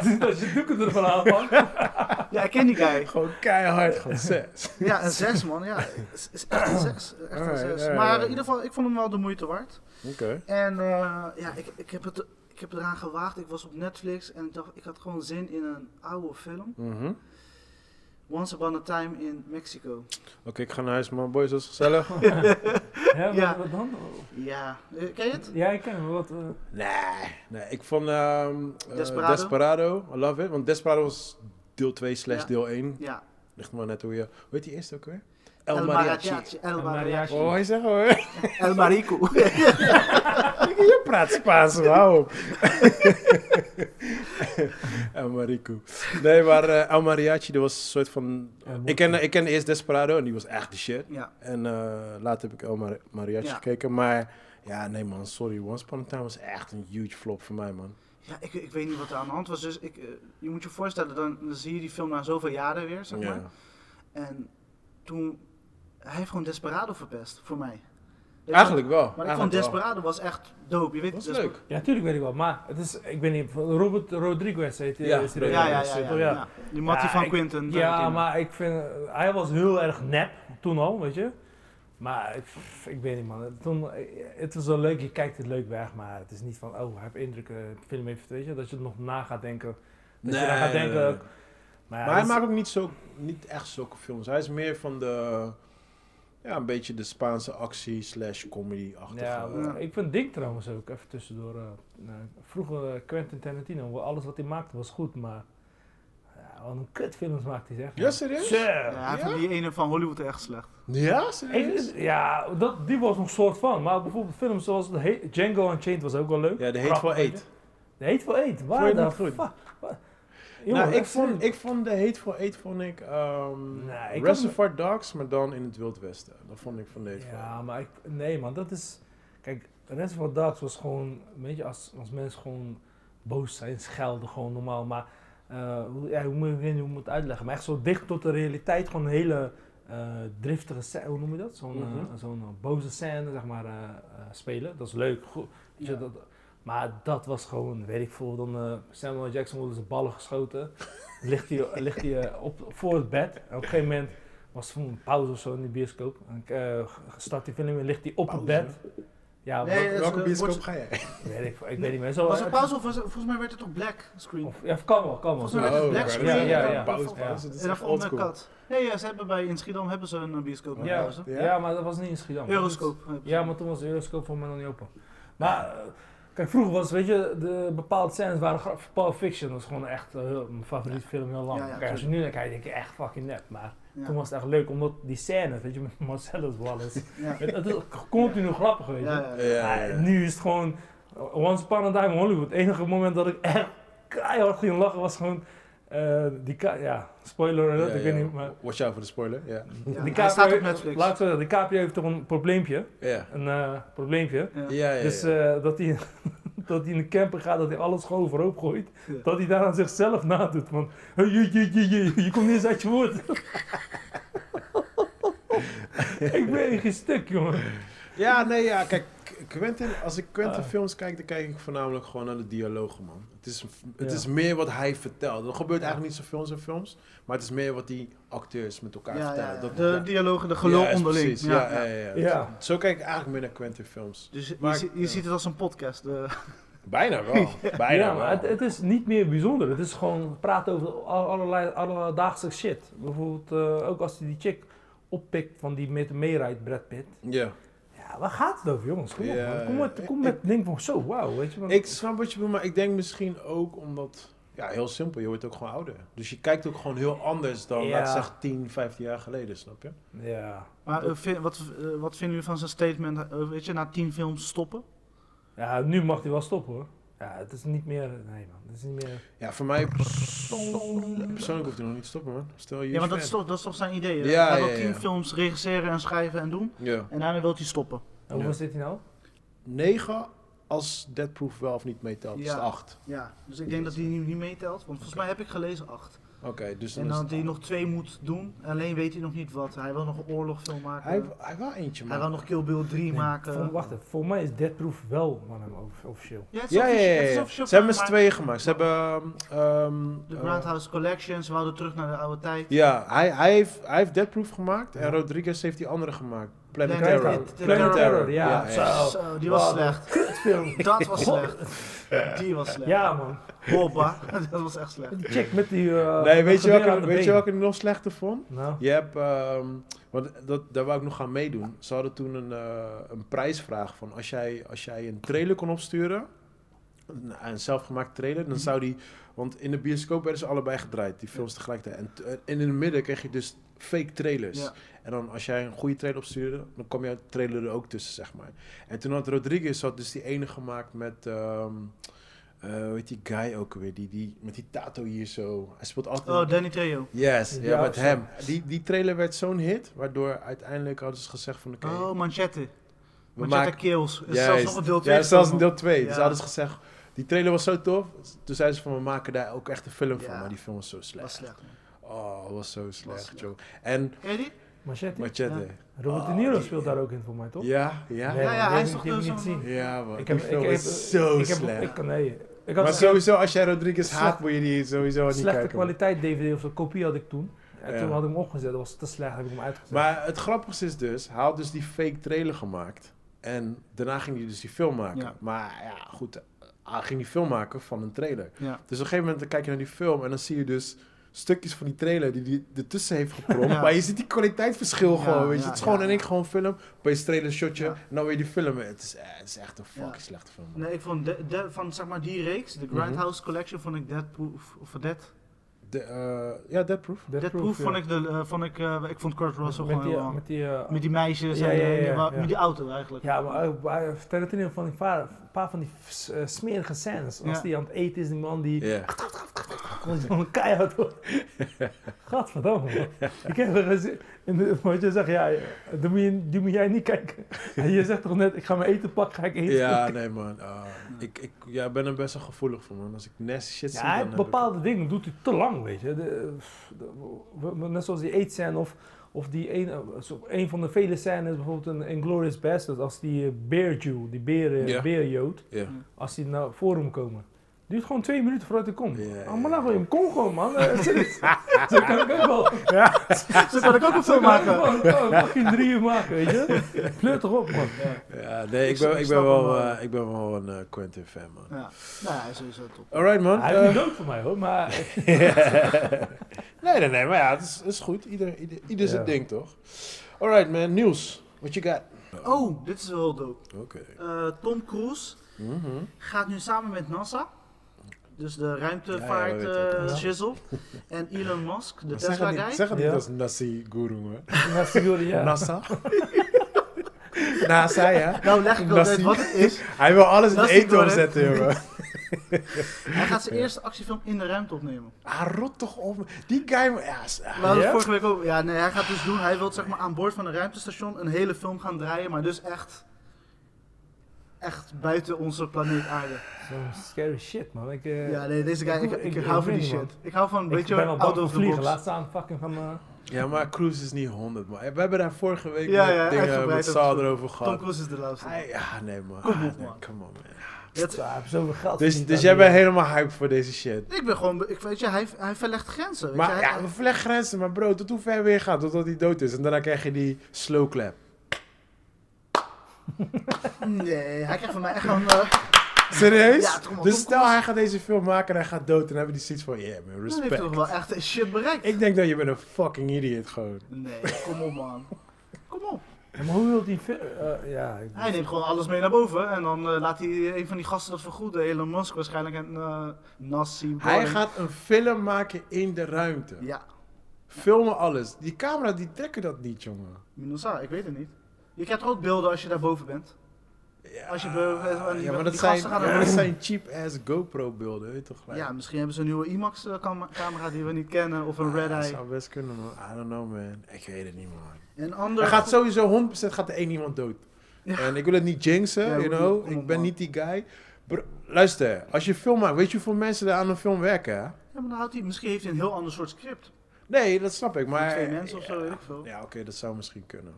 Speaker 3: Als je doeken ervan aanpakt.
Speaker 2: Ja, ik ken die guy.
Speaker 1: Gewoon keihard, gewoon zes.
Speaker 2: Ja, een 6 man. Ja, is, is echt een 6. Echt een
Speaker 1: Alright,
Speaker 2: 6.
Speaker 1: alright,
Speaker 2: Maar
Speaker 1: alright.
Speaker 2: in ieder geval, ik vond hem wel de moeite waard.
Speaker 1: Oké.
Speaker 2: En eh, ja, ik, ik, heb het, ik heb eraan gewaagd. Ik was op Netflix en ik dacht, ik had gewoon zin in een oude film.
Speaker 1: Mhm.
Speaker 2: Once Upon a Time in Mexico.
Speaker 1: Oké, ik ga naar huis, man. Boys, dat is gezellig.
Speaker 3: Ja,
Speaker 2: Ja.
Speaker 3: wat- wat dan?
Speaker 2: Ja, eh, ken je het?
Speaker 3: Ja, ik ken hem. Wat, eh,
Speaker 1: Nee, nee ik vond ehm, eh,
Speaker 2: Desperado?
Speaker 1: Desperado, I love it. Want Desperado was deel 2 slash
Speaker 2: Ja.
Speaker 1: deel 1.
Speaker 2: Ja.
Speaker 1: Ligt maar net hoe je... Hoe heet die eerste ook weer?
Speaker 2: El Mariachi. El Mariachi.
Speaker 3: El Mariachi.
Speaker 1: Oh, hij zegt hoor.
Speaker 2: El Marico.
Speaker 1: Je praat Spaans, wauw. op. El Marico. Nee, maar eh, El Mariachi, dat was een soort van...
Speaker 3: Ja,
Speaker 1: ik, ken, ik ken eerst Desperado en die was echt de shit.
Speaker 2: ja.
Speaker 1: En eh, later heb ik El Mar- Mariachi
Speaker 2: Ja.
Speaker 1: gekeken, maar... Ja, nee man, sorry. Once Upon a Time was echt een huge flop voor mij, man.
Speaker 2: Ja, ik, ik weet niet wat er aan de hand was. Dus ik, eh, je moet je voorstellen, dan, dan zie je die film na zoveel jaren weer, zeg maar.
Speaker 1: Ja.
Speaker 2: En toen, hij heeft gewoon Desperado verpest, voor mij. Weet je
Speaker 1: Eigenlijk wel.
Speaker 2: wel? Maar ik
Speaker 1: eigenlijk
Speaker 2: vond
Speaker 1: wel.
Speaker 2: Desperado was echt dope. Je weet,
Speaker 1: Dat was
Speaker 2: Desper-
Speaker 1: leuk.
Speaker 3: Ja, natuurlijk weet ik wel. Maar het is, ik weet niet, Robert Rodriguez heet
Speaker 1: Ja,
Speaker 3: is die
Speaker 1: Rodriguez.
Speaker 2: Ja, ja,
Speaker 3: regisseur,
Speaker 2: ja. ja,
Speaker 3: toch?
Speaker 2: ja. Die Mattie
Speaker 3: Ja,
Speaker 2: van
Speaker 3: ik-
Speaker 2: Quinten.
Speaker 3: Ja,
Speaker 2: Tarantino.
Speaker 3: maar ik vind, hij was heel erg nep toen al, weet je. Maar ik, ik weet niet man, toen, eh, het was wel leuk, je kijkt het leuk weg, maar het is niet van, oh, hij heeft indrukken, de film heeft, weet je, dat je het nog na gaat denken. Dat je dan gaat denken,
Speaker 1: nee, nee.
Speaker 3: maar
Speaker 1: Maar
Speaker 3: ja,
Speaker 1: hij
Speaker 3: dat is-
Speaker 1: maakt ook niet, zo, niet echt zulke films. Hij is meer van de... Ja, een beetje de Spaanse actie slash comedy-achtige...
Speaker 3: ja,
Speaker 1: eh,
Speaker 3: maar ik vind Ding trouwens ook, even tussendoor, eh, eh, vroeger eh, Quentin Tarantino, alles wat hij maakte was goed, maar ja, wat een kutfilms maakt hij zeg.
Speaker 1: Ja,
Speaker 3: man.
Speaker 1: serieus?
Speaker 3: Zo.
Speaker 2: Ja, hij
Speaker 1: Ja? Oh,
Speaker 2: vond die ene van Hollywood echt slecht.
Speaker 1: Ja,
Speaker 3: Ik-
Speaker 1: serieus?
Speaker 3: is- ja, dat, die was nog soort van. Maar bijvoorbeeld films zoals de He- Django Unchained was ook wel leuk.
Speaker 1: Ja, de
Speaker 3: Krap,
Speaker 1: Hateful
Speaker 3: weet je.
Speaker 1: Eight.
Speaker 3: De Hateful Eight,
Speaker 1: Vond je
Speaker 3: waar
Speaker 1: het
Speaker 3: de
Speaker 1: niet goed?
Speaker 3: fuck? wa- Jongen,
Speaker 1: Nou, ik
Speaker 3: echt serieus.
Speaker 1: vond, ik vond de Hateful Eight vond ik... ehm
Speaker 3: Nee, ik had
Speaker 1: Reservoir Dogs, maar dan in het Wild Westen. Dat vond ik van de Hateful
Speaker 3: Ja,
Speaker 1: Eight.
Speaker 3: maar ik, nee man, dat is... Kijk, Reservoir Dogs was gewoon... Weet je, als, als mensen gewoon boos zijn, schelden gewoon normaal. Maar eh, hoe, ja, hoe, moet, ik weet niet hoe moet ik het uitleggen? Maar echt zo dicht tot de realiteit. Gewoon een hele eh, driftige scène, hoe noem je dat? Zo'n eh,
Speaker 1: Mhm.
Speaker 3: zo'n eh, boze scène, zeg maar, eh, eh, spelen. Dat is leuk. Goed, weet je,
Speaker 2: Ja.
Speaker 3: dat, maar dat was gewoon, weet ik veel, dan eh, Samuel Jackson worden zijn ballen geschoten. ligt hij, ligt hij eh, op, voor het bed. En op een gegeven moment was er een pauze of zo in de bioscoop. En ik eh, start die film en ligt hij op het
Speaker 1: Pauze?
Speaker 3: bed. Ja,
Speaker 2: Nee,
Speaker 3: wat-
Speaker 2: dat is,
Speaker 1: Welke
Speaker 2: eh,
Speaker 1: bioscoop
Speaker 2: wordt-
Speaker 1: ga jij?
Speaker 3: weet ik, ik weet niet meer. Zo,
Speaker 2: Was
Speaker 3: eh,
Speaker 2: het pauze of was, volgens mij werd het op black screen?
Speaker 3: of- ja, kan wel, kan wel.
Speaker 2: Volgens mij werd het
Speaker 1: Oh,
Speaker 2: black
Speaker 1: ja,
Speaker 2: screen.
Speaker 3: ja, ja, ja.
Speaker 2: Pauze,
Speaker 1: Pauze, pauze, dat is
Speaker 2: En dan
Speaker 1: echt
Speaker 2: vond ik
Speaker 1: oldschool.
Speaker 2: kat. Nee, ja, ze hebben bij in Schiedam hebben ze een eh, bioscoop met
Speaker 3: Ja,
Speaker 2: pauze.
Speaker 1: Ja?
Speaker 3: ja, maar dat was niet in Schiedam.
Speaker 2: Euroscope. hebben ze.
Speaker 3: Ja, maar toen was de Euroscope voor mij nog niet open. Maar eh, kijk, vroeger was, weet je, de bepaalde scènes waren graf. Pulp Fiction was gewoon echt eh, heel- mijn favoriete film heel lang.
Speaker 2: Ja, ja,
Speaker 3: kijk, als je nu naar kijkt, denk je echt fucking nep. Maar
Speaker 2: Ja.
Speaker 3: toen was het echt leuk, omdat die scènes, weet je, met Marcellus Wallace.
Speaker 2: Ja.
Speaker 3: het, het is continu grappig, weet je.
Speaker 2: Ja, ja, ja.
Speaker 1: Ja,
Speaker 3: Maar
Speaker 1: ja.
Speaker 3: nu is het gewoon eh, Once Upon a Time in Hollywood. Het enige moment dat ik echt keihard ging lachen was gewoon eh, die ka- ja, spoiler alert,
Speaker 1: Ja,
Speaker 3: ik weet
Speaker 1: ja.
Speaker 3: niet, maar...
Speaker 1: Watch out voor de spoiler, ja.
Speaker 2: Ja,
Speaker 3: die
Speaker 2: hij staat op
Speaker 3: Laat
Speaker 2: Netflix.
Speaker 3: ik zo zeggen, de KPO heeft toch een probleempje,
Speaker 1: Ja,
Speaker 3: een eh, probleempje.
Speaker 1: ja, ja. ja.
Speaker 3: Dus eh, dat, hij, dat hij in de camper gaat, dat hij alles gewoon overhoop gooit.
Speaker 2: Ja.
Speaker 3: Dat hij daar aan zichzelf nadoet. Van, "Hey, je, je, je, je, je komt niet eens uit je woord. ik ben echt geen stuk, jongen.
Speaker 1: Ja, nee, ja, kijk, Qu- Quentin, als ik Quentin
Speaker 3: Ah.
Speaker 1: films kijk, dan kijk ik voornamelijk gewoon naar de dialogen, man. Het is, het
Speaker 3: Ja.
Speaker 1: is meer wat hij vertelt. Er gebeurt
Speaker 3: Ja.
Speaker 1: eigenlijk niet zoveel in zijn films, maar het is meer wat die acteurs met elkaar
Speaker 2: Ja,
Speaker 1: vertellen.
Speaker 2: ja,
Speaker 1: Dat-
Speaker 2: de
Speaker 1: ja.
Speaker 2: dialogen, de gelul
Speaker 1: Ja, is
Speaker 2: onderling.
Speaker 1: precies. Ja, ja, ja, ja.
Speaker 3: Ja.
Speaker 1: Zo kijk ik eigenlijk meer naar Quentin films.
Speaker 2: Dus je,
Speaker 1: Maar-
Speaker 2: zie- je
Speaker 1: ja.
Speaker 2: ziet het als een podcast. eh. De,
Speaker 1: Bijna wel, bijna
Speaker 3: Ja, maar
Speaker 1: wel.
Speaker 3: het, het is niet meer bijzonder. Het is gewoon praten over al- allerlei alledaagse shit. Bijvoorbeeld eh, ook als hij die chick oppikt van die met meerijdt Brad Pitt.
Speaker 1: Ja.
Speaker 3: Ja, waar gaat het over jongens? Kom op
Speaker 1: Ja,
Speaker 3: man. Kom met, kom met ding van zo, wauw, weet je wel.
Speaker 1: Ik snap wat je bedoelt, maar ik denk misschien ook omdat... Ja, heel simpel, je wordt ook gewoon ouder. Dus je kijkt ook gewoon heel anders dan,
Speaker 3: Ja.
Speaker 1: laat ik zeggen, 10, 15 jaar geleden, snap je?
Speaker 3: Ja.
Speaker 2: maar eh, vin- wat, eh, wat vinden jullie van zijn statement, eh, weet je, na tien films stoppen?
Speaker 3: ja, nu mag hij wel stoppen hoor. Ja, het is niet meer. Nee, man. Het is niet meer.
Speaker 1: Ja, voor mij persoonlijk, persoonlijk hoeft hij nog niet te stoppen, man. Stel je.
Speaker 2: Ja, want dat
Speaker 1: fan.
Speaker 2: is toch, dat is toch zijn idee. hè?
Speaker 1: Ja,
Speaker 2: hij
Speaker 1: ja,
Speaker 2: wil tien
Speaker 1: ja.
Speaker 2: films regisseren en schrijven en doen.
Speaker 1: Ja.
Speaker 2: En daarna wil hij stoppen.
Speaker 3: Hoe
Speaker 1: Ja.
Speaker 3: hoeveel zit hij nou?
Speaker 1: 9 als Deadproof wel of niet meetelt. is
Speaker 2: Ja.
Speaker 1: het 8.
Speaker 2: Ja, dus ik denk dat hij niet meetelt. Want volgens mij heb ik gelezen acht.
Speaker 1: Oké, dus dan
Speaker 2: En
Speaker 1: is
Speaker 2: dat
Speaker 1: het
Speaker 2: hij
Speaker 1: acht.
Speaker 2: nog twee moet doen. Alleen weet hij nog niet wat. Hij wil nog een oorlogfilm maken.
Speaker 1: Hij,
Speaker 2: Hij,
Speaker 1: hij wil eentje,
Speaker 2: wil
Speaker 1: man.
Speaker 2: nog Kill Bill 3
Speaker 3: Nee,
Speaker 2: maken.
Speaker 3: vol- wacht even, voor mij is Dead Proof wel Manham off- officieel.
Speaker 2: Ja, het is
Speaker 1: Ja, ja,
Speaker 2: officieel-
Speaker 1: ja,
Speaker 2: het is
Speaker 1: ja.
Speaker 2: officieel
Speaker 1: Ze hebben met z'n
Speaker 2: gemaakt.
Speaker 1: tweeën gemaakt. Ze hebben... ehm,
Speaker 2: De
Speaker 1: eh,
Speaker 2: Roundhouse Collection, ze wouden terug naar de oude tijd.
Speaker 1: ja, hij, hij, heeft, hij heeft Deadproof gemaakt
Speaker 3: Ja.
Speaker 1: en Rodriguez heeft die andere gemaakt. Planet
Speaker 2: Planet
Speaker 1: Terror.
Speaker 2: Terror.
Speaker 3: Planet
Speaker 1: Planet Terror,
Speaker 3: ja.
Speaker 1: ja,
Speaker 3: Zo.
Speaker 2: Zo, die was
Speaker 3: Wow.
Speaker 2: slecht.
Speaker 3: Kutfilm.
Speaker 2: Dat was slecht. Die was slecht.
Speaker 3: Ja, man.
Speaker 2: Hoppa, dat was echt slecht.
Speaker 3: Check met die. eh,
Speaker 1: Nee, weet je,
Speaker 3: geweer aan
Speaker 1: welke,
Speaker 3: de
Speaker 1: weet je
Speaker 3: been.
Speaker 1: welke ik nog slechter vond?
Speaker 3: Nou,
Speaker 1: Je hebt, ehm, want dat, daar wou ik nog gaan meedoen. Ze hadden toen een, eh, een prijsvraag van als jij, als jij een trailer kon opsturen, een, een zelfgemaakte trailer,
Speaker 2: Mhm.
Speaker 1: dan zou die, want in de bioscoop werden ze allebei gedraaid, die films tegelijkertijd. En, t- eh, en in het midden kreeg je dus fake trailers.
Speaker 2: Ja.
Speaker 1: En dan als jij een goede trailer opstuurde, dan kwam jouw trailer er ook tussen, zeg maar. En toen had Rodriguez had dus die ene gemaakt met, ehm weet die guy ook weer, die, die, met die tato hier zo. Hij speelt altijd
Speaker 2: Oh, Danny Trejo.
Speaker 1: Yes, ja,
Speaker 3: Ja,
Speaker 1: met
Speaker 3: zo.
Speaker 1: hem. Die, die trailer werd zo'n hit, waardoor uiteindelijk hadden ze gezegd van oké,
Speaker 2: Oh, Manchette.
Speaker 1: we
Speaker 2: Manchette
Speaker 1: maken...
Speaker 2: Kills. Er is
Speaker 1: Juist.
Speaker 2: zelfs nog een deel 2.
Speaker 1: Ja, zelfs een deel 2. Dus
Speaker 2: Ja.
Speaker 1: hadden ze gezegd, die trailer was zo tof. Toen zeiden ze van we maken daar ook echt een film van,
Speaker 2: Ja.
Speaker 1: maar die film was zo slecht.
Speaker 2: was slecht. man.
Speaker 1: Oh, was zo slecht,
Speaker 2: slecht.
Speaker 1: joh. En
Speaker 2: Ken je die?
Speaker 3: Machete.
Speaker 1: Machete.
Speaker 3: Robert
Speaker 1: Oh,
Speaker 3: De Niro
Speaker 1: die-
Speaker 3: speelt daar ook in voor mij, toch?
Speaker 1: Ja, ja.
Speaker 3: Nee,
Speaker 1: Ja,
Speaker 2: Ja,
Speaker 3: man,
Speaker 2: ja,
Speaker 3: die
Speaker 2: hij
Speaker 3: heb
Speaker 2: is
Speaker 3: ik-
Speaker 2: toch dus
Speaker 3: die heb ik
Speaker 2: zo'n-
Speaker 3: niet gezien.
Speaker 1: man.
Speaker 3: Ik heb,
Speaker 1: die
Speaker 3: ik,
Speaker 1: film
Speaker 3: heb,
Speaker 1: was zo
Speaker 3: ik heb,
Speaker 1: slecht.
Speaker 3: Ik kan nee. Ik had
Speaker 1: maar
Speaker 3: een
Speaker 1: sowieso, als jij Rodriguez
Speaker 3: Slechte-
Speaker 1: haat, moet je die sowieso niet
Speaker 3: slechte
Speaker 1: kijken. man.
Speaker 3: kwaliteit DVD of zo, kopie had ik toen. En
Speaker 1: Ja.
Speaker 3: toen had ik hem opgezet, dat was te slecht, heb ik hem uitgezet.
Speaker 1: Maar het grappigste is dus, hij had dus die fake trailer gemaakt. En daarna ging hij dus die film maken.
Speaker 2: Ja.
Speaker 1: Maar ja, goed, hij ging die film maken van een trailer.
Speaker 2: Ja.
Speaker 1: Dus op een gegeven moment dan kijk je naar die film en dan zie je dus stukjes van die trailer die hij ertussen heeft geprompt.
Speaker 2: Ja.
Speaker 1: Maar je ziet die kwaliteitsverschil
Speaker 2: Ja,
Speaker 1: gewoon, weet je.
Speaker 2: ja,
Speaker 1: het is gewoon
Speaker 2: ja.
Speaker 1: en ik gewoon film, opeens trailer shotje,
Speaker 2: Ja.
Speaker 1: en dan weer die film. Het is, eh, het is echt een fucking
Speaker 2: Ja.
Speaker 1: slechte film. man.
Speaker 2: Nee, ik vond de, de- van zeg maar die reeks, de Grindhouse Collection, vond ik Dead Proof, of Dead,
Speaker 1: De, eh, ja, Dead Proof.
Speaker 2: Dead Proof vond ik, de, eh, vond ik, eh, ik vond Kurt Russell
Speaker 3: met
Speaker 2: gewoon
Speaker 3: die,
Speaker 2: heel
Speaker 3: met die, eh,
Speaker 2: lang. Met die meisjes
Speaker 3: Ja,
Speaker 2: en
Speaker 3: ja,
Speaker 2: eh,
Speaker 3: ja,
Speaker 2: wa-
Speaker 3: ja.
Speaker 2: met die auto eigenlijk.
Speaker 3: Ja, maar eh, bij Tarantino van een paar, een paar van die s- eh, smerige scènes. Als
Speaker 2: Ja.
Speaker 3: die aan het eten is, die man die
Speaker 1: Ja.
Speaker 3: kon zo'n keihard hoor. Gadverdamme man. Ik heb er gezien, in de- want je zegt, ja, die moet, je, die moet jij niet kijken. En je zegt toch net, ik ga mijn eten pakken, ga ik eten.
Speaker 1: Ja, nee man. Ah, ik, ik ja, ben er best wel gevoelig voor man. Als ik nasty shit zie,
Speaker 3: Ja, hij
Speaker 1: dan heb ik-
Speaker 3: bepaalde dingen doet hij te lang, weet je. De, eh, de- we- we- net zoals die eetscène of, of die een, eh, zo- een van de vele scènes, bijvoorbeeld in Inglourious Bastards, als die eh, Bear Jew, die beer, eh,
Speaker 1: Ja.
Speaker 3: beerjood,
Speaker 1: Ja.
Speaker 3: als die naar voor hem komen. Duurt gewoon twee minuten voordat hij komt.
Speaker 1: Ja, ja,
Speaker 3: Oh, maar
Speaker 1: ja.
Speaker 3: nou wil je hem, kom gewoon man. Eh, serieus. Zo kan ik ook wel.
Speaker 2: Zo kan ik ook een film maken.
Speaker 3: Gewoon, gewoon fucking drie uur maken, weet je. Fleur toch op man.
Speaker 1: Ja, nee, ik
Speaker 2: snap-
Speaker 1: ben,
Speaker 2: ik
Speaker 1: ik ben,
Speaker 2: snap
Speaker 1: wel,
Speaker 2: hem wel.
Speaker 1: eh, ik ben wel een eh, Quentin fan, man.
Speaker 2: Ja, nou, hij is sowieso top.
Speaker 1: Alright, man.
Speaker 3: Hij is
Speaker 1: Eh,
Speaker 3: niet dood voor mij hoor, maar
Speaker 1: nee, nee, nee, maar ja, het is, het is goed. Ieder, ieder, ieder zijn
Speaker 3: Ja.
Speaker 1: ding, toch? Alright, man. Nieuws. What you got?
Speaker 2: Oh, dit is wel dope.
Speaker 1: Oké.
Speaker 2: Eh, Tom Cruise
Speaker 1: Mhm.
Speaker 2: gaat nu samen met NASA, dus de
Speaker 1: Ja,
Speaker 2: ruimtevaart
Speaker 1: ja, we weten
Speaker 2: eh,
Speaker 3: het.
Speaker 2: shizzle, en Elon Musk, de
Speaker 1: Maar Zeg
Speaker 2: Tesla
Speaker 1: het
Speaker 2: guy.
Speaker 1: niet, zeg het niet
Speaker 3: Ja.
Speaker 1: als Nasi Guru, man.
Speaker 3: naast jullie, ja.
Speaker 1: NASA. NASA, ja.
Speaker 2: Nou, leg ik wel
Speaker 1: Nassi.
Speaker 2: uit wat het is.
Speaker 1: Hij wil alles in
Speaker 2: Nassi
Speaker 1: eten
Speaker 2: door, hè?
Speaker 1: omzetten, jongen.
Speaker 2: Hij gaat zijn eerste actiefilm in de ruimte opnemen.
Speaker 1: Ah, rot toch op. Die guy... man. Ja, s- ah,
Speaker 2: We hadden
Speaker 3: Ja?
Speaker 2: vorige week ook. Ja, nee, hij gaat dus doen. Hij wil zeg maar aan boord van een ruimtestation een hele film gaan draaien, maar dus echt. Echt buiten onze planeet Aarde.
Speaker 3: Zo'n scary shit man. Ik, eh,
Speaker 2: Ja, nee, deze guy, ik,
Speaker 3: Ik-
Speaker 2: ik,
Speaker 3: ik-
Speaker 2: hou
Speaker 3: ik
Speaker 2: van die
Speaker 3: weet niet,
Speaker 2: shit. Ik hou van een
Speaker 3: Ik
Speaker 2: beetje
Speaker 3: ben al bang
Speaker 2: out
Speaker 3: voor
Speaker 2: of the box.
Speaker 3: vliegen. Laat staan fucking van... eh,
Speaker 1: Ja, maar Cruise is niet 100, man. We hebben daar vorige week
Speaker 2: Ja,
Speaker 1: met
Speaker 2: ja,
Speaker 1: dingen
Speaker 2: uitgebreid
Speaker 1: met Saal
Speaker 2: over-
Speaker 1: erover
Speaker 2: Tom
Speaker 1: gehad.
Speaker 2: Cruise is de
Speaker 1: Hij-
Speaker 2: laatste.
Speaker 1: Ja, nee, man.
Speaker 2: Kom op,
Speaker 1: Ah, nee,
Speaker 2: man.
Speaker 1: Come on, man.
Speaker 2: Het-
Speaker 3: Ja, hij heeft zoveel geld.
Speaker 1: Dus,
Speaker 3: verdiend
Speaker 1: dus
Speaker 3: aan
Speaker 1: jij
Speaker 3: die-
Speaker 1: bent helemaal hype voor deze shit.
Speaker 2: Ik ben gewoon, ik weet je, hij, hij verlegt grenzen. weet je,
Speaker 1: Maar
Speaker 2: hij-
Speaker 1: ja, we verleggen grenzen, maar bro, tot hoe ver weer gaat, totdat hij dood is. En daarna krijg je die slow clap.
Speaker 2: nee, hij krijgt van mij echt gewoon. eh,
Speaker 1: Serieus?
Speaker 2: Ja, kom op,
Speaker 1: dus
Speaker 2: kom,
Speaker 1: stel
Speaker 2: kom op.
Speaker 1: hij gaat deze film maken en hij gaat dood, en dan hebben die zoiets van, yeah man,
Speaker 2: dan heeft hij
Speaker 1: respect.
Speaker 2: toch wel echt shit bereikt.
Speaker 1: Ik denk dat je bent een fucking idiot gewoon.
Speaker 2: Nee, kom op man. Kom op.
Speaker 3: Ja, maar hoe wil die... fi- eh, ja, ik-
Speaker 2: Hij neemt gewoon alles mee naar boven en dan eh, laat hij een van die gasten dat vergoeden. Elon Musk waarschijnlijk en eh Nassim.
Speaker 1: Hij
Speaker 2: Boring.
Speaker 1: gaat een film maken in de ruimte.
Speaker 2: Ja,
Speaker 1: Filmen alles. Die camera, die trekken dat niet, jongen.
Speaker 2: Minosa, ik weet het niet. Je krijgt er ook beelden als je daar boven bent.
Speaker 1: Ja,
Speaker 2: Als je be- en die-
Speaker 1: ja, maar dat
Speaker 2: die
Speaker 1: zijn,
Speaker 2: gasten gaan dan-
Speaker 1: ja, dat zijn cheap-ass GoPro-beelden, weet je toch?
Speaker 2: Ja, misschien hebben ze een nieuwe IMAX-camera die we niet kennen of een Red
Speaker 1: Ah, Dat
Speaker 2: Eye.
Speaker 1: zou best kunnen, man. I don't know, man. Ik weet het niet, man.
Speaker 2: Een ander.
Speaker 1: Er gaat sowieso 100% gaat er één iemand dood.
Speaker 2: Ja.
Speaker 1: En ik wil het niet jinxen,
Speaker 2: Ja,
Speaker 1: you
Speaker 2: hoe-
Speaker 1: know.
Speaker 2: kom
Speaker 1: Ik
Speaker 2: op,
Speaker 1: ben
Speaker 2: man.
Speaker 1: niet die guy. Bro, luister, als je een film maakt, weet je hoeveel mensen er aan een film werken? hè?
Speaker 2: Ja, maar dan houdt hij, misschien heeft hij een heel ander soort script.
Speaker 1: Nee, dat snap ik, maar...
Speaker 2: twee mensen of zo,
Speaker 1: ja.
Speaker 2: weet ik veel.
Speaker 1: Ja, oké, dat zou misschien kunnen.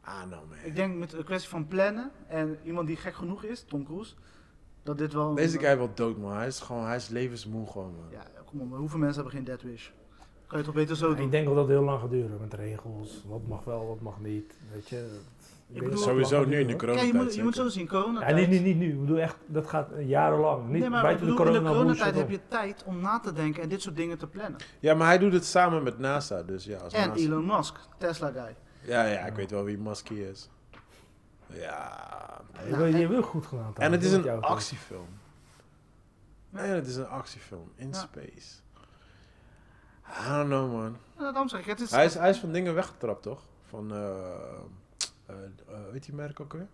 Speaker 1: Ah, nou, man.
Speaker 2: Ik denk met een kwestie van plannen en iemand die gek genoeg is, Tom Cruise, dat dit wel... een-
Speaker 1: Deze guy wil dood, man. Hij is gewoon, hij is levensmoe gewoon, man.
Speaker 2: Ja, kom op, maar hoeveel mensen hebben geen Dead Wish? Kan je toch beter zo doen?
Speaker 3: Ik denk dat dat heel lang gaat duren met regels. Wat mag wel, wat mag niet. Weet je. dat- ik
Speaker 2: bedoel-
Speaker 3: dat het lang
Speaker 1: Sowieso
Speaker 3: gaat
Speaker 1: nu in de
Speaker 3: duren, hoor.
Speaker 2: Ja,
Speaker 1: coronatijd.
Speaker 2: je moet, je
Speaker 1: zeker.
Speaker 2: moet zo zien,
Speaker 3: Ja,
Speaker 2: coronatijd...
Speaker 3: niet, niet, niet nu. Ik bedoel echt, dat gaat eh, jarenlang. Niet
Speaker 2: nee, maar ik
Speaker 3: buiten
Speaker 2: bedoel, in de
Speaker 3: corona bullshit
Speaker 2: coronatijd heb
Speaker 3: om.
Speaker 2: je tijd om na te denken en dit soort dingen te plannen.
Speaker 1: Ja, maar hij doet het samen met NASA, dus ja. Als
Speaker 2: En
Speaker 1: NASA.
Speaker 2: Elon Musk, Tesla guy.
Speaker 1: Ja, ja, ik weet wel wie Muskie is. Ja.
Speaker 3: Je wil- Je wil goed gedaan.
Speaker 1: En het
Speaker 3: trouwens,
Speaker 1: is
Speaker 3: met
Speaker 1: een
Speaker 3: jou,
Speaker 1: actiefilm.
Speaker 2: Ja.
Speaker 1: En het is een actiefilm in
Speaker 2: Ja.
Speaker 1: space. I don't know, man.
Speaker 2: Nou, daarom zeg ik, het is...
Speaker 1: Hij is, hij is van dingen weggetrapt, toch? Van, eh eh, eh, weet die merk ook weer?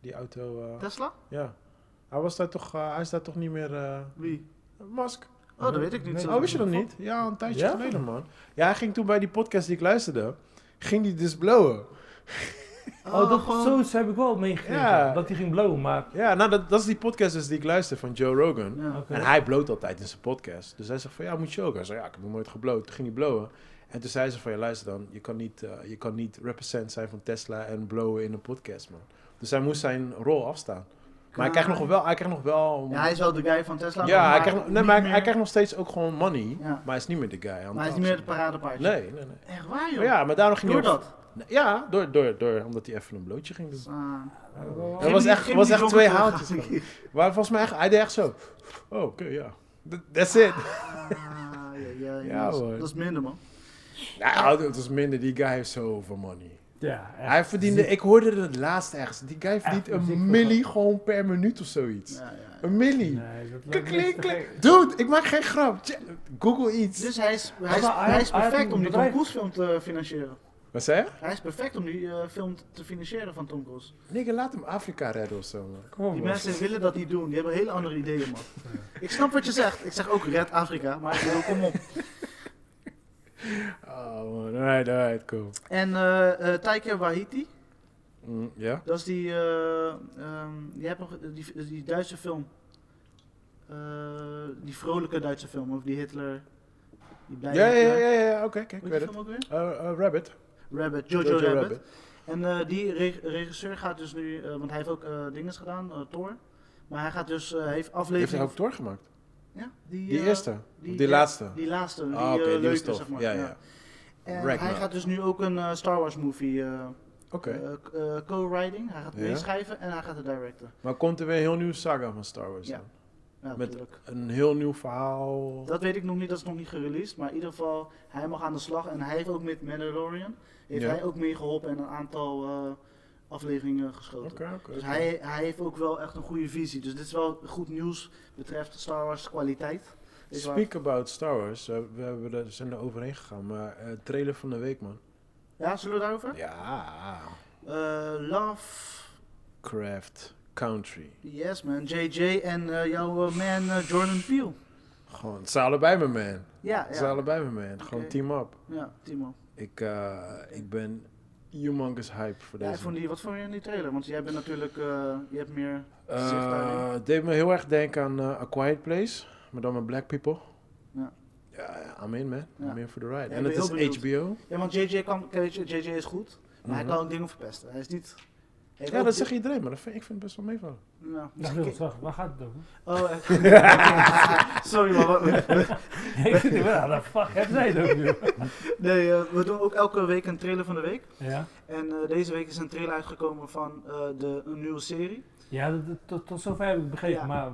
Speaker 1: Die auto, eh,
Speaker 2: Tesla?
Speaker 1: ja. Hij was daar toch, eh, hij is daar toch niet meer, eh
Speaker 2: Wie?
Speaker 1: Musk.
Speaker 2: Oh, dat weet ik niet.
Speaker 3: Nee.
Speaker 1: Oh, wist je dat niet? Ja, een tijdje
Speaker 3: Ja?
Speaker 1: geleden, man. Ja, hij ging toen bij die podcast die ik luisterde, ging die dus blowen.
Speaker 3: toch? Oh, dat, zo heb ik wel meegekregen.
Speaker 1: Ja.
Speaker 3: Dat hij ging blowen, maar...
Speaker 1: Ja, nou, dat, dat is die podcast dus die ik luister van Joe Rogan.
Speaker 2: Ja.
Speaker 3: Oké.
Speaker 1: En hij bloot altijd in zijn podcast. Dus hij zegt van, ja, moet je ook? Hij zei, ja, ik heb nog nooit gebloot. Toen ging hij blowen. En toen zei ze van, ja, luister dan, je kan niet, eh, je kan niet represent zijn van Tesla en blowen in een podcast, man. Dus hij moest zijn rol afstaan. Maar hij krijgt nog wel, hij krijgt nog wel...
Speaker 2: Ja, hij is wel de guy van Tesla.
Speaker 1: Ja, hij
Speaker 2: maar
Speaker 1: krijgt, nog- nee,
Speaker 2: niet
Speaker 1: maar hij,
Speaker 2: meer-
Speaker 1: hij krijgt nog steeds ook gewoon money,
Speaker 2: Ja.
Speaker 1: maar hij is niet meer de guy. aan het
Speaker 2: Maar hij is niet meer het
Speaker 1: afzetten.
Speaker 2: paradepaardje.
Speaker 1: Nee, nee, nee.
Speaker 2: Echt waar, joh.
Speaker 1: Maar ja, maar daarom ging
Speaker 2: Doe
Speaker 1: hij ook-
Speaker 2: dat.
Speaker 1: Ja, door, door, door, omdat hij even een blootje ging doen.
Speaker 2: Ah.
Speaker 1: Dat was echt,
Speaker 2: Geen
Speaker 1: was
Speaker 2: die
Speaker 1: echt twee
Speaker 2: jongen
Speaker 1: haaltjes.
Speaker 2: terug.
Speaker 1: Maar volgens mij, echt, hij deed echt zo. Oh, oké, ja. Th- That's it.
Speaker 2: Ah, ja,
Speaker 1: Ja,
Speaker 2: ja, ja, dat,
Speaker 1: hoor.
Speaker 2: is, dat is minder, man. Ah,
Speaker 1: Nou, het was minder. Die guy heeft zoveel money.
Speaker 3: Ja, echt.
Speaker 1: Hij verdiende, ik hoorde het laatst ergens. Die guy verdient
Speaker 3: Echt ziek
Speaker 1: een
Speaker 3: veel
Speaker 1: milli gewoon per minuut of zoiets.
Speaker 2: Ja, ja.
Speaker 1: Een milli.
Speaker 3: Nee, dat
Speaker 1: Klik,
Speaker 3: lijkt me
Speaker 1: klik,
Speaker 3: niks te
Speaker 1: klik.
Speaker 3: gek.
Speaker 1: Dude, ik maak geen grap. Tja, Google iets.
Speaker 2: Dus hij is, hij is,
Speaker 3: maar hij
Speaker 2: hij
Speaker 3: had-
Speaker 2: is
Speaker 3: hij had
Speaker 2: perfect
Speaker 3: een
Speaker 2: om die Tom
Speaker 3: bedrijf.
Speaker 2: Cruise film te financieren.
Speaker 1: Wat zei je?
Speaker 2: Hij is perfect om die eh, film te financieren van Tom Cruise.
Speaker 1: Nigga, laat hem Afrika redden of zo, man.
Speaker 3: Kom op,
Speaker 2: Die
Speaker 3: man.
Speaker 2: mensen willen dat niet doen. Die hebben hele andere ideeën, man. Ik snap wat je zegt. Ik zeg ook Red Afrika, maar ik bedoel, kom op.
Speaker 1: Oh, man. Alright, alright, cool.
Speaker 2: En eh eh Taika Waititi,
Speaker 1: Mm, ja?
Speaker 2: dat is die, eh, ehm, die, hebt nog- die, die Duitse film. Eh, die vrolijke Duitse film over die Hitler. Die blije
Speaker 1: Ja, ja,
Speaker 2: Hitler.
Speaker 1: ja, ja, ja, oké, oké, ik
Speaker 2: Hoe
Speaker 1: weet
Speaker 2: heet die
Speaker 1: het.
Speaker 2: film ook weer?
Speaker 1: Eh, eh, Rabbit.
Speaker 2: Rabbit, Jojo, Rabbit. En eh, die re- regisseur gaat dus nu, eh, want hij heeft ook eh dingen gedaan, eh Thor. Maar hij gaat dus, eh, heeft
Speaker 1: Heeft hij
Speaker 2: aflevering...
Speaker 1: ook doorgemaakt?
Speaker 2: Ja, die,
Speaker 1: Die
Speaker 2: eh,
Speaker 1: eerste? Die,
Speaker 2: eh,
Speaker 1: laatste?
Speaker 2: Die laatste, die,
Speaker 1: Ah,
Speaker 2: eh,
Speaker 1: oké, die was
Speaker 2: leuke,
Speaker 1: tof.
Speaker 2: zeg maar.
Speaker 1: ja,
Speaker 2: ja.
Speaker 1: ja.
Speaker 2: En hij
Speaker 1: Ragnarok.
Speaker 2: gaat dus nu ook een eh, Star Wars movie eh,
Speaker 1: Oké.
Speaker 2: eh, k- eh, co-writing. Hij gaat
Speaker 1: Ja.
Speaker 2: meeschrijven en hij gaat het directen.
Speaker 1: Maar komt er weer een heel nieuwe saga van Star Wars
Speaker 2: Ja.
Speaker 1: dan?
Speaker 2: Ja,
Speaker 1: Met-
Speaker 2: natuurlijk.
Speaker 1: Een heel nieuw verhaal?
Speaker 2: Dat weet ik nog niet, dat is nog niet gereleased. Maar in ieder geval, hij mag aan de slag. En hij heeft ook met Mandalorian, heeft
Speaker 1: Ja.
Speaker 2: hij ook meegeholpen en een aantal eh, afleveringen geschoten.
Speaker 1: Oké, oké.
Speaker 2: Dus hij, hij heeft ook wel echt een goede visie. Dus dit is wel goed nieuws betreft Star Wars kwaliteit. Dit is waar-
Speaker 1: Speak about Star Wars. eh, we hebben er, zijn er overheen gegaan, maar eh, trailer van de week, man.
Speaker 2: Ja, zullen we daarover?
Speaker 1: Ja.
Speaker 2: Eh, love.
Speaker 1: Craft Country.
Speaker 2: Yes man, JJ en eh, jouw eh, man eh, Jordan Peele.
Speaker 1: Gewoon, het zijn allebei mijn man.
Speaker 2: Ja,
Speaker 1: Het zijn
Speaker 2: ja.
Speaker 1: allebei mijn man. Gewoon
Speaker 2: Oké.
Speaker 1: team up.
Speaker 2: ja Timo.
Speaker 1: Ik, eh, ik ben humongous hype voor
Speaker 2: Ja, ik
Speaker 1: deze.
Speaker 2: vond die, wat vond je in die trailer? Want jij bent natuurlijk, eh, je hebt meer...
Speaker 1: Eh,
Speaker 2: Zicht daarin.
Speaker 1: het deed me heel erg denken aan eh, A Quiet Place, maar dan met black people.
Speaker 2: Ja.
Speaker 1: Ja, I'm in man.
Speaker 2: Ja.
Speaker 1: I'm in for the ride.
Speaker 2: Ja, ik
Speaker 1: en
Speaker 2: ben
Speaker 1: het is
Speaker 2: heel benieuwd.
Speaker 1: HBO.
Speaker 2: Ja, want JJ, kan, kijk, weet je, JJ is goed, maar hij
Speaker 1: Mhm.
Speaker 2: kan ook dingen verpesten. Hij is niet... Hij
Speaker 1: Ja, dat zegt iedereen, maar dat vind, ik vind het best wel meevallen.
Speaker 2: Ja,
Speaker 3: Dag, Niels, wacht, waar gaat het over?
Speaker 2: Oh, eh, sorry man, we-
Speaker 3: ik zit hier, waar de fuck heb jij het over, joh?
Speaker 2: Nee, eh, we doen ook elke week een trailer van de week.
Speaker 3: Ja,
Speaker 2: En eh, deze week is een trailer uitgekomen van eh, de, een nieuwe serie.
Speaker 3: ja dat- dat- tot, tot zover heb ik begrepen,
Speaker 2: Ja.
Speaker 3: maar...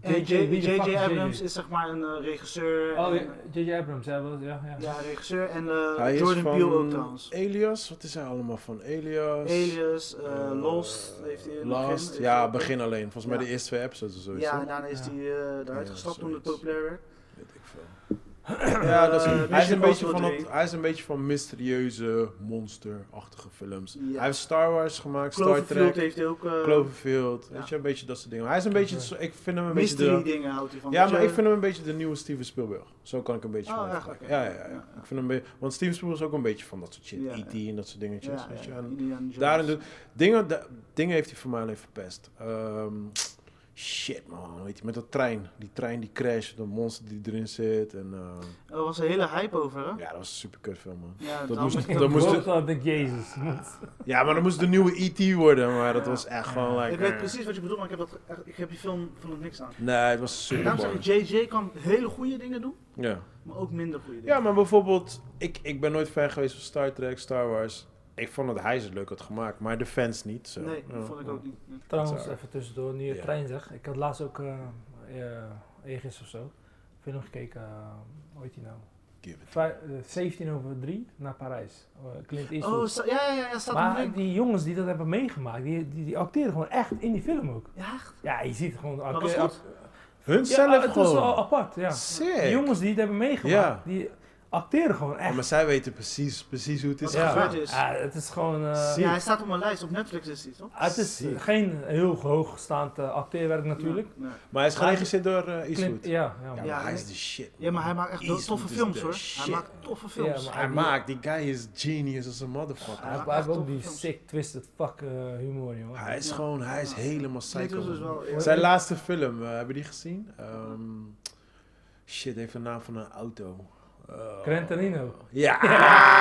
Speaker 2: En J-
Speaker 3: wie de fuck
Speaker 2: J.J.
Speaker 3: is
Speaker 2: Abrams is zeg maar een eh, regisseur.
Speaker 3: Oh,
Speaker 2: en,
Speaker 3: ja, J.J. Abrams, ja, wel, ja, ja.
Speaker 2: ja, regisseur. En eh,
Speaker 1: Hij is
Speaker 2: Jordan
Speaker 1: van
Speaker 2: Peele ook trouwens.
Speaker 1: Alias, wat is hij allemaal van? Alias.
Speaker 2: Alias, eh,
Speaker 1: eh,
Speaker 2: Lost heeft hij in het
Speaker 1: Lost,
Speaker 2: begin-
Speaker 1: ja,
Speaker 2: heeft-
Speaker 1: begin alleen. Volgens mij
Speaker 2: Ja.
Speaker 1: de eerste twee episodes of zo.
Speaker 2: Ja, nou- en daarna is
Speaker 3: Ja.
Speaker 2: hij eh, eruit
Speaker 1: Ja,
Speaker 2: gestapt toen het
Speaker 1: zoiets.
Speaker 2: populair werd.
Speaker 1: Weet ik veel. Ja, dat is,
Speaker 2: Eh,
Speaker 1: hij, is een
Speaker 2: Mission
Speaker 1: beetje van
Speaker 2: Impossible
Speaker 1: dat- hij is een beetje van mysterieuze, monsterachtige films.
Speaker 2: Ja.
Speaker 1: Hij heeft Star Wars gemaakt, Star
Speaker 2: Cloverfield
Speaker 1: Trek,
Speaker 2: heeft hij ook... eh,
Speaker 1: Cloverfield.
Speaker 2: ja.
Speaker 1: Weet je, een beetje dat soort dingen. Maar Hij is een beetje,
Speaker 3: Oké.
Speaker 1: ik vind hem een beetje
Speaker 2: mystery
Speaker 1: de...
Speaker 2: dingen houdt hij van.
Speaker 1: Ja,
Speaker 2: Dus,
Speaker 1: maar
Speaker 2: eh,
Speaker 1: ik vind hem een beetje de nieuwe Steven Spielberg. Zo kan ik een beetje
Speaker 2: Oh,
Speaker 1: van hem
Speaker 2: echt?
Speaker 1: vergelijken.
Speaker 2: Oké.
Speaker 1: Ja, ja, ja.
Speaker 2: Ja,
Speaker 1: Ik
Speaker 2: ja.
Speaker 1: vind hem een beetje... Want Steven Spielberg is ook een beetje van dat soort shit.
Speaker 2: Ja,
Speaker 1: E.T.
Speaker 2: ja.
Speaker 1: en dat soort
Speaker 2: ja,
Speaker 1: dingetjes,
Speaker 2: ja,
Speaker 1: weet je.
Speaker 2: ja,
Speaker 1: En
Speaker 2: Indiana Jones.
Speaker 1: daarin doet... Dingen, da- dingen heeft hij voor mij alleen verpest. Ehm, shit, man. Weet je, met dat trein. Die trein die crasht, dat monster die erin zit. En, ehm,
Speaker 2: Er was een hele hype over, hè?
Speaker 1: ja, dat was een super kut film, man.
Speaker 2: Ja,
Speaker 1: dat
Speaker 2: dan
Speaker 1: moest-
Speaker 2: moet-
Speaker 3: Ik
Speaker 1: dat moest-
Speaker 3: moest ik denk Jezus.
Speaker 1: Ja, maar dat moest de nieuwe E.T. worden, maar dat
Speaker 2: Ja.
Speaker 1: was echt gewoon like...
Speaker 2: Ik weet
Speaker 1: eh.
Speaker 2: precies wat je bedoelt, maar ik heb, dat, echt- ik heb die film van het niks aan.
Speaker 1: Nee, het was super
Speaker 2: Daarom zeg
Speaker 1: boring.
Speaker 2: ik, JJ kan hele goede dingen doen,
Speaker 1: Ja.
Speaker 2: maar ook minder goede dingen.
Speaker 1: ja, maar bijvoorbeeld, ik, ik ben nooit fan geweest van Star Trek, Star Wars. Ik vond dat hij ze leuk had gemaakt, maar de fans niet. Zo.
Speaker 2: Nee, dat
Speaker 1: Ja.
Speaker 2: vond ik ook niet. Oh, Nee.
Speaker 3: Trouwens,
Speaker 1: Sorry.
Speaker 3: even tussendoor, nu je
Speaker 1: Ja.
Speaker 3: trein zegt. Ik had laatst ook eh eh, eergisteren of zo film gekeken, eh, hoe heet die nou?
Speaker 1: Give it.
Speaker 3: Vij- eh, 17 over 3 naar Parijs. Eh, Clint Eastwood.
Speaker 2: Oh, sta- ja, ja, ja, ja, staat op de
Speaker 3: maar
Speaker 2: link.
Speaker 3: die jongens die dat hebben meegemaakt, die, die, die acteren gewoon echt in die film ook.
Speaker 2: Ja, echt?
Speaker 3: Ja, je ziet gewoon...
Speaker 2: Maar was goed?
Speaker 1: Hun
Speaker 3: Ja,
Speaker 1: zelf
Speaker 3: het was
Speaker 1: gewoon.
Speaker 3: wel apart, ja.
Speaker 1: Sick.
Speaker 3: Die jongens die het hebben meegemaakt, die acteren gewoon
Speaker 1: Ja,
Speaker 3: echt.
Speaker 1: maar zij weten precies, precies hoe het is
Speaker 2: Wat
Speaker 1: gegaan.
Speaker 2: gebeurd is.
Speaker 3: Ja, het is gewoon... eh,
Speaker 1: Zie-
Speaker 2: Ja, hij staat op mijn lijst. Op Netflix is hij, toch?
Speaker 3: het is
Speaker 1: Zie-
Speaker 3: geen heel hoogstaand eh, acteerwerk natuurlijk.
Speaker 2: Ja, nee.
Speaker 1: Maar hij is geregisseerd door eh Eastwood.
Speaker 3: Clint- ja, ja,
Speaker 1: Ja,
Speaker 3: maar-
Speaker 1: maar
Speaker 2: Ja,
Speaker 1: hij is
Speaker 2: en-
Speaker 1: de shit.
Speaker 2: Ja, maar hij
Speaker 1: man.
Speaker 2: maakt echt
Speaker 1: Eastwood
Speaker 2: toffe
Speaker 1: is
Speaker 2: films,
Speaker 1: de
Speaker 2: hoor.
Speaker 1: shit.
Speaker 2: Hij maakt toffe
Speaker 3: Ja,
Speaker 2: films.
Speaker 3: maar-
Speaker 1: Hij
Speaker 3: die-
Speaker 1: maakt, die guy is genius als een motherfucker.
Speaker 3: Hij
Speaker 2: Ja,
Speaker 3: hij heeft ook
Speaker 2: echt
Speaker 3: die
Speaker 2: topfilms.
Speaker 3: sick twisted fuck eh, humor, joh.
Speaker 1: Hij is gewoon, hij is
Speaker 2: Ja.
Speaker 1: helemaal
Speaker 2: Nick
Speaker 1: psycho.
Speaker 2: Wilson is dus
Speaker 1: man.
Speaker 2: wel-
Speaker 3: Zijn
Speaker 1: Zijn laatste film, eh, hebben die gezien? Ehm, shit, heeft de naam van een auto. Eh,
Speaker 3: Gran Torino.
Speaker 1: Ja!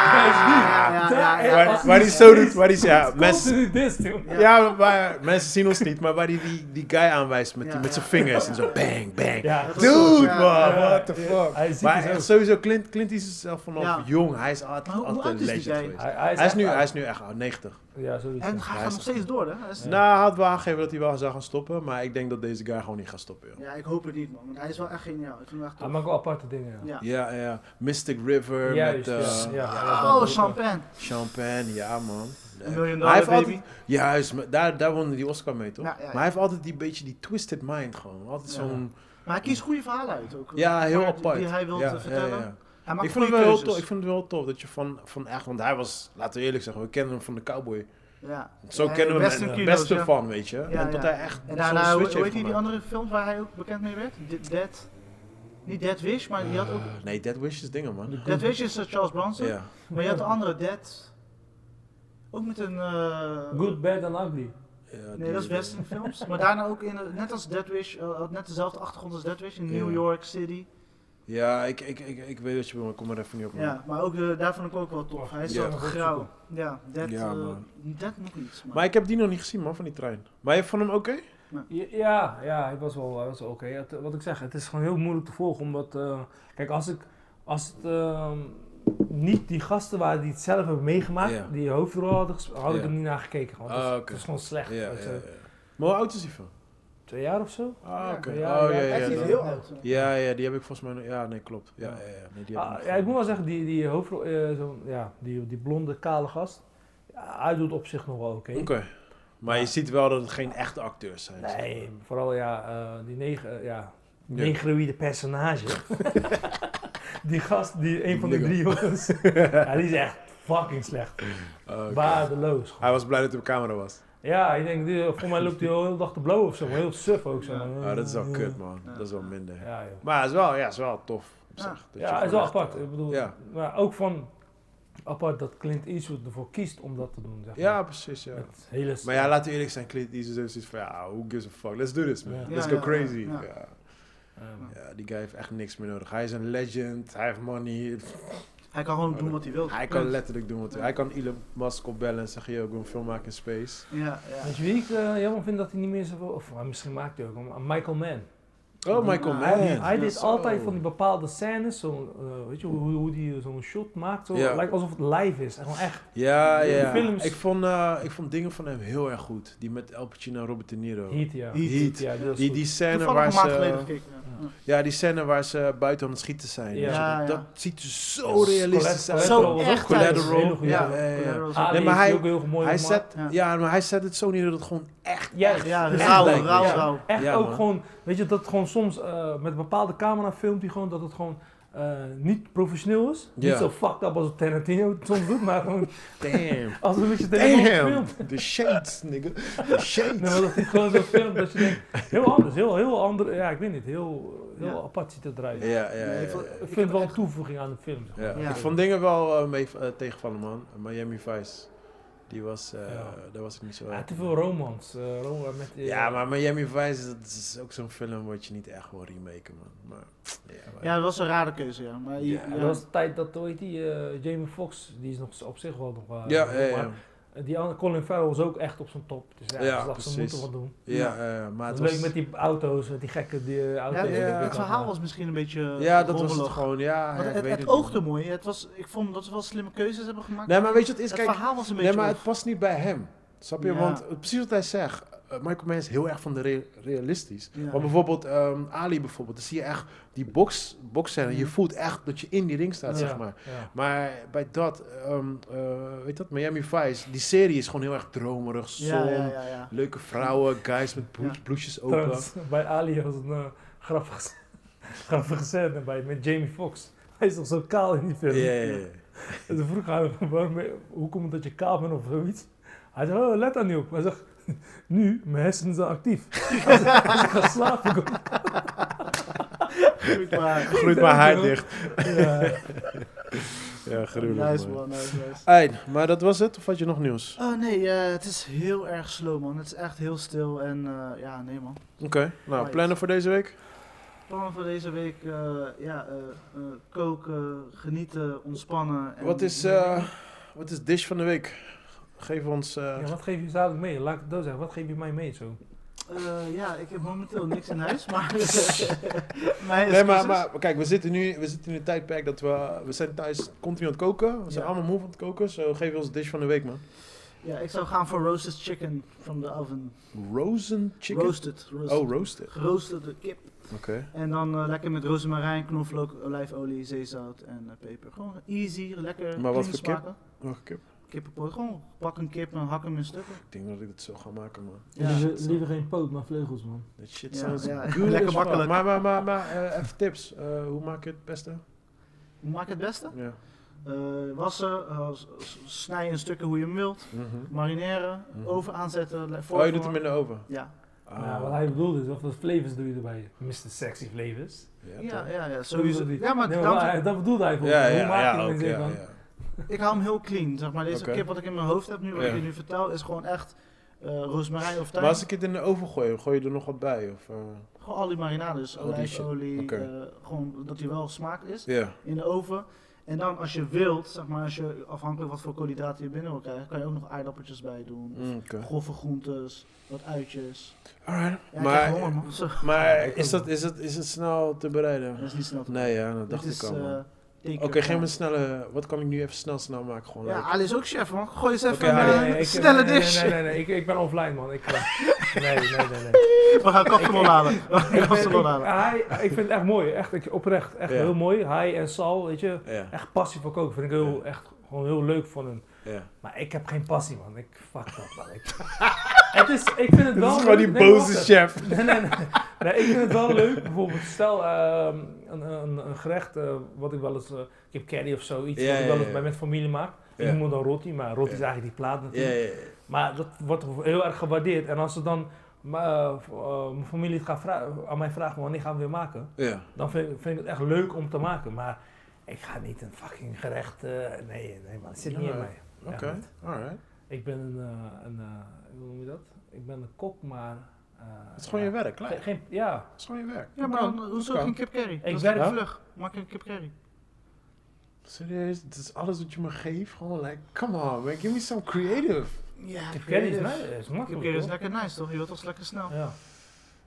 Speaker 2: ja, ja, ja, ja.
Speaker 1: Waar, waar hij zo doet, waar hij ja, mensen,
Speaker 3: Mensen dit, joh.
Speaker 1: ja. waar, mensen zien ons niet, maar waar hij die, die guy aanwijst met, die,
Speaker 2: Ja,
Speaker 1: met
Speaker 2: ja.
Speaker 1: zijn vingers en zo bang, bang.
Speaker 3: Ja,
Speaker 2: Dat is
Speaker 1: Dude,
Speaker 2: Ja,
Speaker 1: man,
Speaker 3: ja,
Speaker 1: what the
Speaker 3: ja.
Speaker 1: fuck.
Speaker 3: Hij is ziek
Speaker 1: maar
Speaker 3: is
Speaker 1: echt
Speaker 3: ook.
Speaker 1: sowieso, Clint, Clint is zelf vanaf
Speaker 2: Ja.
Speaker 1: jong, hij is altijd,
Speaker 2: Maar hoe
Speaker 1: altijd
Speaker 2: oud
Speaker 1: een
Speaker 2: is die
Speaker 1: legend
Speaker 2: guy?
Speaker 1: geweest.
Speaker 3: Hij,
Speaker 1: Hij is, nu,
Speaker 3: echt-
Speaker 1: hij is nu echt oud, 90.
Speaker 3: Ja, sowieso.
Speaker 2: En hij
Speaker 1: Hij
Speaker 2: gaat
Speaker 1: is-
Speaker 2: nog steeds door, hè? Hij is-
Speaker 1: Nou, hij had wel aangegeven dat hij wel zou gaan stoppen, maar ik denk dat deze guy gewoon niet gaat stoppen. joh.
Speaker 2: Ja, ik hoop het niet, man. Want hij is wel echt geniaal. Ik vind hem echt
Speaker 3: Hij
Speaker 1: Ah,
Speaker 2: tof.
Speaker 3: maakt wel aparte dingen, ja.
Speaker 2: Ja.
Speaker 1: Ja, ja. Mystic River
Speaker 3: Juist,
Speaker 1: met eh,
Speaker 3: ja, ja, ja,
Speaker 2: Oh,
Speaker 3: dat is ook-
Speaker 2: champagne.
Speaker 1: champagne, ja man.
Speaker 2: Een miljoen
Speaker 1: Maar hij
Speaker 2: dollar,
Speaker 1: heeft
Speaker 2: baby.
Speaker 1: Juist, maar daar, daar won hij die Oscar mee, toch?
Speaker 2: Ja, ja, ja.
Speaker 1: Maar hij heeft altijd die beetje die twisted mind gewoon. Altijd
Speaker 2: Ja.
Speaker 1: zo'n...
Speaker 2: Maar hij kiest goede verhalen uit ook.
Speaker 1: Ja, heel
Speaker 2: Waar-
Speaker 1: apart.
Speaker 2: Die hij wil
Speaker 1: Ja, ja,
Speaker 2: vertellen.
Speaker 1: ja.
Speaker 2: Hij maakt
Speaker 1: Ik vond het wel
Speaker 2: goede
Speaker 1: heel tof.
Speaker 2: keuzes.
Speaker 1: Ik vond het wel tof dat je van, van echt... Want hij was, laten we eerlijk zeggen, we kennen hem van de cowboy.
Speaker 2: Ja.
Speaker 1: Zo
Speaker 2: Ja,
Speaker 1: kennen we hem
Speaker 2: Western
Speaker 1: het
Speaker 2: kino's,
Speaker 1: beste
Speaker 2: ja.
Speaker 1: van, weet je.
Speaker 2: Ja,
Speaker 1: en tot
Speaker 2: ja.
Speaker 1: hij echt
Speaker 2: En
Speaker 1: zo'n
Speaker 2: daarna, hoe
Speaker 1: switch heeft
Speaker 2: hoe heet die, die
Speaker 1: gemaakt.
Speaker 2: andere films waar hij ook bekend mee werd? D- Dead. Niet Dead Wish, maar die had ook...
Speaker 1: Eh, nee, Dead Wish is dingen, man.
Speaker 2: Dead Wish is eh, Charles Bronson.
Speaker 1: Ja.
Speaker 2: Maar je had de andere Dead. Ook met een... eh,
Speaker 3: Good, bad and ugly.
Speaker 1: Ja,
Speaker 2: Nee,
Speaker 1: die-
Speaker 2: dat is westernfilms. maar daarna ook in, de- net als Dead Wish, eh, had net dezelfde achtergrond als Dead Wish in New
Speaker 1: Ja.
Speaker 2: York City.
Speaker 1: Ja, ik, ik, ik, ik weet wat je bedoelt, maar ik kom er even niet op. man.
Speaker 2: Ja, maar ook de, daar vond ik ook wel tof. Hij is
Speaker 1: Ja.
Speaker 2: zo grauw. Ja, Dead,
Speaker 1: Ja,
Speaker 2: eh,
Speaker 1: man.
Speaker 2: Dead nog iets. Maar,
Speaker 1: Maar ik heb die nog niet gezien, man, van die trein. Maar je vond hem oké?
Speaker 3: Ja, Ja, ja, hij was wel, hij was wel oké. Het- Wat ik zeg, het is gewoon heel moeilijk te volgen, omdat... eh, kijk, als ik... Als het ehm, niet die gasten waren die het zelf hebben meegemaakt,
Speaker 1: Ja.
Speaker 3: die hoofdrol hadden gespeeld, had ik
Speaker 1: Ja.
Speaker 3: er niet naar gekeken. Want het, is,
Speaker 1: Ah,
Speaker 3: het
Speaker 1: oké.
Speaker 3: is gewoon slecht.
Speaker 1: Ja,
Speaker 3: weet
Speaker 1: ja,
Speaker 3: je.
Speaker 1: ja. eh, Maar hoe oud is die film?
Speaker 3: Twee jaar of zo?
Speaker 1: Ah, oké.
Speaker 3: Ja,
Speaker 1: oh, ja,
Speaker 3: ja,
Speaker 1: ja.
Speaker 2: Hij is
Speaker 1: dan-
Speaker 2: heel oud.
Speaker 1: Ja, ja, die heb ik volgens mij. nog- Ja, nee, klopt. Ja, ja, ja. Nee, die heb
Speaker 3: Ah,
Speaker 1: nog
Speaker 3: ja, ik moet wel
Speaker 1: gezien.
Speaker 3: zeggen, die, die hoofdrol, eh, zo'n- ja, die, die blonde, kale gast, ja, hij doet op zich nog wel oké.
Speaker 1: Oké. Maar je ziet wel dat het geen echte acteurs zijn. zeg maar.
Speaker 3: Nee, vooral ja, eh, die negen, eh, ja,
Speaker 1: Ja.
Speaker 3: negroïde personage. die gast, die een van de
Speaker 1: Nigger.
Speaker 3: drie jongens, ja, die is echt fucking slecht.
Speaker 1: Oké.
Speaker 3: Waardeloos. gewoon.
Speaker 1: Hij was blij dat hij op camera was.
Speaker 3: Ja, ik denk, die, voor mij loopt hij al heel dag te blowen of zo, maar heel suf ook zo.
Speaker 2: Ja.
Speaker 1: Ah, dat is wel
Speaker 3: Oh, Ja.
Speaker 1: kut, man.
Speaker 2: Ja.
Speaker 1: Dat is wel minder.
Speaker 3: Ja, joh.
Speaker 1: Maar het is wel, ja, het is wel tof. Op
Speaker 2: Ja.
Speaker 1: zich, dat je
Speaker 3: ja, het is
Speaker 1: gewoon
Speaker 3: wel
Speaker 1: echt,
Speaker 3: apart.
Speaker 1: eh,
Speaker 3: Ik bedoel,
Speaker 1: ja.
Speaker 3: maar ook van apart dat Clint Eastwood ervoor kiest om dat te doen. Zeg maar.
Speaker 1: Ja, precies, ja.
Speaker 3: Het hele
Speaker 1: Maar ja, laten we eerlijk zijn, Clint Eastwood heeft zoiets van, ja, who gives a fuck? Let's do this, man.
Speaker 3: Ja.
Speaker 1: Let's
Speaker 2: Ja,
Speaker 1: go
Speaker 2: ja,
Speaker 1: crazy.
Speaker 2: ja.
Speaker 1: Ja.
Speaker 3: Ja, man.
Speaker 1: Ja, die guy heeft echt niks meer nodig. Hij is een legend, hij heeft money.
Speaker 2: Hij kan gewoon doen wat hij wil.
Speaker 1: Hij kan letterlijk doen wat hij
Speaker 2: Ja.
Speaker 1: Hij kan Elon Musk opbellen en zeggen, yo, ik wil een film maken in space.
Speaker 2: Ja, ja.
Speaker 3: Weet je wie ik eh, jammer vind dat hij niet meer zoveel... Of eh, misschien maakt hij ook hem. eh, Michael Mann.
Speaker 1: Oh, Michael
Speaker 2: Ah,
Speaker 1: Mann.
Speaker 3: Hij
Speaker 2: Ja,
Speaker 3: deed
Speaker 1: zo.
Speaker 3: altijd van die bepaalde scènes. Zo, eh, weet je hoe, hoe- hoe die zo'n shot maakt. Zo,
Speaker 1: Ja.
Speaker 3: Lijkt alsof het live is. Gewoon echt.
Speaker 1: Ja,
Speaker 3: Die
Speaker 1: ja.
Speaker 3: films.
Speaker 1: Ik, vond, eh, ik vond dingen van hem heel erg goed. Die met Al Pacino en Robert De Niro.
Speaker 3: Heat, ja.
Speaker 1: Heat.
Speaker 3: Ja, dat is
Speaker 1: Die,
Speaker 3: goed.
Speaker 1: die, scène
Speaker 2: Toevallig
Speaker 1: waar
Speaker 2: een maand geleden
Speaker 1: ze,
Speaker 2: gekeken. ja.
Speaker 1: ja, die scène waar ze buiten aan het schieten zijn.
Speaker 3: Ja.
Speaker 1: Weet je,
Speaker 2: Ja,
Speaker 1: dat,
Speaker 2: ja.
Speaker 1: dat ziet er zo
Speaker 3: Collet-
Speaker 1: realistisch uit.
Speaker 3: Collateral
Speaker 2: Zo
Speaker 3: was
Speaker 2: echt
Speaker 3: ook goed.
Speaker 1: Collateral.
Speaker 3: Hele goede
Speaker 1: Ja,
Speaker 3: film.
Speaker 1: ja, ja.
Speaker 2: Collateral is ook-
Speaker 3: Ali
Speaker 1: Nee, maar
Speaker 3: heeft
Speaker 1: hij-
Speaker 3: Ah, ook heel mooi
Speaker 1: Hij
Speaker 3: gemaakt.
Speaker 1: zet,
Speaker 2: Ja.
Speaker 1: ja, maar hij zet het zo neer dat het gewoon echt...
Speaker 3: Juist.
Speaker 2: Ja,
Speaker 3: Echt
Speaker 2: rauw,
Speaker 3: lijkt.
Speaker 2: rauw,
Speaker 3: Ja.
Speaker 2: rauw.
Speaker 3: Echt
Speaker 1: Ja,
Speaker 3: ook
Speaker 1: man.
Speaker 3: gewoon... Weet je, dat gewoon soms eh, met een bepaalde camera filmt hij gewoon... Dat het gewoon eh, niet professioneel is.
Speaker 1: Ja.
Speaker 3: Niet zo fucked up als Tarantino het soms doet, maar gewoon
Speaker 1: Damn.
Speaker 3: als een beetje tegenwoordig
Speaker 1: Damn.
Speaker 3: filmt.
Speaker 1: The shades, nigga. The
Speaker 3: Nee,
Speaker 1: shades.
Speaker 3: maar dat is gewoon zo'n film dat je denkt, heel anders, heel, heel ander, ja ik weet niet, heel, heel
Speaker 2: Ja.
Speaker 3: apart ziet het eruit.
Speaker 1: Ja, ja, ja.
Speaker 2: Nee,
Speaker 1: ja.
Speaker 2: ik
Speaker 3: Ik vind wel een toevoeging aan de film. zeg maar.
Speaker 1: Ja,
Speaker 2: Ja.
Speaker 1: Ik vond dingen wel eh, mee eh, tegenvallen, man. Miami Vice. Die was, eh,
Speaker 3: Ja.
Speaker 1: daar was ik niet zo...
Speaker 3: Ja, te veel romans. eh, rom- met, eh,
Speaker 1: Ja, maar Miami Vice, dat is ook zo'n film wat je niet echt wil remaken, man. Maar, ja, maar-
Speaker 2: Ja, dat was een rare keuze, ja. Maar, je-
Speaker 1: Ja,
Speaker 2: ja.
Speaker 3: Ja, dat was de tijd dat, hoe heet die, eh, Jamie Foxx, die is nog op zich wel nog... eh,
Speaker 1: ja, ja,
Speaker 3: maar
Speaker 1: ja.
Speaker 3: Die andere, Colin Farrell was ook echt op zijn top. Dus ja,
Speaker 1: Ja,
Speaker 3: ze dachten, ze
Speaker 1: precies.
Speaker 3: moeten wat doen.
Speaker 1: Ja, eh, maar het
Speaker 3: Leuk
Speaker 1: was...
Speaker 3: met die auto's, met die gekke die, eh,
Speaker 2: Ja,
Speaker 3: auto's.
Speaker 2: het,
Speaker 1: ja,
Speaker 3: Ik
Speaker 2: het
Speaker 3: dacht,
Speaker 2: verhaal
Speaker 3: eh,
Speaker 2: was misschien een beetje eh,
Speaker 1: Ja, dat was het
Speaker 2: rommelig.
Speaker 1: gewoon, ja. ja,
Speaker 2: Want
Speaker 1: ik
Speaker 2: het
Speaker 1: weet
Speaker 2: het
Speaker 1: niet,
Speaker 2: oogde
Speaker 1: man.
Speaker 2: mooi. Het was, ik vond dat ze wel slimme keuzes hebben gemaakt.
Speaker 1: Nee, maar weet je wat het
Speaker 2: het
Speaker 1: is? Kijk,
Speaker 2: verhaal was een beetje
Speaker 1: nee, maar
Speaker 2: oog.
Speaker 1: het past niet bij hem. Snap je?
Speaker 2: Ja.
Speaker 1: Want eh, precies wat hij zegt, eh, Michael Mann is heel erg van de re- realistisch.
Speaker 2: Ja.
Speaker 1: Want bijvoorbeeld ehm, Ali bijvoorbeeld, dan zie je echt die box, boxscène. Je
Speaker 2: Mhm.
Speaker 1: voelt echt dat je in die ring staat,
Speaker 3: ja,
Speaker 1: zeg maar.
Speaker 3: ja.
Speaker 1: Maar bij dat, ehm, eh, weet dat, Miami Vice, die serie is gewoon heel erg dromerig, zon,
Speaker 2: ja, ja, ja, ja.
Speaker 1: leuke vrouwen, guys met broe-
Speaker 2: Ja.
Speaker 1: bloesjes open.
Speaker 3: Trouwens, bij Ali was een eh grappige, grappige scène bij, met Jamie Foxx. Hij is nog zo kaal in die
Speaker 1: Ja,
Speaker 3: film.
Speaker 1: ja, ja.
Speaker 3: En toen vroeg hij, hem, waarom, hoe komt het dat je kaal bent of zoiets? Hij zei, oh, let daar niet op. Hij zegt, nu, mijn hersenen zijn actief. Als, ik- als ik ga slapen, kom
Speaker 2: Goed, maar.
Speaker 1: Groeit mijn haar dicht.
Speaker 3: ja.
Speaker 1: Ja, gruwelijk.
Speaker 2: Nice
Speaker 1: man.
Speaker 2: man, nice, nice.
Speaker 1: Eind, maar dat was het? Of had je nog nieuws?
Speaker 2: Oh nee, eh, het is heel erg slow man. Het is echt heel stil en eh, ja, nee man.
Speaker 1: Oké, nou,
Speaker 2: Nice.
Speaker 1: plannen voor deze week?
Speaker 2: Plannen voor deze week, eh, ja, eh, eh, koken, genieten, ontspannen. En
Speaker 1: Wat is, eh, wat is dish van de week? Geef ons... eh,
Speaker 3: Ja, wat geef je dadelijk mee? Laat ik het zo zeggen, wat geef je mij mee zo?
Speaker 2: Eh, ja, ik heb momenteel niks in huis, maar... Mijn
Speaker 1: Nee, maar,
Speaker 2: excuses.
Speaker 1: maar kijk, we zitten, nu, we zitten in een tijdperk dat we... We zijn thuis continu aan het koken. We zijn
Speaker 2: Ja.
Speaker 1: allemaal moe van het koken. Zo, geef ons dish van de week, man.
Speaker 2: Ja, ik zou gaan voor roasted chicken from the oven.
Speaker 1: Rozen chicken?
Speaker 2: Roasted, roasted.
Speaker 1: Oh, roasted.
Speaker 2: Geroosterde kip.
Speaker 1: Oké.
Speaker 2: En dan eh, lekker met rozemarijn, knoflook, olijfolie, zeezout en eh, peper. Gewoon easy, lekker.
Speaker 1: Maar wat
Speaker 2: clean
Speaker 1: voor kip?
Speaker 2: smaken.
Speaker 1: Welke kip?
Speaker 2: Kippenpoot. Gewoon pak een kip en hak hem in stukken.
Speaker 1: Ik denk dat ik het zo ga maken, man.
Speaker 2: Ja.
Speaker 3: Liever, liever geen poot, maar vleugels, man.
Speaker 1: That shit
Speaker 2: Ja,
Speaker 1: sounds
Speaker 2: ja,
Speaker 1: good
Speaker 2: lekker
Speaker 1: as fuck.
Speaker 2: makkelijk.
Speaker 1: Maar, maar, maar, maar eh, even tips. Eh, hoe maak je het beste?
Speaker 2: Hoe maak je het beste?
Speaker 1: Ja.
Speaker 2: Eh, wassen, eh, s- s- snij in stukken hoe je hem wilt. Marineren,
Speaker 1: Mhm.
Speaker 2: oven aanzetten. le-
Speaker 1: Oh, je
Speaker 2: voorverwarmen.
Speaker 1: doet hem in de oven? Ah.
Speaker 2: Ja.
Speaker 3: Ja, wat hij bedoelde is, wat voor flavors doe je erbij? Mr. Sexy Flavors.
Speaker 1: Ja,
Speaker 2: Ja,
Speaker 1: toch?
Speaker 2: ja, ja,
Speaker 3: Sowieso
Speaker 2: sowieso.
Speaker 3: die.
Speaker 2: Ja, maar,
Speaker 3: Nee,
Speaker 2: daarom
Speaker 3: hij-
Speaker 2: zeg-
Speaker 3: dat bedoelde hij volgens
Speaker 1: ja,
Speaker 3: mij.
Speaker 1: ja,
Speaker 3: Hoe maak je
Speaker 1: ja,
Speaker 3: het
Speaker 1: ook,
Speaker 3: in
Speaker 1: ja,
Speaker 3: dan?
Speaker 1: ja.
Speaker 2: ik hou hem heel clean. Zeg maar, deze
Speaker 1: Oké.
Speaker 2: kip wat ik in mijn hoofd heb nu, wat
Speaker 1: Ja.
Speaker 2: ik je nu vertel, is gewoon echt eh rozemarijn of tuin.
Speaker 1: Maar als ik het in de oven gooi, gooi je er nog wat bij? Of, eh?
Speaker 2: Gewoon al die marinades,
Speaker 1: Al die shit.
Speaker 2: olijfolie,
Speaker 1: Oké.
Speaker 2: eh, gewoon dat die wel smaak is.
Speaker 1: Ja.
Speaker 2: in de oven. En dan als je wilt, zeg maar, als je afhankelijk wat voor koolhydraten je binnen wil krijgen, kan je ook nog aardappeltjes bij doen.
Speaker 1: Mm, Oké.
Speaker 2: Grove groentes, wat uitjes.
Speaker 1: Alright.
Speaker 2: Ja, maar,
Speaker 1: maar
Speaker 2: ik honger, man. Zo.
Speaker 1: maar is, dat, is, dat, is het snel te
Speaker 2: Dat
Speaker 1: bereiden?
Speaker 2: is niet snel te
Speaker 1: Nee, ja, dat
Speaker 2: Dit
Speaker 1: dacht
Speaker 2: is,
Speaker 1: ik al. man.
Speaker 2: eh, take
Speaker 1: Oké,
Speaker 2: your
Speaker 1: geef me een
Speaker 2: time.
Speaker 1: snelle. Wat kan ik nu even snel snel maken? Gewoon
Speaker 2: Ja, ah.
Speaker 1: like-
Speaker 2: Ali is ook chef, man. Gooi eens even
Speaker 1: Oké,
Speaker 2: een
Speaker 1: Ali,
Speaker 2: eh,
Speaker 1: nee,
Speaker 2: snelle
Speaker 3: nee,
Speaker 2: dish.
Speaker 3: Nee, nee, nee, ik, ik ben offline, man. Ik, eh, nee, nee, nee. nee.
Speaker 2: We gaan kapsalon halen. We gaan
Speaker 3: Ik, ben- ik,
Speaker 2: kapsalon halen.
Speaker 3: hij, ik vind het echt mooi, echt ik, oprecht. Echt
Speaker 1: Ja.
Speaker 3: heel mooi. Hij en Sal, weet je.
Speaker 1: ja.
Speaker 3: Echt passie voor koken vind ik heel,
Speaker 1: Ja.
Speaker 3: echt gewoon heel leuk van hem.
Speaker 1: ja.
Speaker 3: Maar ik heb geen passie, man. Ik fuck dat, man. Ik, het is, ik vind het wel
Speaker 1: Dit is gewoon die
Speaker 3: leuk- nee, wacht
Speaker 1: boze
Speaker 3: even.
Speaker 1: chef.
Speaker 3: Nee, nee, nee. nee, ik vind het wel leuk. Bijvoorbeeld, stel ehm, een, een, een gerecht eh, wat ik wel eens. eh, ik heb curry of zoiets.
Speaker 1: Ja,
Speaker 3: wat ik wel
Speaker 1: ja,
Speaker 3: eens
Speaker 1: ja.
Speaker 3: bij met familie maak.
Speaker 1: Ja.
Speaker 3: Ik noem het dan roti, maar roti is
Speaker 1: Ja.
Speaker 3: eigenlijk die plaat
Speaker 1: Ja,
Speaker 3: natuurlijk.
Speaker 1: ja, ja.
Speaker 3: Maar dat wordt heel erg gewaardeerd. En als ze dan. eh, v- eh, mijn familie het gaat vra- aan mij vragen wanneer gaan we weer maken,
Speaker 1: ja.
Speaker 3: dan vind, vind ik het echt leuk om te maken. Maar ik ga niet een fucking gerecht. eh, nee, nee, man, het zit niet
Speaker 1: Ja,
Speaker 3: in mij.
Speaker 1: Oké,
Speaker 3: Echt niet.
Speaker 1: alright.
Speaker 3: Ik ben een, eh, een eh, hoe noem je dat? Ik ben een kok, maar. eh,
Speaker 1: Het is gewoon je
Speaker 3: ja.
Speaker 1: werk, klaar.
Speaker 3: Geen, geen- ja,
Speaker 1: Het is gewoon je werk.
Speaker 2: Ja, maar dan, hoezo
Speaker 1: kan.
Speaker 2: geen kip curry? Ik dat
Speaker 3: werk-
Speaker 2: is
Speaker 1: Ja.
Speaker 2: vlug. Maak een kip curry.
Speaker 1: Serieus, dit is alles wat je me geeft. Gewoon like, come on man, give me some creative.
Speaker 2: Ja,
Speaker 3: Kip curry is,
Speaker 2: creatief.
Speaker 3: nice, is
Speaker 2: Kip
Speaker 3: makkelijk.
Speaker 2: curry is
Speaker 3: hoor.
Speaker 2: lekker nice, toch? dus- Je wilt toch lekker snel.
Speaker 3: Ja.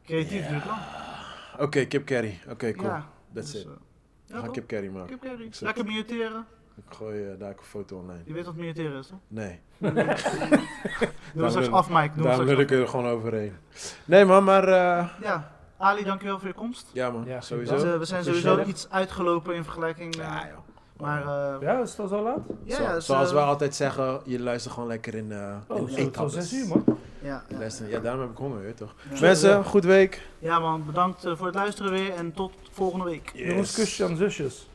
Speaker 2: Creatief duurt lang.
Speaker 1: Oké, kip carry. Oké, cool.
Speaker 2: Ja,
Speaker 1: That's
Speaker 2: dus,
Speaker 1: it.
Speaker 2: eh,
Speaker 1: We gaan
Speaker 2: ja,
Speaker 1: kip carry maken.
Speaker 2: Kip curry.
Speaker 1: zet-
Speaker 2: Lekker muteren.
Speaker 1: Ik gooi eh, daar ook een foto online.
Speaker 2: Je weet wat muteren is, toch?
Speaker 1: Nee,
Speaker 2: Doe hem straks
Speaker 1: wil-
Speaker 2: af, Mike. Doe hem
Speaker 1: daar
Speaker 2: straks
Speaker 1: wil
Speaker 2: af.
Speaker 1: ik er gewoon overheen. Nee man, maar eh,
Speaker 2: Ja, Ali, dankjewel voor je komst.
Speaker 1: ja man,
Speaker 3: Ja,
Speaker 1: sowieso.
Speaker 2: Dus, eh, we zijn
Speaker 1: Voor
Speaker 2: sowieso
Speaker 1: Sherry.
Speaker 2: iets uitgelopen in vergelijking. eh,
Speaker 1: Ja joh.
Speaker 2: Maar eh, ja,
Speaker 3: Ja, is het al zo laat?
Speaker 2: ja,
Speaker 1: Zo-
Speaker 2: dus,
Speaker 1: zoals
Speaker 2: eh,
Speaker 1: wij altijd zeggen, je luistert gewoon lekker in, eh
Speaker 3: Oh,
Speaker 1: in
Speaker 3: zo- het is al
Speaker 1: etappes.
Speaker 3: zes uur, man.
Speaker 2: ja,
Speaker 1: Je
Speaker 2: ja,
Speaker 1: luistert- Ja, daarom heb ik honger, weet je toch?
Speaker 2: ja.
Speaker 1: Mensen, goed week.
Speaker 2: Ja man, bedankt eh, voor het luisteren weer en tot volgende week.
Speaker 1: Yes.
Speaker 3: Jongens, kusje aan zusjes.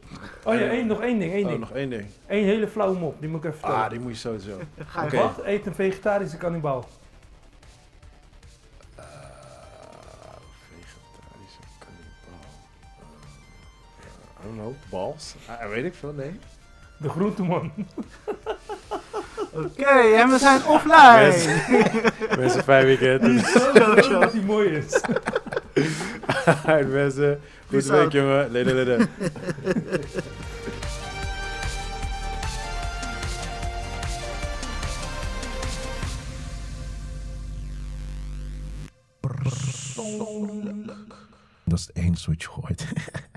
Speaker 3: Oh ja,
Speaker 1: Eh,
Speaker 3: één, nog één ding, één
Speaker 1: Oh,
Speaker 3: ding.
Speaker 1: nog één ding.
Speaker 3: Eén hele flauwe mop, die moet ik even vertellen.
Speaker 1: Ah, die moet je sowieso.
Speaker 2: Ga je
Speaker 1: Oké.
Speaker 2: gang.
Speaker 3: Wat eet een vegetarische kannibaal?
Speaker 1: Eh, vegetarische kannibaal. Eh, I don't know, balls? Ah, weet ik veel, nee.
Speaker 3: De groenteman.
Speaker 2: Oké, en we zijn offline.
Speaker 1: Mensen, fijn weekend.
Speaker 3: Zo, zo, dat die mooi is.
Speaker 1: Mensen, goed
Speaker 2: Peace
Speaker 1: week,
Speaker 2: out.
Speaker 1: jongen. Leden, leden.
Speaker 4: Dat is het enige wat je hoort.